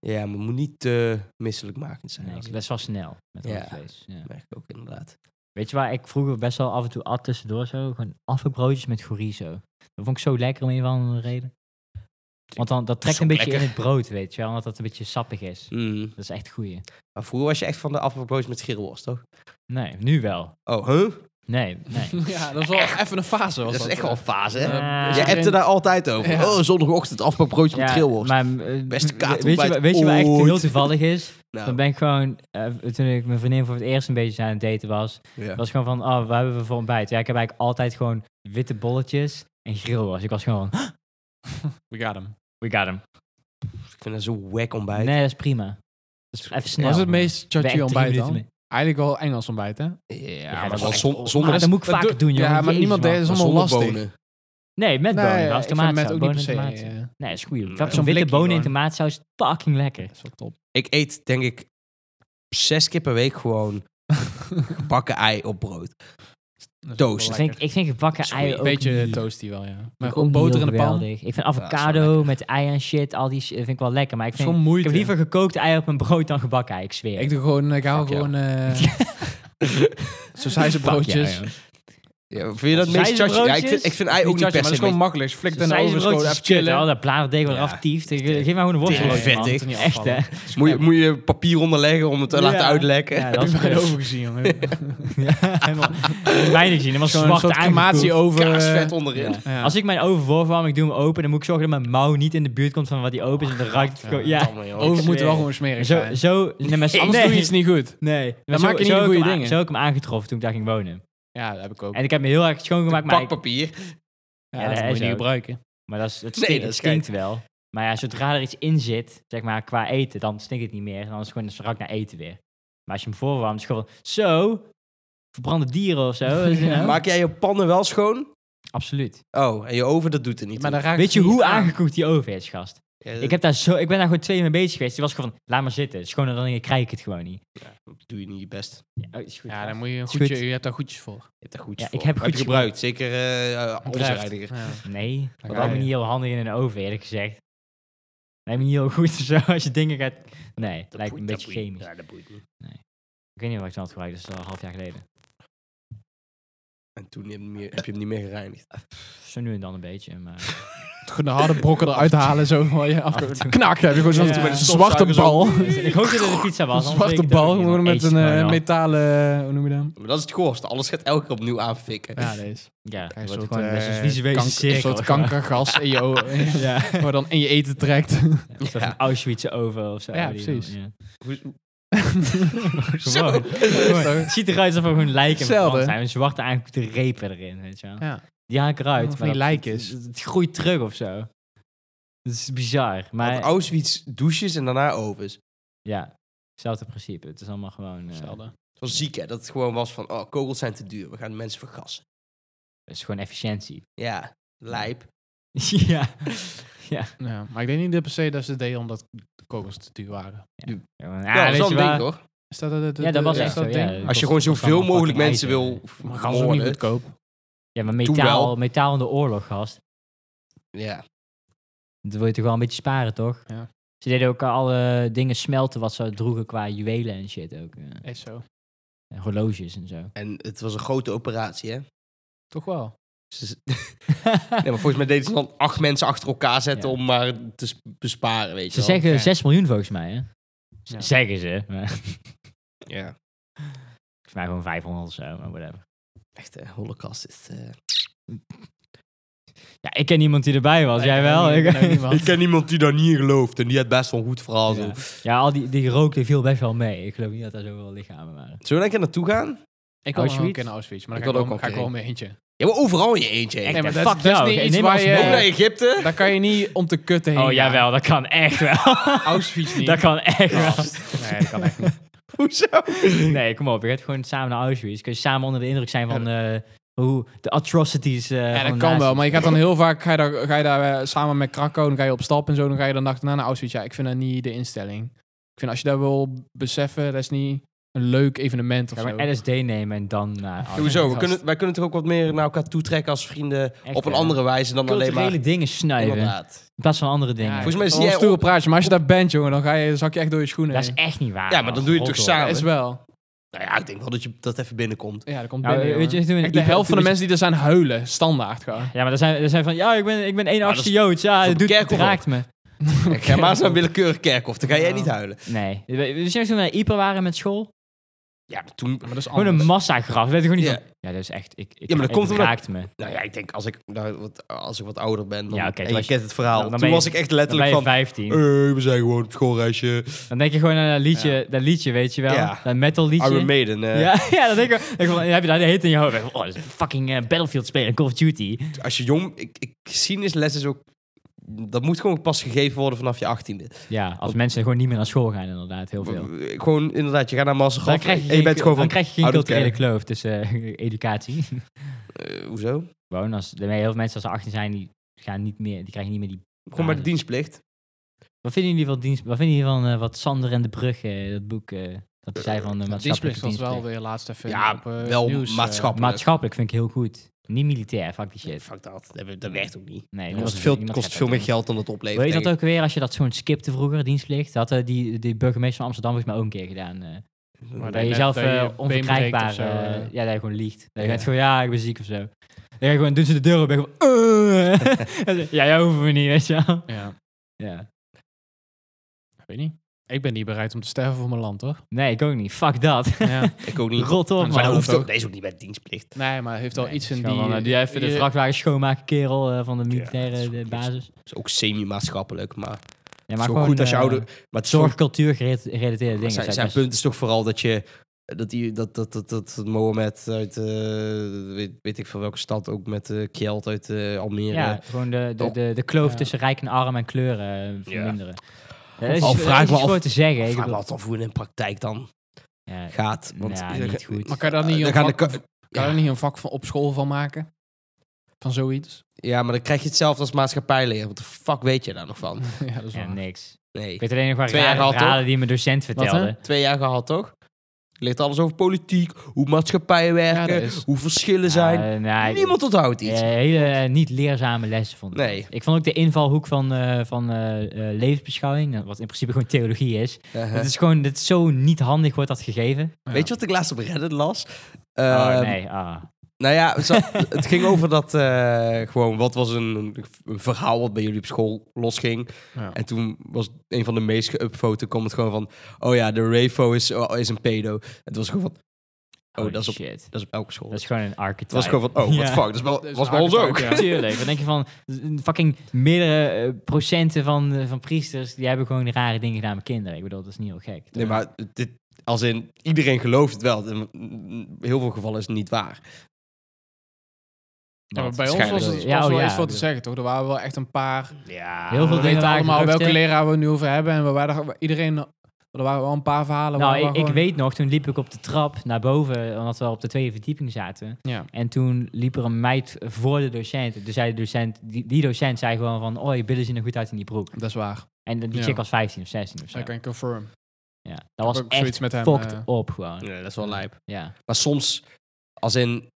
Speaker 1: Ja, maar het moet niet te misselijkmakend zijn.
Speaker 3: Nee,
Speaker 1: als
Speaker 3: dat is wel snel met
Speaker 1: Ja.
Speaker 3: rood vlees. Ja.
Speaker 1: Dat merk ik ook inderdaad.
Speaker 3: Weet je waar ik vroeger best wel af en toe at tussendoor zo? Gewoon afbroodjes met chorizo. Dat vond ik zo lekker om een of andere reden. Want dan, dat trekt
Speaker 1: Zo
Speaker 3: een beetje
Speaker 1: lekker.
Speaker 3: in het brood, weet je wel. Omdat dat een beetje sappig is.
Speaker 1: Mm.
Speaker 3: Dat is echt goeie.
Speaker 1: Maar vroeger was je echt van de afvalbroodjes met schirrelworst, toch?
Speaker 3: Nee, nu wel.
Speaker 1: Oh, huh?
Speaker 3: Nee, nee.
Speaker 2: Ja, dat is wel even een fase. Was
Speaker 1: Dat is echt wel een fase, hè?
Speaker 3: Ja.
Speaker 1: Je hebt er daar altijd over.
Speaker 2: Ja.
Speaker 1: Oh, zondagochtend afvalbroodje met schirrelworst.
Speaker 3: maar, eh,
Speaker 1: Beste kaart
Speaker 3: Weet je, wa- weet je wat echt heel toevallig is?
Speaker 1: Nou,
Speaker 3: Dan ben ik gewoon, eh, toen ik mijn vriendin voor het eerst een beetje aan het daten was,
Speaker 1: ja.
Speaker 3: was gewoon van, oh, wat hebben we voor ontbijt? Ja, ik heb eigenlijk altijd gewoon witte bolletjes en grillwas. Ik was gewoon, van,
Speaker 2: We got hem.
Speaker 3: we got him.
Speaker 1: Ik vind dat zo wack ontbijt.
Speaker 3: Nee, dat is prima. Dat is even snel.
Speaker 2: Wat is het meest
Speaker 3: Ik ben echt
Speaker 2: chachi
Speaker 3: drie
Speaker 2: ontbijt
Speaker 3: minuten
Speaker 2: dan?
Speaker 3: mee.
Speaker 2: Eigenlijk wel Engels ontbijt, hè?
Speaker 1: Ja,
Speaker 3: dat
Speaker 1: maar
Speaker 3: is
Speaker 1: wel
Speaker 3: echt-
Speaker 1: zon-
Speaker 2: oh,
Speaker 1: zonder
Speaker 3: Maar dat moet ik
Speaker 2: dat
Speaker 3: vaker
Speaker 2: doe-
Speaker 3: doen, joh.
Speaker 2: ja, maar
Speaker 3: Jezus,
Speaker 2: niemand
Speaker 3: man.
Speaker 2: deed dat is
Speaker 1: zonder
Speaker 2: allemaal lastig.
Speaker 1: bonen.
Speaker 3: Nee, met bonen.
Speaker 2: Nee,
Speaker 3: als
Speaker 2: ik vind het
Speaker 3: tomaatsaus.
Speaker 2: ook niet
Speaker 3: Bonen
Speaker 2: per
Speaker 3: en
Speaker 2: se.
Speaker 3: tomaatsaus.
Speaker 2: eh,
Speaker 3: Nee, dat is goed.
Speaker 1: Zo'n
Speaker 3: Zo'n witte
Speaker 2: blikje
Speaker 3: bonen in
Speaker 2: gewoon.
Speaker 3: tomaatsaus is fucking lekker.
Speaker 2: Dat is wel top.
Speaker 1: Ik eet, denk ik, zes keer per week gewoon bakken ei op brood.
Speaker 2: Dat is
Speaker 1: Toast.
Speaker 2: wel
Speaker 3: Ik
Speaker 2: lekker.
Speaker 3: vind, ik vind gebakken
Speaker 1: Sorry,
Speaker 3: ei ook
Speaker 2: beetje
Speaker 3: niet-
Speaker 2: toasty wel, ja.
Speaker 3: vind
Speaker 2: Maar
Speaker 3: ik
Speaker 2: gewoon
Speaker 3: ook niet
Speaker 2: boter in
Speaker 3: heel
Speaker 2: de pan.
Speaker 3: geweldig. Ik vind
Speaker 1: is wel
Speaker 3: avocado met ei en shit, al die shit, vind ik wel lekker. Maar ik,
Speaker 2: Het is
Speaker 3: vind,
Speaker 2: gewoon
Speaker 3: ik
Speaker 2: moeite.
Speaker 3: heb liever gekookt ei op mijn brood dan gebakken ei, ik zweer.
Speaker 2: Ik doe gewoon, ik hou
Speaker 1: Fuck jou.
Speaker 2: gewoon eh broodjes.
Speaker 1: Ja, vind je dat
Speaker 3: Zijn
Speaker 1: meest
Speaker 3: ze
Speaker 1: chachi? Ja, ik
Speaker 3: broodjes?
Speaker 1: vind, ik vind ei ook niet
Speaker 2: maar
Speaker 1: per
Speaker 2: dat
Speaker 1: se
Speaker 2: is gewoon
Speaker 1: meest-
Speaker 2: makkelijk. Dus Flik dan over,
Speaker 3: Zijn
Speaker 2: is gewoon even chillen.
Speaker 3: Oh, Dat bladerdeeg wel
Speaker 1: Ja.
Speaker 3: raftief. Geef mij gewoon
Speaker 1: Tering
Speaker 3: een worstbroodje, man.
Speaker 1: vettig.
Speaker 3: Echt, hè?
Speaker 1: Moet je, moet je papier onderleggen om het te
Speaker 3: Ja.
Speaker 1: laten uitlekken?
Speaker 3: Ja,
Speaker 2: Dat
Speaker 3: dat is
Speaker 2: heb ik bijna
Speaker 3: best.
Speaker 2: overgezien, jongen.
Speaker 3: Helemaal weinig zien. Dat was
Speaker 2: Zo'n
Speaker 3: zwart
Speaker 2: soort
Speaker 3: aangekoekt.
Speaker 2: crematie over...
Speaker 1: Kaasvet
Speaker 2: eh,
Speaker 1: onderin.
Speaker 3: Ja.
Speaker 2: ja.
Speaker 3: Als ik mijn oven voorverwarming doe hem open, dan moet ik zorgen dat mijn mouw niet in de buurt komt van wat die open is. En dan ruikt het gewoon... Ja,
Speaker 1: Damn, joh.
Speaker 2: Oven Ah, moet
Speaker 3: zweer.
Speaker 2: wel gewoon smerig
Speaker 3: zo...
Speaker 2: zijn.
Speaker 3: zo nee, maar
Speaker 2: Anders doe je iets niet goed.
Speaker 3: Nee.
Speaker 2: Dan
Speaker 3: zo-
Speaker 2: maak je niet
Speaker 3: zo
Speaker 2: de
Speaker 3: heb ik
Speaker 2: goede
Speaker 3: hem a-
Speaker 2: dingen.
Speaker 3: Zo heb ik hem aangetroffen toen ik daar ging wonen.
Speaker 2: Ja, dat heb ik ook.
Speaker 3: En ik heb me heel erg schoongemaakt, maar, ik-
Speaker 1: Pakpapier.
Speaker 2: Ja,
Speaker 3: Ja,
Speaker 2: dat
Speaker 3: dat
Speaker 2: moet
Speaker 3: is
Speaker 2: je niet
Speaker 3: ook.
Speaker 2: gebruiken.
Speaker 3: maar dat, is, het
Speaker 1: Nee, dat
Speaker 3: stinkt, het
Speaker 1: schijnt.
Speaker 3: stinkt wel. Maar ja, zodra er iets in zit, zeg maar, qua eten, dan stinkt het niet meer. En dan is het gewoon een strak naar eten weer. Maar als je hem voorwarmt, is het gewoon zo... Verbrande dieren of zo. Dus, ja,
Speaker 1: Maak jij je pannen wel schoon?
Speaker 3: Absoluut.
Speaker 1: Oh, en je oven, dat doet er niet
Speaker 2: Maar
Speaker 1: toe.
Speaker 2: dan raak
Speaker 3: Weet je
Speaker 2: het niet
Speaker 3: hoe
Speaker 2: aan.
Speaker 3: aangekoekt die oven is, gast?
Speaker 1: Ja, dat
Speaker 3: Ik, heb daar zo, ik ben daar gewoon twee uur mee bezig geweest. Die was gewoon van, laat maar zitten. Schoner dan je krijg ik het gewoon niet.
Speaker 1: doe je niet je best.
Speaker 3: Ja, oh, is goed,
Speaker 2: Ja,
Speaker 3: gast.
Speaker 2: dan moet je een
Speaker 3: Is
Speaker 2: goedje...
Speaker 3: goed.
Speaker 2: Je hebt daar goedjes voor.
Speaker 1: Je hebt daar goed
Speaker 3: Ja,
Speaker 1: voor.
Speaker 3: ik heb
Speaker 1: je
Speaker 3: goedjes
Speaker 1: gebruikt. Zeker eh onze
Speaker 2: Onrecht.
Speaker 1: reidiger.
Speaker 2: Ja.
Speaker 3: Nee,
Speaker 2: ga
Speaker 3: want dat
Speaker 2: je.
Speaker 3: is niet heel handig in een oven, eerlijk gezegd. Dat is niet heel goed zo, als je dingen gaat... Nee, het
Speaker 1: Dat boeit-
Speaker 3: lijkt me een
Speaker 1: dat
Speaker 3: beetje
Speaker 1: boeit-
Speaker 3: chemisch.
Speaker 1: Ja, dat boeit niet.
Speaker 3: Ik weet niet wat ik dan had gebruikt, dat is al een half jaar geleden.
Speaker 1: En toen heb je hem niet meer- heb je hem niet meer gereinigd.
Speaker 3: Zo nu en dan een beetje, maar...
Speaker 2: gewoon de harde brokken eruit halen. Zo, van je af
Speaker 3: Af en toe.
Speaker 2: knak, heb je gewoon zo'n
Speaker 3: Af en toe met
Speaker 2: een
Speaker 3: een
Speaker 2: zwarte
Speaker 1: stofzuiger
Speaker 2: bal.
Speaker 3: Ik hoop dat het een pizza was. anders
Speaker 2: Een
Speaker 3: weet
Speaker 2: zwarte
Speaker 3: ik het ook
Speaker 2: bal,
Speaker 3: niet,
Speaker 2: gewoon
Speaker 3: maar
Speaker 2: met
Speaker 3: eet
Speaker 2: een
Speaker 3: gewoon
Speaker 2: eh,
Speaker 3: wel.
Speaker 2: metalen, hoe noem je dat?
Speaker 1: Maar dat is het goorste. Alles gaat elke keer opnieuw aanfikken.
Speaker 2: Ja, deze.
Speaker 3: Ja,
Speaker 2: Een
Speaker 3: het wordt
Speaker 2: soort,
Speaker 3: gewoon best een
Speaker 2: eh,
Speaker 3: visuele
Speaker 2: kank-
Speaker 3: cirkel.
Speaker 2: Een soort
Speaker 3: zeg
Speaker 2: kankergas in je
Speaker 3: maar.
Speaker 2: ogen.
Speaker 3: Ja,
Speaker 2: Waar dan in je eten trekt.
Speaker 3: Een soort van Auschwitz over of zo.
Speaker 2: Ja,
Speaker 3: die dan,
Speaker 2: precies.
Speaker 3: ja.
Speaker 1: Hoe- Zo.
Speaker 3: Gewoon. Gewoon. Het ziet eruit alsof er gewoon lijken
Speaker 2: Hetzelfde.
Speaker 3: verbrand zijn. Een zwarte aangekoekte repen erin, weet je wel.
Speaker 2: Ja.
Speaker 3: Die haken eruit.
Speaker 2: Van
Speaker 3: maar
Speaker 2: die
Speaker 3: dat-
Speaker 2: lijkjes.
Speaker 3: Het, het groeit terug of zo. Dat is bizar. Maar
Speaker 1: Want Auschwitz douches en daarna ovens.
Speaker 3: ja, hetzelfde principe. Het is allemaal gewoon... eh,
Speaker 2: Hetzelfde.
Speaker 1: Van ziek, hè? Dat het gewoon was van, oh, kogels zijn te duur. We gaan mensen vergassen.
Speaker 3: het is gewoon efficiëntie.
Speaker 1: Ja, lijp.
Speaker 3: ja.
Speaker 2: Ja, maar ik denk niet dat per se dat ze het deden omdat de kogels te duur waren.
Speaker 3: Ja, maar, ah,
Speaker 1: Ja,
Speaker 3: weet
Speaker 1: zo'n
Speaker 3: je
Speaker 1: ding,
Speaker 3: waar?
Speaker 1: hoor.
Speaker 2: Is dat het?
Speaker 3: Ja, dat was
Speaker 1: Ja.
Speaker 3: echt zo,
Speaker 2: dat
Speaker 3: ja.
Speaker 2: ding?
Speaker 3: Het
Speaker 1: Als je
Speaker 3: kost-
Speaker 1: gewoon
Speaker 3: kost allemaal
Speaker 1: zoveel mogelijk
Speaker 3: fucking
Speaker 1: mensen
Speaker 3: ijzer.
Speaker 1: wil
Speaker 2: Maar gas is ook niet
Speaker 1: vermoorden.
Speaker 2: goedkoop.
Speaker 3: Ja, maar
Speaker 1: Toen wel.
Speaker 3: metaal, metaal in de oorlog, gast.
Speaker 1: Ja.
Speaker 3: Dat wil je toch wel een beetje sparen, toch?
Speaker 2: Ja.
Speaker 3: Ze deden ook alle dingen smelten wat ze droegen qua juwelen en shit ook. eh,
Speaker 2: Echt zo.
Speaker 3: en horloges en zo.
Speaker 1: En het was een grote operatie, hè?
Speaker 2: Toch wel.
Speaker 1: Ze- Nee, maar volgens mij deden ze dan acht mensen achter elkaar zetten
Speaker 3: Ja.
Speaker 1: om maar te s- besparen, weet je
Speaker 3: Ze
Speaker 1: wel.
Speaker 3: zeggen
Speaker 2: ja.
Speaker 3: 6 miljoen volgens mij, hè? Z-
Speaker 2: Ja.
Speaker 3: Zeggen ze. maar volgens
Speaker 1: Ja.
Speaker 3: mij gewoon 500 of zo, maar whatever.
Speaker 1: Echt, eh, holocaust is... eh,
Speaker 3: Ja, ik ken iemand die erbij was.
Speaker 2: Ik
Speaker 3: Jij
Speaker 2: ken
Speaker 3: wel?
Speaker 2: ook niet- ik ken ook niet wat.
Speaker 1: Ik ken iemand die daar niet in gelooft en die had best wel een goed verhaal. Zo.
Speaker 3: Ja, ja al die, die rook die viel best wel mee. Ik geloof niet dat daar zoveel lichamen waren.
Speaker 1: Zullen we daar een keer naartoe gaan?
Speaker 2: Ik wil
Speaker 3: Auschwitz?
Speaker 2: ook in Auschwitz, maar
Speaker 1: Ik
Speaker 2: dan
Speaker 1: wil
Speaker 2: ga
Speaker 1: ook
Speaker 2: ik wel-
Speaker 1: ook
Speaker 2: ga ik wel
Speaker 1: heen.
Speaker 2: mee eentje.
Speaker 1: Ja, maar overal in je eentje. hè.
Speaker 3: Echt,
Speaker 2: Nee, maar
Speaker 3: hè?
Speaker 2: dat-
Speaker 3: Fuck
Speaker 2: dat is
Speaker 3: jou,
Speaker 2: niet
Speaker 3: oké,
Speaker 2: iets
Speaker 3: neem
Speaker 2: waar
Speaker 3: ons
Speaker 2: je-
Speaker 3: mee.
Speaker 1: Ook naar Egypte?
Speaker 2: Daar kan je niet om te kutten heen.
Speaker 3: Oh, jawel, dat kan echt wel.
Speaker 2: Auschwitz niet.
Speaker 3: dat kan echt wel.
Speaker 2: Nee, dat kan echt niet.
Speaker 1: Hoezo?
Speaker 3: Nee, kom op. Je gaat gewoon samen naar Auschwitz. Kun je samen onder de indruk zijn van eh, hoe de atrocities. eh
Speaker 2: Ja,
Speaker 3: van
Speaker 2: dat
Speaker 3: de
Speaker 2: kan
Speaker 3: nazi's.
Speaker 2: wel, maar je gaat dan heel vaak, ga je daar, ga je daar eh, samen met Krakau, dan ga je op stap en zo, dan ga je dan dag daarna naar Auschwitz. Ja, ik vind dat niet de instelling. Ik vind als je dat wil beseffen, dat is niet een leuk evenement of
Speaker 3: Ga
Speaker 2: zo.
Speaker 3: maar LSD nemen en dan naar Auschwitz.
Speaker 1: Hoezo? We
Speaker 2: gast.
Speaker 1: kunnen, wij kunnen toch ook wat meer naar elkaar toetrekken als vrienden
Speaker 3: Echt,
Speaker 1: op een
Speaker 3: hè?
Speaker 1: andere wijze dan alleen
Speaker 3: Culturele
Speaker 1: maar...
Speaker 3: dingen snuiven.
Speaker 1: Inderdaad.
Speaker 3: In plaats van andere dingen.
Speaker 1: Volgens mij
Speaker 2: is
Speaker 1: zie
Speaker 2: een
Speaker 1: jij
Speaker 2: stoere
Speaker 1: ook-
Speaker 2: praatje, maar als je daar bent, jongen, dan ga je, zak je echt door je schoenen.
Speaker 3: Dat is
Speaker 2: heen.
Speaker 3: echt niet waar.
Speaker 1: Ja, maar dan doe je het toch
Speaker 3: Rot,
Speaker 1: samen?
Speaker 2: Dat is wel.
Speaker 1: Nou ja, ik denk wel dat je dat even binnenkomt.
Speaker 2: Ja, dat komt
Speaker 3: hoor.
Speaker 2: binnen,
Speaker 3: Nou, weet je,
Speaker 1: eh,
Speaker 2: jongen.
Speaker 3: toen-
Speaker 2: Echt de
Speaker 3: toen-
Speaker 2: helft van de
Speaker 3: toen-
Speaker 2: mensen die er zijn huilen, standaard gewoon.
Speaker 3: Ja, maar er zijn, er zijn van, ja, ik ben, ik ben één
Speaker 1: dat
Speaker 3: achtste
Speaker 1: is-
Speaker 3: Joods. Ja,
Speaker 1: is
Speaker 3: het
Speaker 1: op
Speaker 3: doet,
Speaker 1: de
Speaker 3: het
Speaker 1: kerkhof.
Speaker 3: raakt me.
Speaker 1: Ik ga maar eens naar een willekeurig kerkhof, dan ga jij
Speaker 2: Ja.
Speaker 1: niet huilen.
Speaker 3: Nee. We we zijn toen we naar Ieper waren met
Speaker 1: Oh,
Speaker 3: school.
Speaker 1: Ja, maar toen... Oh,
Speaker 2: Maar dat is
Speaker 3: Gewoon een
Speaker 2: anders.
Speaker 3: massagraf. Weet je gewoon niet
Speaker 1: Ja.
Speaker 3: van, ja, dat is echt, ik, ik,
Speaker 1: Ja, maar dat
Speaker 3: het
Speaker 1: komt omdat-
Speaker 3: raakt me.
Speaker 1: Nou ja, ik denk als ik, nou, wat, als ik wat ouder ben dan,
Speaker 3: Ja, oké, toen
Speaker 1: en je
Speaker 3: was je-
Speaker 1: kent het verhaal.
Speaker 3: dan ben
Speaker 1: toen
Speaker 3: je-
Speaker 1: was ik echt
Speaker 3: Dan ben
Speaker 1: letterlijk
Speaker 3: je
Speaker 1: van...
Speaker 3: 15.
Speaker 1: "Hey, we zijn gewoon op schoolreisje.
Speaker 3: Dan denk je gewoon aan dat liedje, dat liedje weet je wel.
Speaker 1: Ja.
Speaker 3: Dat metal liedje.
Speaker 1: Iron Maiden. eh,
Speaker 3: Ja, ja, dan denk ik, dan denk ik van, dan heb je dat de hele tijd in je hoofd. Oh, dat is een fucking eh, Battlefield spelen, Call of Duty.
Speaker 1: als je jong... Ik, ik, geschiedenisles is ook... Dat moet gewoon pas gegeven worden vanaf je achttiende.
Speaker 3: Ja, als mensen gewoon niet meer naar school gaan inderdaad, heel veel.
Speaker 1: Gewoon inderdaad, je gaat naar massagraf
Speaker 3: Dan krijg je,
Speaker 1: en je bent
Speaker 3: geen-
Speaker 1: gewoon
Speaker 3: dan
Speaker 1: van...
Speaker 3: krijg je geen
Speaker 1: I don't
Speaker 3: culturele kloof tussen eh, educatie.
Speaker 1: eh, hoezo?
Speaker 3: Gewoon, als, heel veel mensen als ze 18 zijn, die, gaan niet meer, die krijgen niet meer die...
Speaker 1: Gewoon bij de dienstplicht.
Speaker 3: Wat vinden jullie van, dienst, wat, vinden jullie van eh, wat Sander en de Brug, eh, dat boek, eh, dat zij van de
Speaker 2: Ja,
Speaker 3: maatschappelijke
Speaker 2: Dienstplicht was
Speaker 3: dienst
Speaker 2: wel weer laatst even
Speaker 1: Ja,
Speaker 2: op eh,
Speaker 1: wel
Speaker 2: nieuws, eh,
Speaker 1: maatschappelijk.
Speaker 3: Maatschappelijk vind ik heel goed. Niet militair, fuck die shit.
Speaker 1: Fuck dat, dat hebben- dat werkt ook niet. Het
Speaker 3: Nee, niemand-
Speaker 1: kost veel,
Speaker 3: niemand
Speaker 1: kost
Speaker 3: gaat
Speaker 1: veel
Speaker 3: dat
Speaker 1: meer
Speaker 3: doen.
Speaker 1: geld dan het oplevert.
Speaker 3: Weet je dat
Speaker 1: denk
Speaker 3: ook weer, als je dat zo'n skipte vroeger, dienstplicht? Dat had eh, die, die burgemeester van Amsterdam volgens mij ook een keer gedaan. eh.
Speaker 1: ik.
Speaker 2: Maar
Speaker 3: dat
Speaker 2: je
Speaker 3: je
Speaker 2: net-
Speaker 3: zelf
Speaker 2: dat je
Speaker 3: eh,
Speaker 2: been breekt
Speaker 3: onverkrijgbaar...
Speaker 2: of zo,
Speaker 3: eh,
Speaker 2: eh.
Speaker 3: ja, dat je gewoon liegt. Dat je
Speaker 1: Ja.
Speaker 3: gaat gewoon, ja, ik ben ziek of zo. Dan ga je gewoon, doen ze de deur op en gewoon... eh. ja, jij hoeft me niet, weet je wel.
Speaker 2: Ja,
Speaker 3: Ja.
Speaker 2: ik weet niet. Ik ben niet bereid om te sterven voor mijn land, hoor.
Speaker 3: Nee, ik ook niet. Fuck dat.
Speaker 2: Ja.
Speaker 1: Ik ook niet.
Speaker 3: Rot op,
Speaker 2: Maar
Speaker 1: Maar
Speaker 2: dat
Speaker 1: dat
Speaker 3: man.
Speaker 1: hoeft
Speaker 2: hoeft
Speaker 1: ook, dat is ook niet bij de dienstplicht.
Speaker 2: Nee, maar het heeft wel
Speaker 3: Nee,
Speaker 2: iets
Speaker 3: het
Speaker 2: in
Speaker 3: is
Speaker 2: die...
Speaker 3: gewoon, eh, die even de
Speaker 2: je-
Speaker 3: vrachtwagen schoonmaken, kerel eh, van de
Speaker 1: dat
Speaker 3: militaire
Speaker 1: is
Speaker 3: de
Speaker 1: goed.
Speaker 3: basis.
Speaker 1: Dat is ook semi-maatschappelijk, maar,
Speaker 3: Ja,
Speaker 1: maar goed als je
Speaker 3: eh,
Speaker 1: ouder... Maar het is toch-
Speaker 3: Zorgcultuur gerelateerde dingen.
Speaker 1: maar
Speaker 3: zou
Speaker 1: zijn,
Speaker 3: ik
Speaker 1: zijn
Speaker 3: best-
Speaker 1: punt is toch vooral dat je... Dat, die, dat, dat, dat, dat, dat Mohammed uit, eh, weet, weet ik van welke stad, ook met eh Kjeld uit eh, Almere.
Speaker 3: Ja, gewoon de, de,
Speaker 1: toch?
Speaker 3: de, de kloof
Speaker 2: Ja.
Speaker 3: tussen rijk en arm en kleuren eh,
Speaker 1: Ja.
Speaker 3: verminderen. Ja. dat is,
Speaker 1: Al
Speaker 3: dat
Speaker 1: vraag
Speaker 3: is
Speaker 1: me
Speaker 3: iets
Speaker 1: af-
Speaker 3: voor te zeggen. Ik
Speaker 1: Vraag me
Speaker 3: bedoel-
Speaker 1: altijd af hoe het in de praktijk dan
Speaker 3: Ja,
Speaker 1: gaat. Want
Speaker 3: ja, niet goed.
Speaker 2: Maar kan je daar niet,
Speaker 1: Dan
Speaker 2: een
Speaker 1: gaan
Speaker 2: vak,
Speaker 1: de
Speaker 2: kan
Speaker 1: ka-
Speaker 2: je daar niet een vak van, op school van maken? Van zoiets?
Speaker 1: Ja, maar dan krijg je hetzelfde als maatschappijleer. Wat de fuck weet je daar nog van?
Speaker 2: ja, dat is
Speaker 3: Ja,
Speaker 2: waar.
Speaker 3: niks.
Speaker 1: Nee.
Speaker 3: Ik weet alleen nog maar
Speaker 1: Twee jaar
Speaker 3: rare
Speaker 1: gehad,
Speaker 3: verhalen die mijn docent
Speaker 2: hè?
Speaker 3: vertelde.
Speaker 1: Twee jaar gehad, toch? Ligt alles over politiek, hoe maatschappijen werken,
Speaker 2: dat is-
Speaker 1: hoe verschillen zijn.
Speaker 3: Ah, nee,
Speaker 1: Niemand onthoudt
Speaker 3: eh,
Speaker 1: iets.
Speaker 3: hele eh, niet leerzame lessen vond ik.
Speaker 1: Nee.
Speaker 3: Ik vond ook de invalhoek van, eh, van eh, eh, levensbeschouwing, eh, wat in principe gewoon theologie is.
Speaker 1: Uh-huh.
Speaker 3: Het is gewoon, dat is zo niet handig wordt dat gegeven.
Speaker 2: Ja.
Speaker 1: Weet je wat ik laatst op Reddit las?
Speaker 3: oh
Speaker 1: Ehm,
Speaker 3: nee, ah.
Speaker 1: Nou ja, het, zat- het ging over dat eh, gewoon, wat was een, een verhaal wat bij jullie op school losging.
Speaker 2: Ja.
Speaker 1: En toen was een van de meest geüpfoten comment gewoon van, oh ja, de Rayfo is, oh, is een pedo. Het was gewoon van, oh,
Speaker 3: Holy
Speaker 1: dat is, op,
Speaker 3: shit.
Speaker 1: dat is op elke school.
Speaker 3: Dat is gewoon een archetype.
Speaker 1: het was gewoon van, oh,
Speaker 3: Ja.
Speaker 1: what the fuck, dat is wel-
Speaker 2: Dat is
Speaker 1: was
Speaker 2: een
Speaker 1: bij ons ook.
Speaker 2: archetype, ja.
Speaker 3: Tuurlijk, dan denk je van een fucking meerdere eh, procenten van, eh, van priesters, die hebben gewoon rare dingen gedaan met kinderen. Ik bedoel, dat is niet heel gek. toch?
Speaker 1: Nee, maar dit, als in, iedereen gelooft het wel. In heel veel gevallen is het niet waar.
Speaker 2: Ja, maar
Speaker 3: Want
Speaker 2: bij ons was
Speaker 1: waarschijnlijk-
Speaker 2: het
Speaker 3: Ja,
Speaker 2: was
Speaker 3: oh
Speaker 2: wel
Speaker 3: ja,
Speaker 2: eens wat te
Speaker 3: ja.
Speaker 2: zeggen, toch? Er waren wel echt een paar...
Speaker 1: Ja.
Speaker 3: Heel veel
Speaker 2: We
Speaker 3: dingen
Speaker 2: weten
Speaker 3: waren
Speaker 2: allemaal welke
Speaker 3: geruchten.
Speaker 2: leraar we het nu over hebben. En we waren er- iedereen... Er waren wel een paar verhalen.
Speaker 3: Nou,
Speaker 2: waar we
Speaker 3: ik, ik
Speaker 2: gewoon-
Speaker 3: weet nog, toen liep ik op de trap naar boven, omdat we al op de tweede verdieping zaten.
Speaker 2: Ja.
Speaker 3: En toen liep er een meid voor de docent. Dus zei de docent, die, die docent zei gewoon van, oh, je billen zien er goed uit in die broek.
Speaker 2: Dat is waar.
Speaker 3: En die
Speaker 2: Ja.
Speaker 3: chick was 15 of 16 of zo.
Speaker 2: Dat kan ik confirm.
Speaker 3: Ja, dat was
Speaker 2: ook
Speaker 3: echt
Speaker 2: zoiets met hem,
Speaker 3: fucked
Speaker 2: eh.
Speaker 3: op gewoon. Ja.
Speaker 1: dat is wel lijp.
Speaker 3: Ja.
Speaker 1: Maar soms, als in... Oké,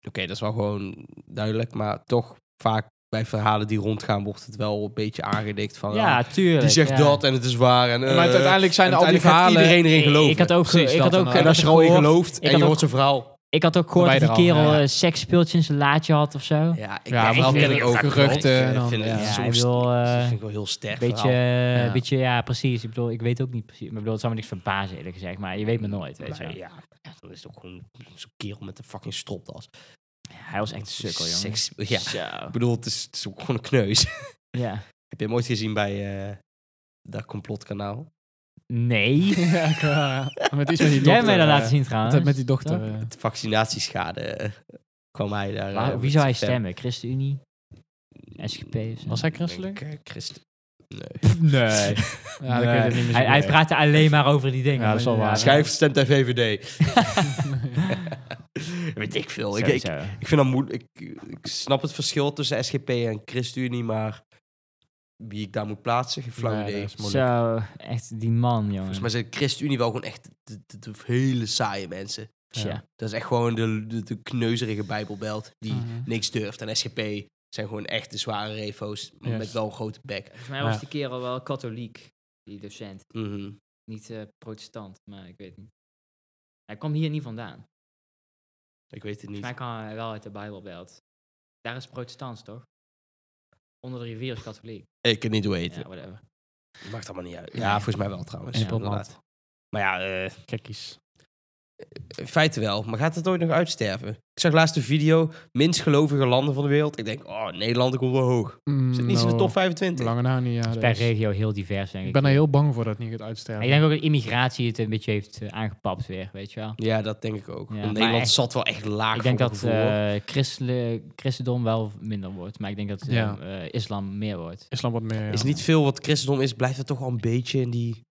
Speaker 1: dat is wel gewoon duidelijk, maar toch vaak bij verhalen die rondgaan wordt het wel een beetje aangedikt van... ah,
Speaker 3: tuurlijk.
Speaker 1: die zegt
Speaker 3: ja.
Speaker 1: dat en het is waar. En, eh,
Speaker 2: maar het- uiteindelijk zijn
Speaker 1: en
Speaker 2: al die
Speaker 1: uiteindelijk gaat
Speaker 2: verhalen...
Speaker 1: iedereen erin
Speaker 3: Ik-
Speaker 1: geloven.
Speaker 3: Ik had ook, ge-
Speaker 2: Precies,
Speaker 3: ik had
Speaker 2: dat
Speaker 3: ook,
Speaker 2: dan
Speaker 1: en
Speaker 3: ik
Speaker 2: ook.
Speaker 3: had
Speaker 1: als je er al
Speaker 3: ook
Speaker 1: in
Speaker 3: gehoord-
Speaker 1: gelooft en
Speaker 3: had
Speaker 1: je
Speaker 3: ook-
Speaker 1: hoort zijn verhaal...
Speaker 3: Ik had ook gehoord
Speaker 2: Dan
Speaker 3: dat
Speaker 2: ben
Speaker 3: die
Speaker 2: je er al,
Speaker 3: kerel
Speaker 2: ja.
Speaker 3: eh, seksspeeltjes in zijn laadje had of zo.
Speaker 1: Ja, ik
Speaker 2: Ja, maar
Speaker 1: dat
Speaker 3: ik
Speaker 1: ken
Speaker 3: weet
Speaker 1: ik
Speaker 2: het
Speaker 1: ook.
Speaker 2: ook. Geruchten en
Speaker 1: Ik
Speaker 2: dan-
Speaker 1: vind het
Speaker 2: ja,
Speaker 1: soms-
Speaker 3: hij wil, eh,
Speaker 1: dat vind ik wel heel sterk
Speaker 3: Beetje,
Speaker 1: verhaal.
Speaker 3: eh,
Speaker 2: Ja.
Speaker 3: beetje, ja, precies. Ik bedoel, ik weet ook niet precies. Maar ik bedoel, het zou me niks verbazen, eerlijk gezegd. Maar je weet me nooit, weet je
Speaker 1: Maar
Speaker 3: wel.
Speaker 1: ja, dat is toch gewoon zo'n kerel met een fucking stropdas.
Speaker 3: Hij was echt een sukkel, jongen.
Speaker 1: Seks- ja.
Speaker 3: Zo.
Speaker 1: Ik bedoel, het is, het is ook gewoon een kneus.
Speaker 3: Ja.
Speaker 1: Heb je hem ooit gezien bij eh, dat complotkanaal?
Speaker 3: Nee.
Speaker 2: Ja, ik, eh, met iets met
Speaker 3: Jij
Speaker 2: die dochter.
Speaker 3: hebt mij dat
Speaker 2: eh,
Speaker 3: laten zien trouwens.
Speaker 2: Met die dochter. eh.
Speaker 1: Het vaccinatieschade eh, kwam hij daar.
Speaker 3: Maar
Speaker 1: eh,
Speaker 3: wie zou hij
Speaker 1: met- Mm,
Speaker 3: stemmen? ChristenUnie? SGP of zo?
Speaker 2: Was hij christelijk?
Speaker 1: Ik denk, eh, Christen. Nee.
Speaker 3: Nee.
Speaker 2: Ja, dat kun je er niet meer
Speaker 3: Hij,
Speaker 2: zien.
Speaker 3: hij praatte alleen maar over die dingen.
Speaker 2: Ja, dat is wel waar.
Speaker 1: Schijf stemt hij VVD.
Speaker 2: Nee.
Speaker 1: Weet ik veel. Ik, ik,
Speaker 3: Sowieso.
Speaker 1: ik vind dat moeilijk. Ik, ik snap het verschil tussen SGP en ChristenUnie, maar wie ik daar moet plaatsen, geen flauw
Speaker 2: Nee,
Speaker 1: idee.
Speaker 2: dat is moeilijk.
Speaker 3: Zo, echt die man, jongen.
Speaker 1: Volgens mij zijn ChristenUnie wel gewoon echt de, de- de hele saaie mensen.
Speaker 3: Tja.
Speaker 1: Dat is echt gewoon de, de, de kneuzerige bijbelbelt die
Speaker 2: Mhm.
Speaker 1: niks durft. En SGP zijn gewoon echt de zware refo's
Speaker 2: Yes.
Speaker 1: met wel een grote bek.
Speaker 3: Volgens mij
Speaker 2: was Ja.
Speaker 3: die kerel wel katholiek, die docent.
Speaker 1: Mhm.
Speaker 3: Niet eh, protestant, maar ik weet niet. Hij kwam hier niet vandaan.
Speaker 1: Ik weet het niet.
Speaker 3: Volgens mij kwam hij wel uit de Bijbelbelt. Daar is protestants, toch? Onder de rivier is katholiek.
Speaker 1: Ik kan niet hoe eten.
Speaker 3: Ja, whatever.
Speaker 1: Maakt allemaal niet uit. Ja,
Speaker 3: Nee.
Speaker 1: volgens mij wel trouwens.
Speaker 2: In
Speaker 1: Ja,
Speaker 2: het land.
Speaker 1: inderdaad. Maar ja, eh,
Speaker 2: Gekkies.
Speaker 1: in feite wel. Maar gaat het ooit nog uitsterven? Ik zag laatst een video, minst gelovige landen van de wereld. Ik denk, oh, Nederland komt wel hoog. Zit niet in de top 25.
Speaker 2: Mm, Lange na niet, ja.
Speaker 3: Per
Speaker 2: dat is-
Speaker 3: regio heel divers, denk ik.
Speaker 2: Ik ben er heel bang voor dat het niet gaat uitsterven.
Speaker 3: Ik denk ook dat immigratie het een beetje heeft eh, aangepapt weer, weet je wel.
Speaker 1: Ja, dat denk ik ook.
Speaker 3: Ja,
Speaker 1: Want
Speaker 3: maar
Speaker 1: Nederland
Speaker 3: echt-
Speaker 1: zat wel echt laag
Speaker 3: Ik denk
Speaker 1: voor
Speaker 3: dat
Speaker 1: mijn gevoel, hoor.
Speaker 3: eh christelijk, christendom wel minder wordt, maar ik denk dat eh,
Speaker 2: Ja.
Speaker 3: eh, islam meer wordt.
Speaker 2: Islam wat meer. ja.
Speaker 1: Is niet veel wat christendom is, blijft het toch wel een beetje in die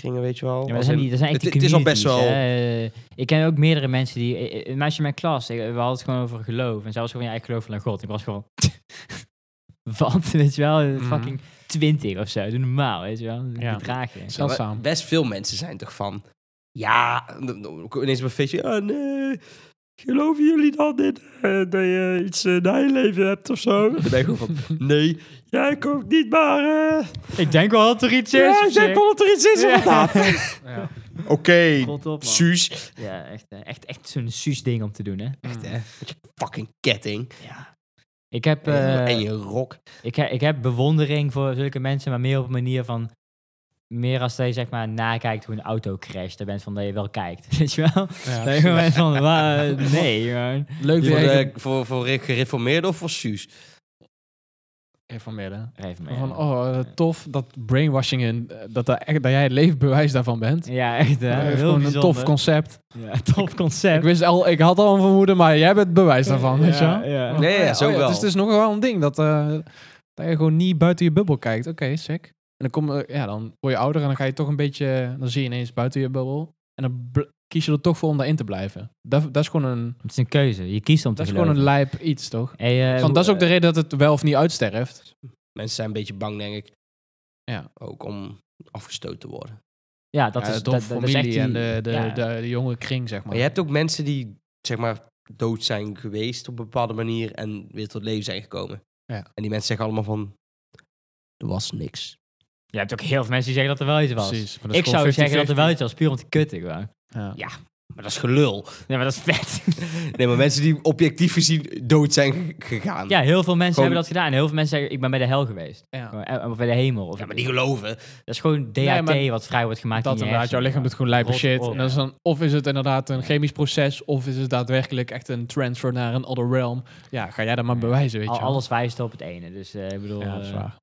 Speaker 1: kringen, weet je wel.
Speaker 3: Ja,
Speaker 1: Als
Speaker 3: maar dat zijn,
Speaker 1: in-
Speaker 3: die, dat zijn echt
Speaker 1: het,
Speaker 3: die
Speaker 1: het is al best wel...
Speaker 3: communities, hè. Eh, ik ken ook meerdere mensen die... eh, eh, Een meisje in mijn klas, eh, we hadden het gewoon over geloof. En zij was gewoon, ja, ik geloof van God. Ik was gewoon... Wat, weet je wel? eh,
Speaker 2: Mhm.
Speaker 3: Fucking twintig of zo. Doe normaal, weet je wel?
Speaker 2: Ja.
Speaker 3: Ja. Draag je.
Speaker 1: Ja, maar
Speaker 2: Zeldzaam.
Speaker 1: Best veel mensen zijn toch van... Ja, dan- dan kom je ineens op een feestje. Ah, nee, geloven jullie dan in, eh, dat je iets eh, na je leven hebt of zo? Dan ben je gewoon van... Nee, ja, ik ook niet, maar... eh,
Speaker 3: Ik denk wel dat er iets is.
Speaker 1: ja,
Speaker 3: op
Speaker 1: ik denk
Speaker 3: zich.
Speaker 1: wel dat er iets is, inderdaad.
Speaker 2: Ja.
Speaker 1: Oké,
Speaker 3: Rot op, man.
Speaker 1: Suus.
Speaker 3: Ja, echt, eh, echt, echt zo'n suus ding om te doen, hè?
Speaker 1: Echt, hè. Met je fucking ketting.
Speaker 3: Ja. Ik heb, eh,
Speaker 1: en je rok.
Speaker 3: ik, he- ik heb bewondering voor zulke mensen, maar meer op een manier van... Meer als dat je zeg maar nakijkt hoe een auto crasht. Daar bent van dat je wel kijkt, weet je wel?
Speaker 2: Ja.
Speaker 3: Dat je gewoon bent van, wa- nee, man.
Speaker 2: Leuk
Speaker 1: Voor,
Speaker 2: dat
Speaker 1: de,
Speaker 2: je
Speaker 1: eh, voor, voor gereformeerd of voor Suus?
Speaker 2: informeerde.
Speaker 3: Even maar,
Speaker 2: Van,
Speaker 3: ja.
Speaker 2: oh, eh, tof dat brainwashing en eh, dat, daar echt, dat jij het leefbewijs daarvan bent.
Speaker 3: Ja, echt. hè?
Speaker 2: Dat is
Speaker 3: heel
Speaker 2: gewoon een
Speaker 3: bijzonder.
Speaker 2: tof concept.
Speaker 3: Ja, tof
Speaker 2: Ik,
Speaker 3: concept.
Speaker 2: wist al, ik had al een vermoeden, maar jij bent het bewijs daarvan. weet je wel?
Speaker 3: ja.
Speaker 2: Oh,
Speaker 1: Nee, ja, zo wel.
Speaker 2: Dus het is nog wel een ding dat, eh, dat je gewoon niet buiten je bubbel kijkt. Oké, sick. En dan, kom, eh, ja, dan word je ouder en dan ga je toch een beetje... Dan zie je ineens buiten je bubbel. En dan bl- kies je er toch voor om daarin te blijven. Dat, dat is gewoon een,
Speaker 3: Het is een keuze. Je kiest om te
Speaker 2: dat is gewoon een
Speaker 3: geloven.
Speaker 2: lijp iets, toch?
Speaker 3: Hey, eh,
Speaker 2: Want dat is
Speaker 3: hoe-
Speaker 2: ook de reden dat het wel of niet uitsterft.
Speaker 1: Mensen zijn een beetje bang, denk ik.
Speaker 2: Ja.
Speaker 1: Ook om afgestoten te worden.
Speaker 3: Ja, dat
Speaker 2: Ja,
Speaker 3: is
Speaker 2: de
Speaker 3: dat, dat is echt
Speaker 2: familie
Speaker 3: die-
Speaker 2: en de, de,
Speaker 3: ja.
Speaker 2: de, de jonge kring, zeg maar.
Speaker 1: Maar je hebt ook mensen die, zeg maar, dood zijn geweest op een bepaalde manier en weer tot leven zijn gekomen.
Speaker 2: Ja.
Speaker 1: En die mensen zeggen allemaal van, er was niks.
Speaker 3: Je hebt ook heel veel mensen die zeggen dat er wel iets was.
Speaker 2: Precies. maar dat is
Speaker 3: Ik
Speaker 2: gewoon
Speaker 3: zou zeggen dat er
Speaker 2: 50-50.
Speaker 3: wel iets was, puur om te kutten gewoon.
Speaker 2: Ja.
Speaker 1: Ja, Maar dat is gelul.
Speaker 3: Nee, maar dat is vet.
Speaker 1: Nee, maar mensen die objectief gezien dood zijn g- gegaan.
Speaker 3: ja, heel veel mensen
Speaker 1: Gewoon-
Speaker 3: hebben dat gedaan. En heel veel mensen zeggen, ik ben bij de hel geweest.
Speaker 2: Ja.
Speaker 3: Gewoon, eh, Of bij de hemel. Of
Speaker 1: Ja, maar die geloven.
Speaker 3: Dat is gewoon DHT
Speaker 2: Nee, maar
Speaker 3: wat vrij wordt gemaakt
Speaker 2: Dat
Speaker 3: in je
Speaker 2: inderdaad, jouw
Speaker 3: hersenen.
Speaker 2: lichaam doet gewoon lijpe
Speaker 3: Rot
Speaker 2: shit.
Speaker 3: op.
Speaker 2: En dat is dan, of is het inderdaad een chemisch proces, of is het daadwerkelijk echt een transfer naar een other realm. Ja, ga jij dat maar bewijzen, weet
Speaker 3: Al-
Speaker 2: je wel.
Speaker 3: alles wijst op het ene. Dus eh, ik bedoel...
Speaker 2: Ja, dat is
Speaker 3: eh,
Speaker 2: waar.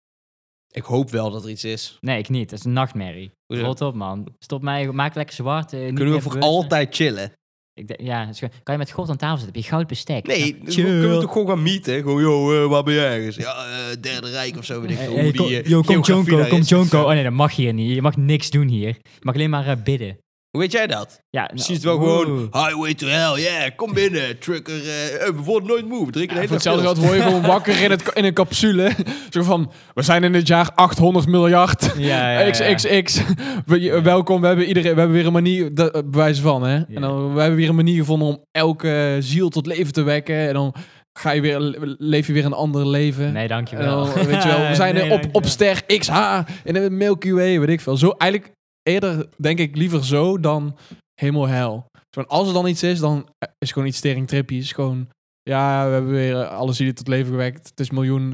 Speaker 1: Ik hoop wel dat er iets is.
Speaker 3: nee, ik niet. Dat is een nachtmerrie.
Speaker 1: Hoezo?
Speaker 3: Rot op, man. Stop mij. Maak lekker zwart. eh, niet
Speaker 1: Kunnen we
Speaker 3: meer
Speaker 1: voor
Speaker 3: bewust.
Speaker 1: altijd chillen?
Speaker 3: Ik denk- ja, het is gewoon- kan je met God aan tafel zitten? Heb je goud bestek?
Speaker 1: Nee,
Speaker 3: Ja,
Speaker 1: dan kunnen we
Speaker 3: chill.
Speaker 1: toch gewoon gaan meeten? Gewoon, joh, eh, waar ben jij ergens? Ja, eh, Derde Rijk of zo, weet ik
Speaker 3: Hey,
Speaker 1: veel.
Speaker 3: hey,
Speaker 1: hoe
Speaker 3: kom,
Speaker 1: die, eh,
Speaker 3: yo, kom
Speaker 1: geografie
Speaker 3: Jonko,
Speaker 1: daar
Speaker 3: kom
Speaker 1: is.
Speaker 3: Jonko. Oh nee, dat mag hier niet. Je mag niks doen hier. Je mag alleen maar eh, bidden.
Speaker 1: Hoe weet jij dat?
Speaker 3: Ja, nou,
Speaker 1: Precies wel
Speaker 3: oeh.
Speaker 1: gewoon, highway to hell, yeah, kom binnen, trucker, eh, eh, we worden nooit moe, we drinken
Speaker 2: Ja,
Speaker 1: de
Speaker 2: voor
Speaker 1: hele
Speaker 2: hetzelfde
Speaker 1: dag
Speaker 2: geld word je gewoon wakker in, het, in een capsule. Zo van, we zijn in het jaar 800 miljard.
Speaker 3: Ja, ja, ja.
Speaker 2: XXX. We- je- welkom, we hebben, iedereen, we hebben weer een manier, dat, eh, bewijs van hè. En dan, we hebben weer een manier gevonden om elke ziel tot leven te wekken. En dan ga je weer, le- leef je weer een ander leven.
Speaker 3: Nee,
Speaker 2: En
Speaker 3: dankjewel.
Speaker 2: dan, Oh, weet je wel, we zijn
Speaker 3: Nee,
Speaker 2: er op,
Speaker 3: dankjewel.
Speaker 2: op ster XH in de Milky Way, weet ik veel. Zo, eigenlijk eerder denk ik liever zo dan helemaal hel. Zo van, als er dan iets is, dan eh, is gewoon iets tering trippy. Is gewoon, ja, we hebben weer eh, alle zielen tot leven gewekt. Het is miljoen,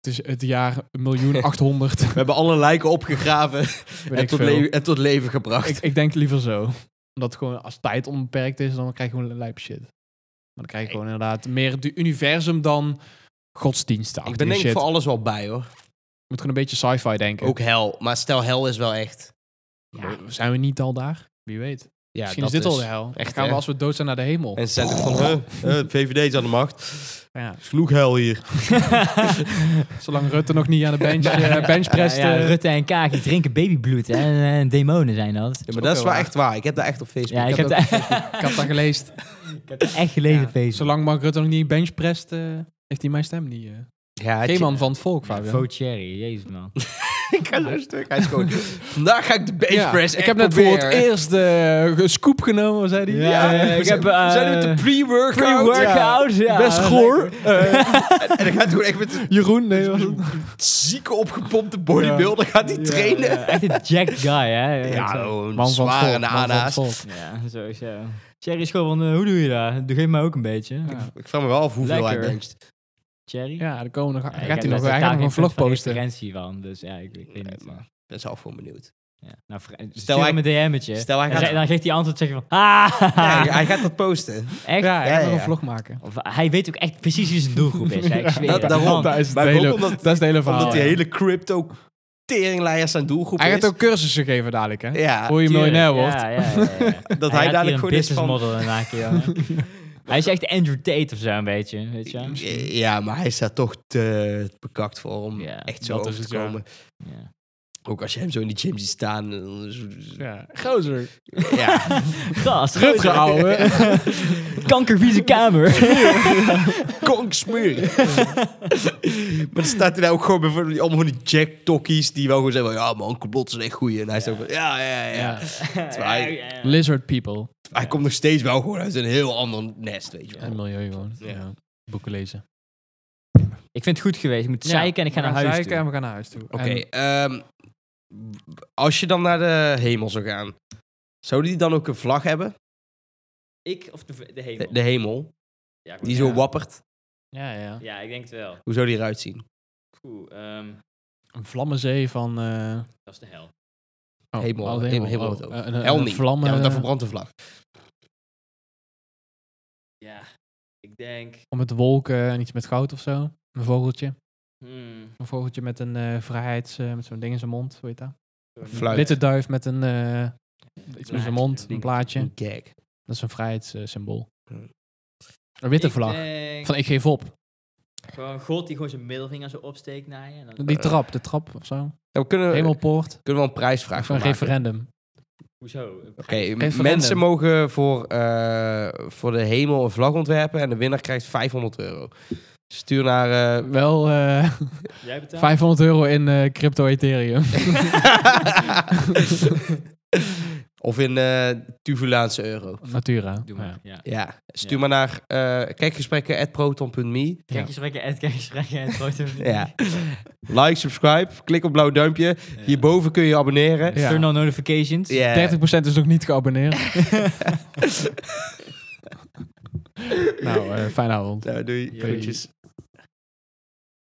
Speaker 2: het is het jaar miljoen 800.
Speaker 1: We hebben alle lijken opgegraven
Speaker 2: weet
Speaker 1: en
Speaker 2: ik,
Speaker 1: tot,
Speaker 2: veel.
Speaker 1: le- en tot leven gebracht.
Speaker 2: ik, ik denk liever zo. Omdat gewoon als tijd onbeperkt is, dan krijg je gewoon lijp shit. Maar dan krijg je gewoon inderdaad meer het universum dan godsdiensten.
Speaker 1: Ik ben denk ik
Speaker 2: shit.
Speaker 1: voor alles wel bij hoor.
Speaker 2: Je moet gewoon een beetje sci-fi denken.
Speaker 1: Ook hel, maar stel hel is wel echt.
Speaker 2: Ja, zijn we niet al daar? Wie weet.
Speaker 1: Ja,
Speaker 2: Misschien
Speaker 1: dat
Speaker 2: is dit al de hel.
Speaker 1: echt,
Speaker 2: Echt, gaan
Speaker 1: hè?
Speaker 2: we als we dood zijn naar de hemel.
Speaker 1: En ze zijn toch van, huh, eh, VVD is aan de macht.
Speaker 2: Ja.
Speaker 1: Is genoeg hel hier.
Speaker 2: Zolang Rutte nog niet aan de bench, eh, benchpress...
Speaker 3: Ja, ja,
Speaker 2: eh,
Speaker 3: Rutte en Kaag, die drinken babybloed. En, eh, demonen zijn dat.
Speaker 1: Ja, maar dat is wel echt waar. Ik heb dat echt op Facebook.
Speaker 3: Ja, ik heb,
Speaker 1: dat...
Speaker 3: dat,
Speaker 2: ik had dat gelezen.
Speaker 3: ik heb dat echt gelezen,
Speaker 2: Ja.
Speaker 3: Facebook.
Speaker 2: Zolang Mark Rutte nog niet benchpresst, eh heeft hij mijn stem niet. eh.
Speaker 1: Ja,
Speaker 2: Geen man van het volk, Fabian.
Speaker 3: Vote Thierry, jezus man.
Speaker 1: Ik ga zo stuk. Hij is gewoon, vandaag ga ik de bench
Speaker 2: Ja,
Speaker 1: press
Speaker 2: ik heb net eh, voor het eerst de scoop genomen, zei hij.
Speaker 3: Ja, ja, ja,
Speaker 1: ik
Speaker 3: ik
Speaker 1: heb,
Speaker 3: heb,
Speaker 1: we zijn nu met
Speaker 3: eh,
Speaker 1: de pre-workout.
Speaker 3: Pre-workout, ja.
Speaker 2: Best goor.
Speaker 1: En
Speaker 2: Eh,
Speaker 1: dan gaat hij gewoon echt met een
Speaker 2: Jeroen, nee. was het?
Speaker 1: zieke opgepompte bodybuilder gaat hij
Speaker 3: Ja,
Speaker 1: trainen.
Speaker 3: ja, echt een jacked guy, hè.
Speaker 1: Ja,
Speaker 3: Zo.
Speaker 1: gewoon
Speaker 2: Man van het
Speaker 1: zware
Speaker 2: volk. Man van het
Speaker 1: nana's.
Speaker 2: volk.
Speaker 3: ja sowieso. Thierry is gewoon van, eh, hoe doe je dat? Doe geef mij ook een beetje.
Speaker 2: Ja.
Speaker 1: Ik vraag me wel af hoeveel
Speaker 3: Lekker.
Speaker 1: hij bencht.
Speaker 3: Thierry?
Speaker 2: Ja, daar komen we nog,
Speaker 3: ik
Speaker 2: gaat
Speaker 3: heb
Speaker 2: hij nog,
Speaker 3: daar
Speaker 2: hij gaat nog
Speaker 3: geen
Speaker 2: een vlog
Speaker 3: punt van
Speaker 2: posten.
Speaker 3: referentie van, dus ja, ik, ik weet niet.
Speaker 1: maar- Dat is al voor benieuwd.
Speaker 3: Ja. Nou, vra-
Speaker 1: Stel
Speaker 3: stuur
Speaker 1: hij-
Speaker 3: hem een DM'tje.
Speaker 1: Stel, hij
Speaker 3: En
Speaker 1: gaat,
Speaker 3: zeg- dan geeft hij antwoord zeggen van, ah,
Speaker 1: Ja, hij gaat dat posten.
Speaker 3: echt?
Speaker 2: Ja, hij
Speaker 1: Ja,
Speaker 2: gaat nog
Speaker 1: ja.
Speaker 2: een vlog maken.
Speaker 3: Of, hij weet ook echt precies wie zijn doelgroep is. hè, ik zweer
Speaker 1: dat-
Speaker 3: het.
Speaker 1: daarom.
Speaker 3: Man,
Speaker 2: Dat is het
Speaker 1: Maar ook
Speaker 2: hele-
Speaker 1: omdat-
Speaker 2: dat is het hele verhaal.
Speaker 1: Omdat die
Speaker 2: Ah, ja.
Speaker 1: hele crypto teringleiers zijn doelgroep
Speaker 2: Hij
Speaker 1: is.
Speaker 2: gaat ook cursussen geven dadelijk, hè?
Speaker 1: ja,
Speaker 2: Hoe je
Speaker 3: tuurlijk,
Speaker 2: miljonair wordt.
Speaker 3: Ja, ja, ja, ja, ja.
Speaker 1: dat hij,
Speaker 3: Hij gaat hier
Speaker 1: dadelijk
Speaker 3: een
Speaker 1: gewoon is
Speaker 3: business
Speaker 1: van...
Speaker 3: model aan maken, jongen. Hij is echt Andrew Tate of zo, een beetje. Weet je? wel?
Speaker 1: Eh, Ja, maar hij is daar toch te bekakt voor om
Speaker 3: Ja,
Speaker 1: echt zo
Speaker 2: dat
Speaker 1: over
Speaker 2: is
Speaker 1: te
Speaker 2: het, ja.
Speaker 1: komen.
Speaker 3: Ja.
Speaker 1: Ook als je hem zo in die gym ziet staan. dan is-
Speaker 2: Ja, gozer.
Speaker 1: Ja,
Speaker 3: Gast,
Speaker 2: Rutger, ouwe.
Speaker 3: kankervieze kamer.
Speaker 1: konk smeren. maar dan staat hij daar ook gewoon bij voor die- allemaal van die jacktokkies die wel gewoon zeggen van... Ja man, complot is echt goeie. En hij is ook van... Ja, ja, ja.
Speaker 2: Ja.
Speaker 1: Terwijl hij-
Speaker 2: Lizard people.
Speaker 1: Hij komt nog steeds wel gewoon uit een heel ander nest, weet je wel.
Speaker 2: En milieu gewoon.
Speaker 1: Ja.
Speaker 2: Ja. Boeken lezen.
Speaker 3: Ik vind het goed geweest. Ik moet zeiken en ik ga naar huis
Speaker 2: Zeiken
Speaker 3: toe.
Speaker 2: en we gaan naar huis toe.
Speaker 1: Oké,
Speaker 2: En-
Speaker 1: ehm, als je dan naar de hemel zou gaan, zou die dan ook een vlag hebben?
Speaker 3: Ik of de, de
Speaker 1: De,
Speaker 3: hemel?
Speaker 1: de hemel,
Speaker 3: ja, ik
Speaker 1: die
Speaker 3: moet-
Speaker 1: zo
Speaker 2: Ja.
Speaker 1: wappert.
Speaker 2: ja, ja.
Speaker 3: Ja, ik denk het wel.
Speaker 1: Hoe zou die eruit zien?
Speaker 3: Oeh, ehm,
Speaker 2: Een vlammenzee van... eh
Speaker 3: dat is de hel.
Speaker 2: oh,
Speaker 1: Hemel,
Speaker 2: oh, de
Speaker 1: hemel, hemel wordt ook.
Speaker 2: eh, een, een,
Speaker 1: Hel
Speaker 2: een
Speaker 1: niet.
Speaker 2: Vlammen,
Speaker 1: Ja, want dan verbrandt de vlag.
Speaker 3: Ja, ik denk...
Speaker 2: om eh, met wolken en iets met goud of zo. Een vogeltje.
Speaker 3: Hmm,
Speaker 2: Een vogeltje met een eh vrijheids... eh, met zo'n ding in zijn mond, weet je dat?
Speaker 1: Fluit.
Speaker 2: Witte duif met een... eh, iets met
Speaker 3: Blaadje,
Speaker 2: zijn mond, een
Speaker 3: ding. Mm.
Speaker 2: plaatje.
Speaker 1: Een gag.
Speaker 2: Dat is een vrijheidssymbool.
Speaker 1: Hmm.
Speaker 2: Een witte
Speaker 3: Ik
Speaker 2: vlag.
Speaker 3: denk
Speaker 2: Van ik geef op.
Speaker 3: Gewoon God die gewoon zijn middelvinger zo opsteekt naar je. En dan,
Speaker 2: Die trap, de trap of zo.
Speaker 1: Nou, we kunnen, we
Speaker 2: Hemelpoort.
Speaker 1: kunnen wel een prijsvraag
Speaker 2: Of een
Speaker 1: van maken. Oké,
Speaker 2: referendum.
Speaker 3: hoezo?
Speaker 1: m- mensen
Speaker 2: referendum.
Speaker 1: mogen voor, eh, voor de hemel een vlag ontwerpen en de winnaar krijgt 500 euro. Stuur naar... eh,
Speaker 2: Wel eh,
Speaker 3: Jij betaalt?
Speaker 2: 500 euro in eh, crypto Ethereum.
Speaker 1: Of in eh Tuvulaanse euro.
Speaker 2: Natura.
Speaker 3: Doe
Speaker 2: Ja.
Speaker 3: maar. Ja.
Speaker 1: Ja, stuur maar naar eh kijkgesprekken.proton.me.
Speaker 3: Kijk eens rekken, Ed, kijk eens rekken, Ed, grote
Speaker 1: Ja. Like, subscribe, klik op blauw duimpje. Hierboven kun je je abonneren.
Speaker 2: Ja.
Speaker 3: Turn on notifications.
Speaker 1: Ja.
Speaker 2: 30% is nog niet geabonneerd. nou, eh fijne avond.
Speaker 1: Nou, doei.
Speaker 2: eh,
Speaker 3: Doei.
Speaker 1: Groetjes.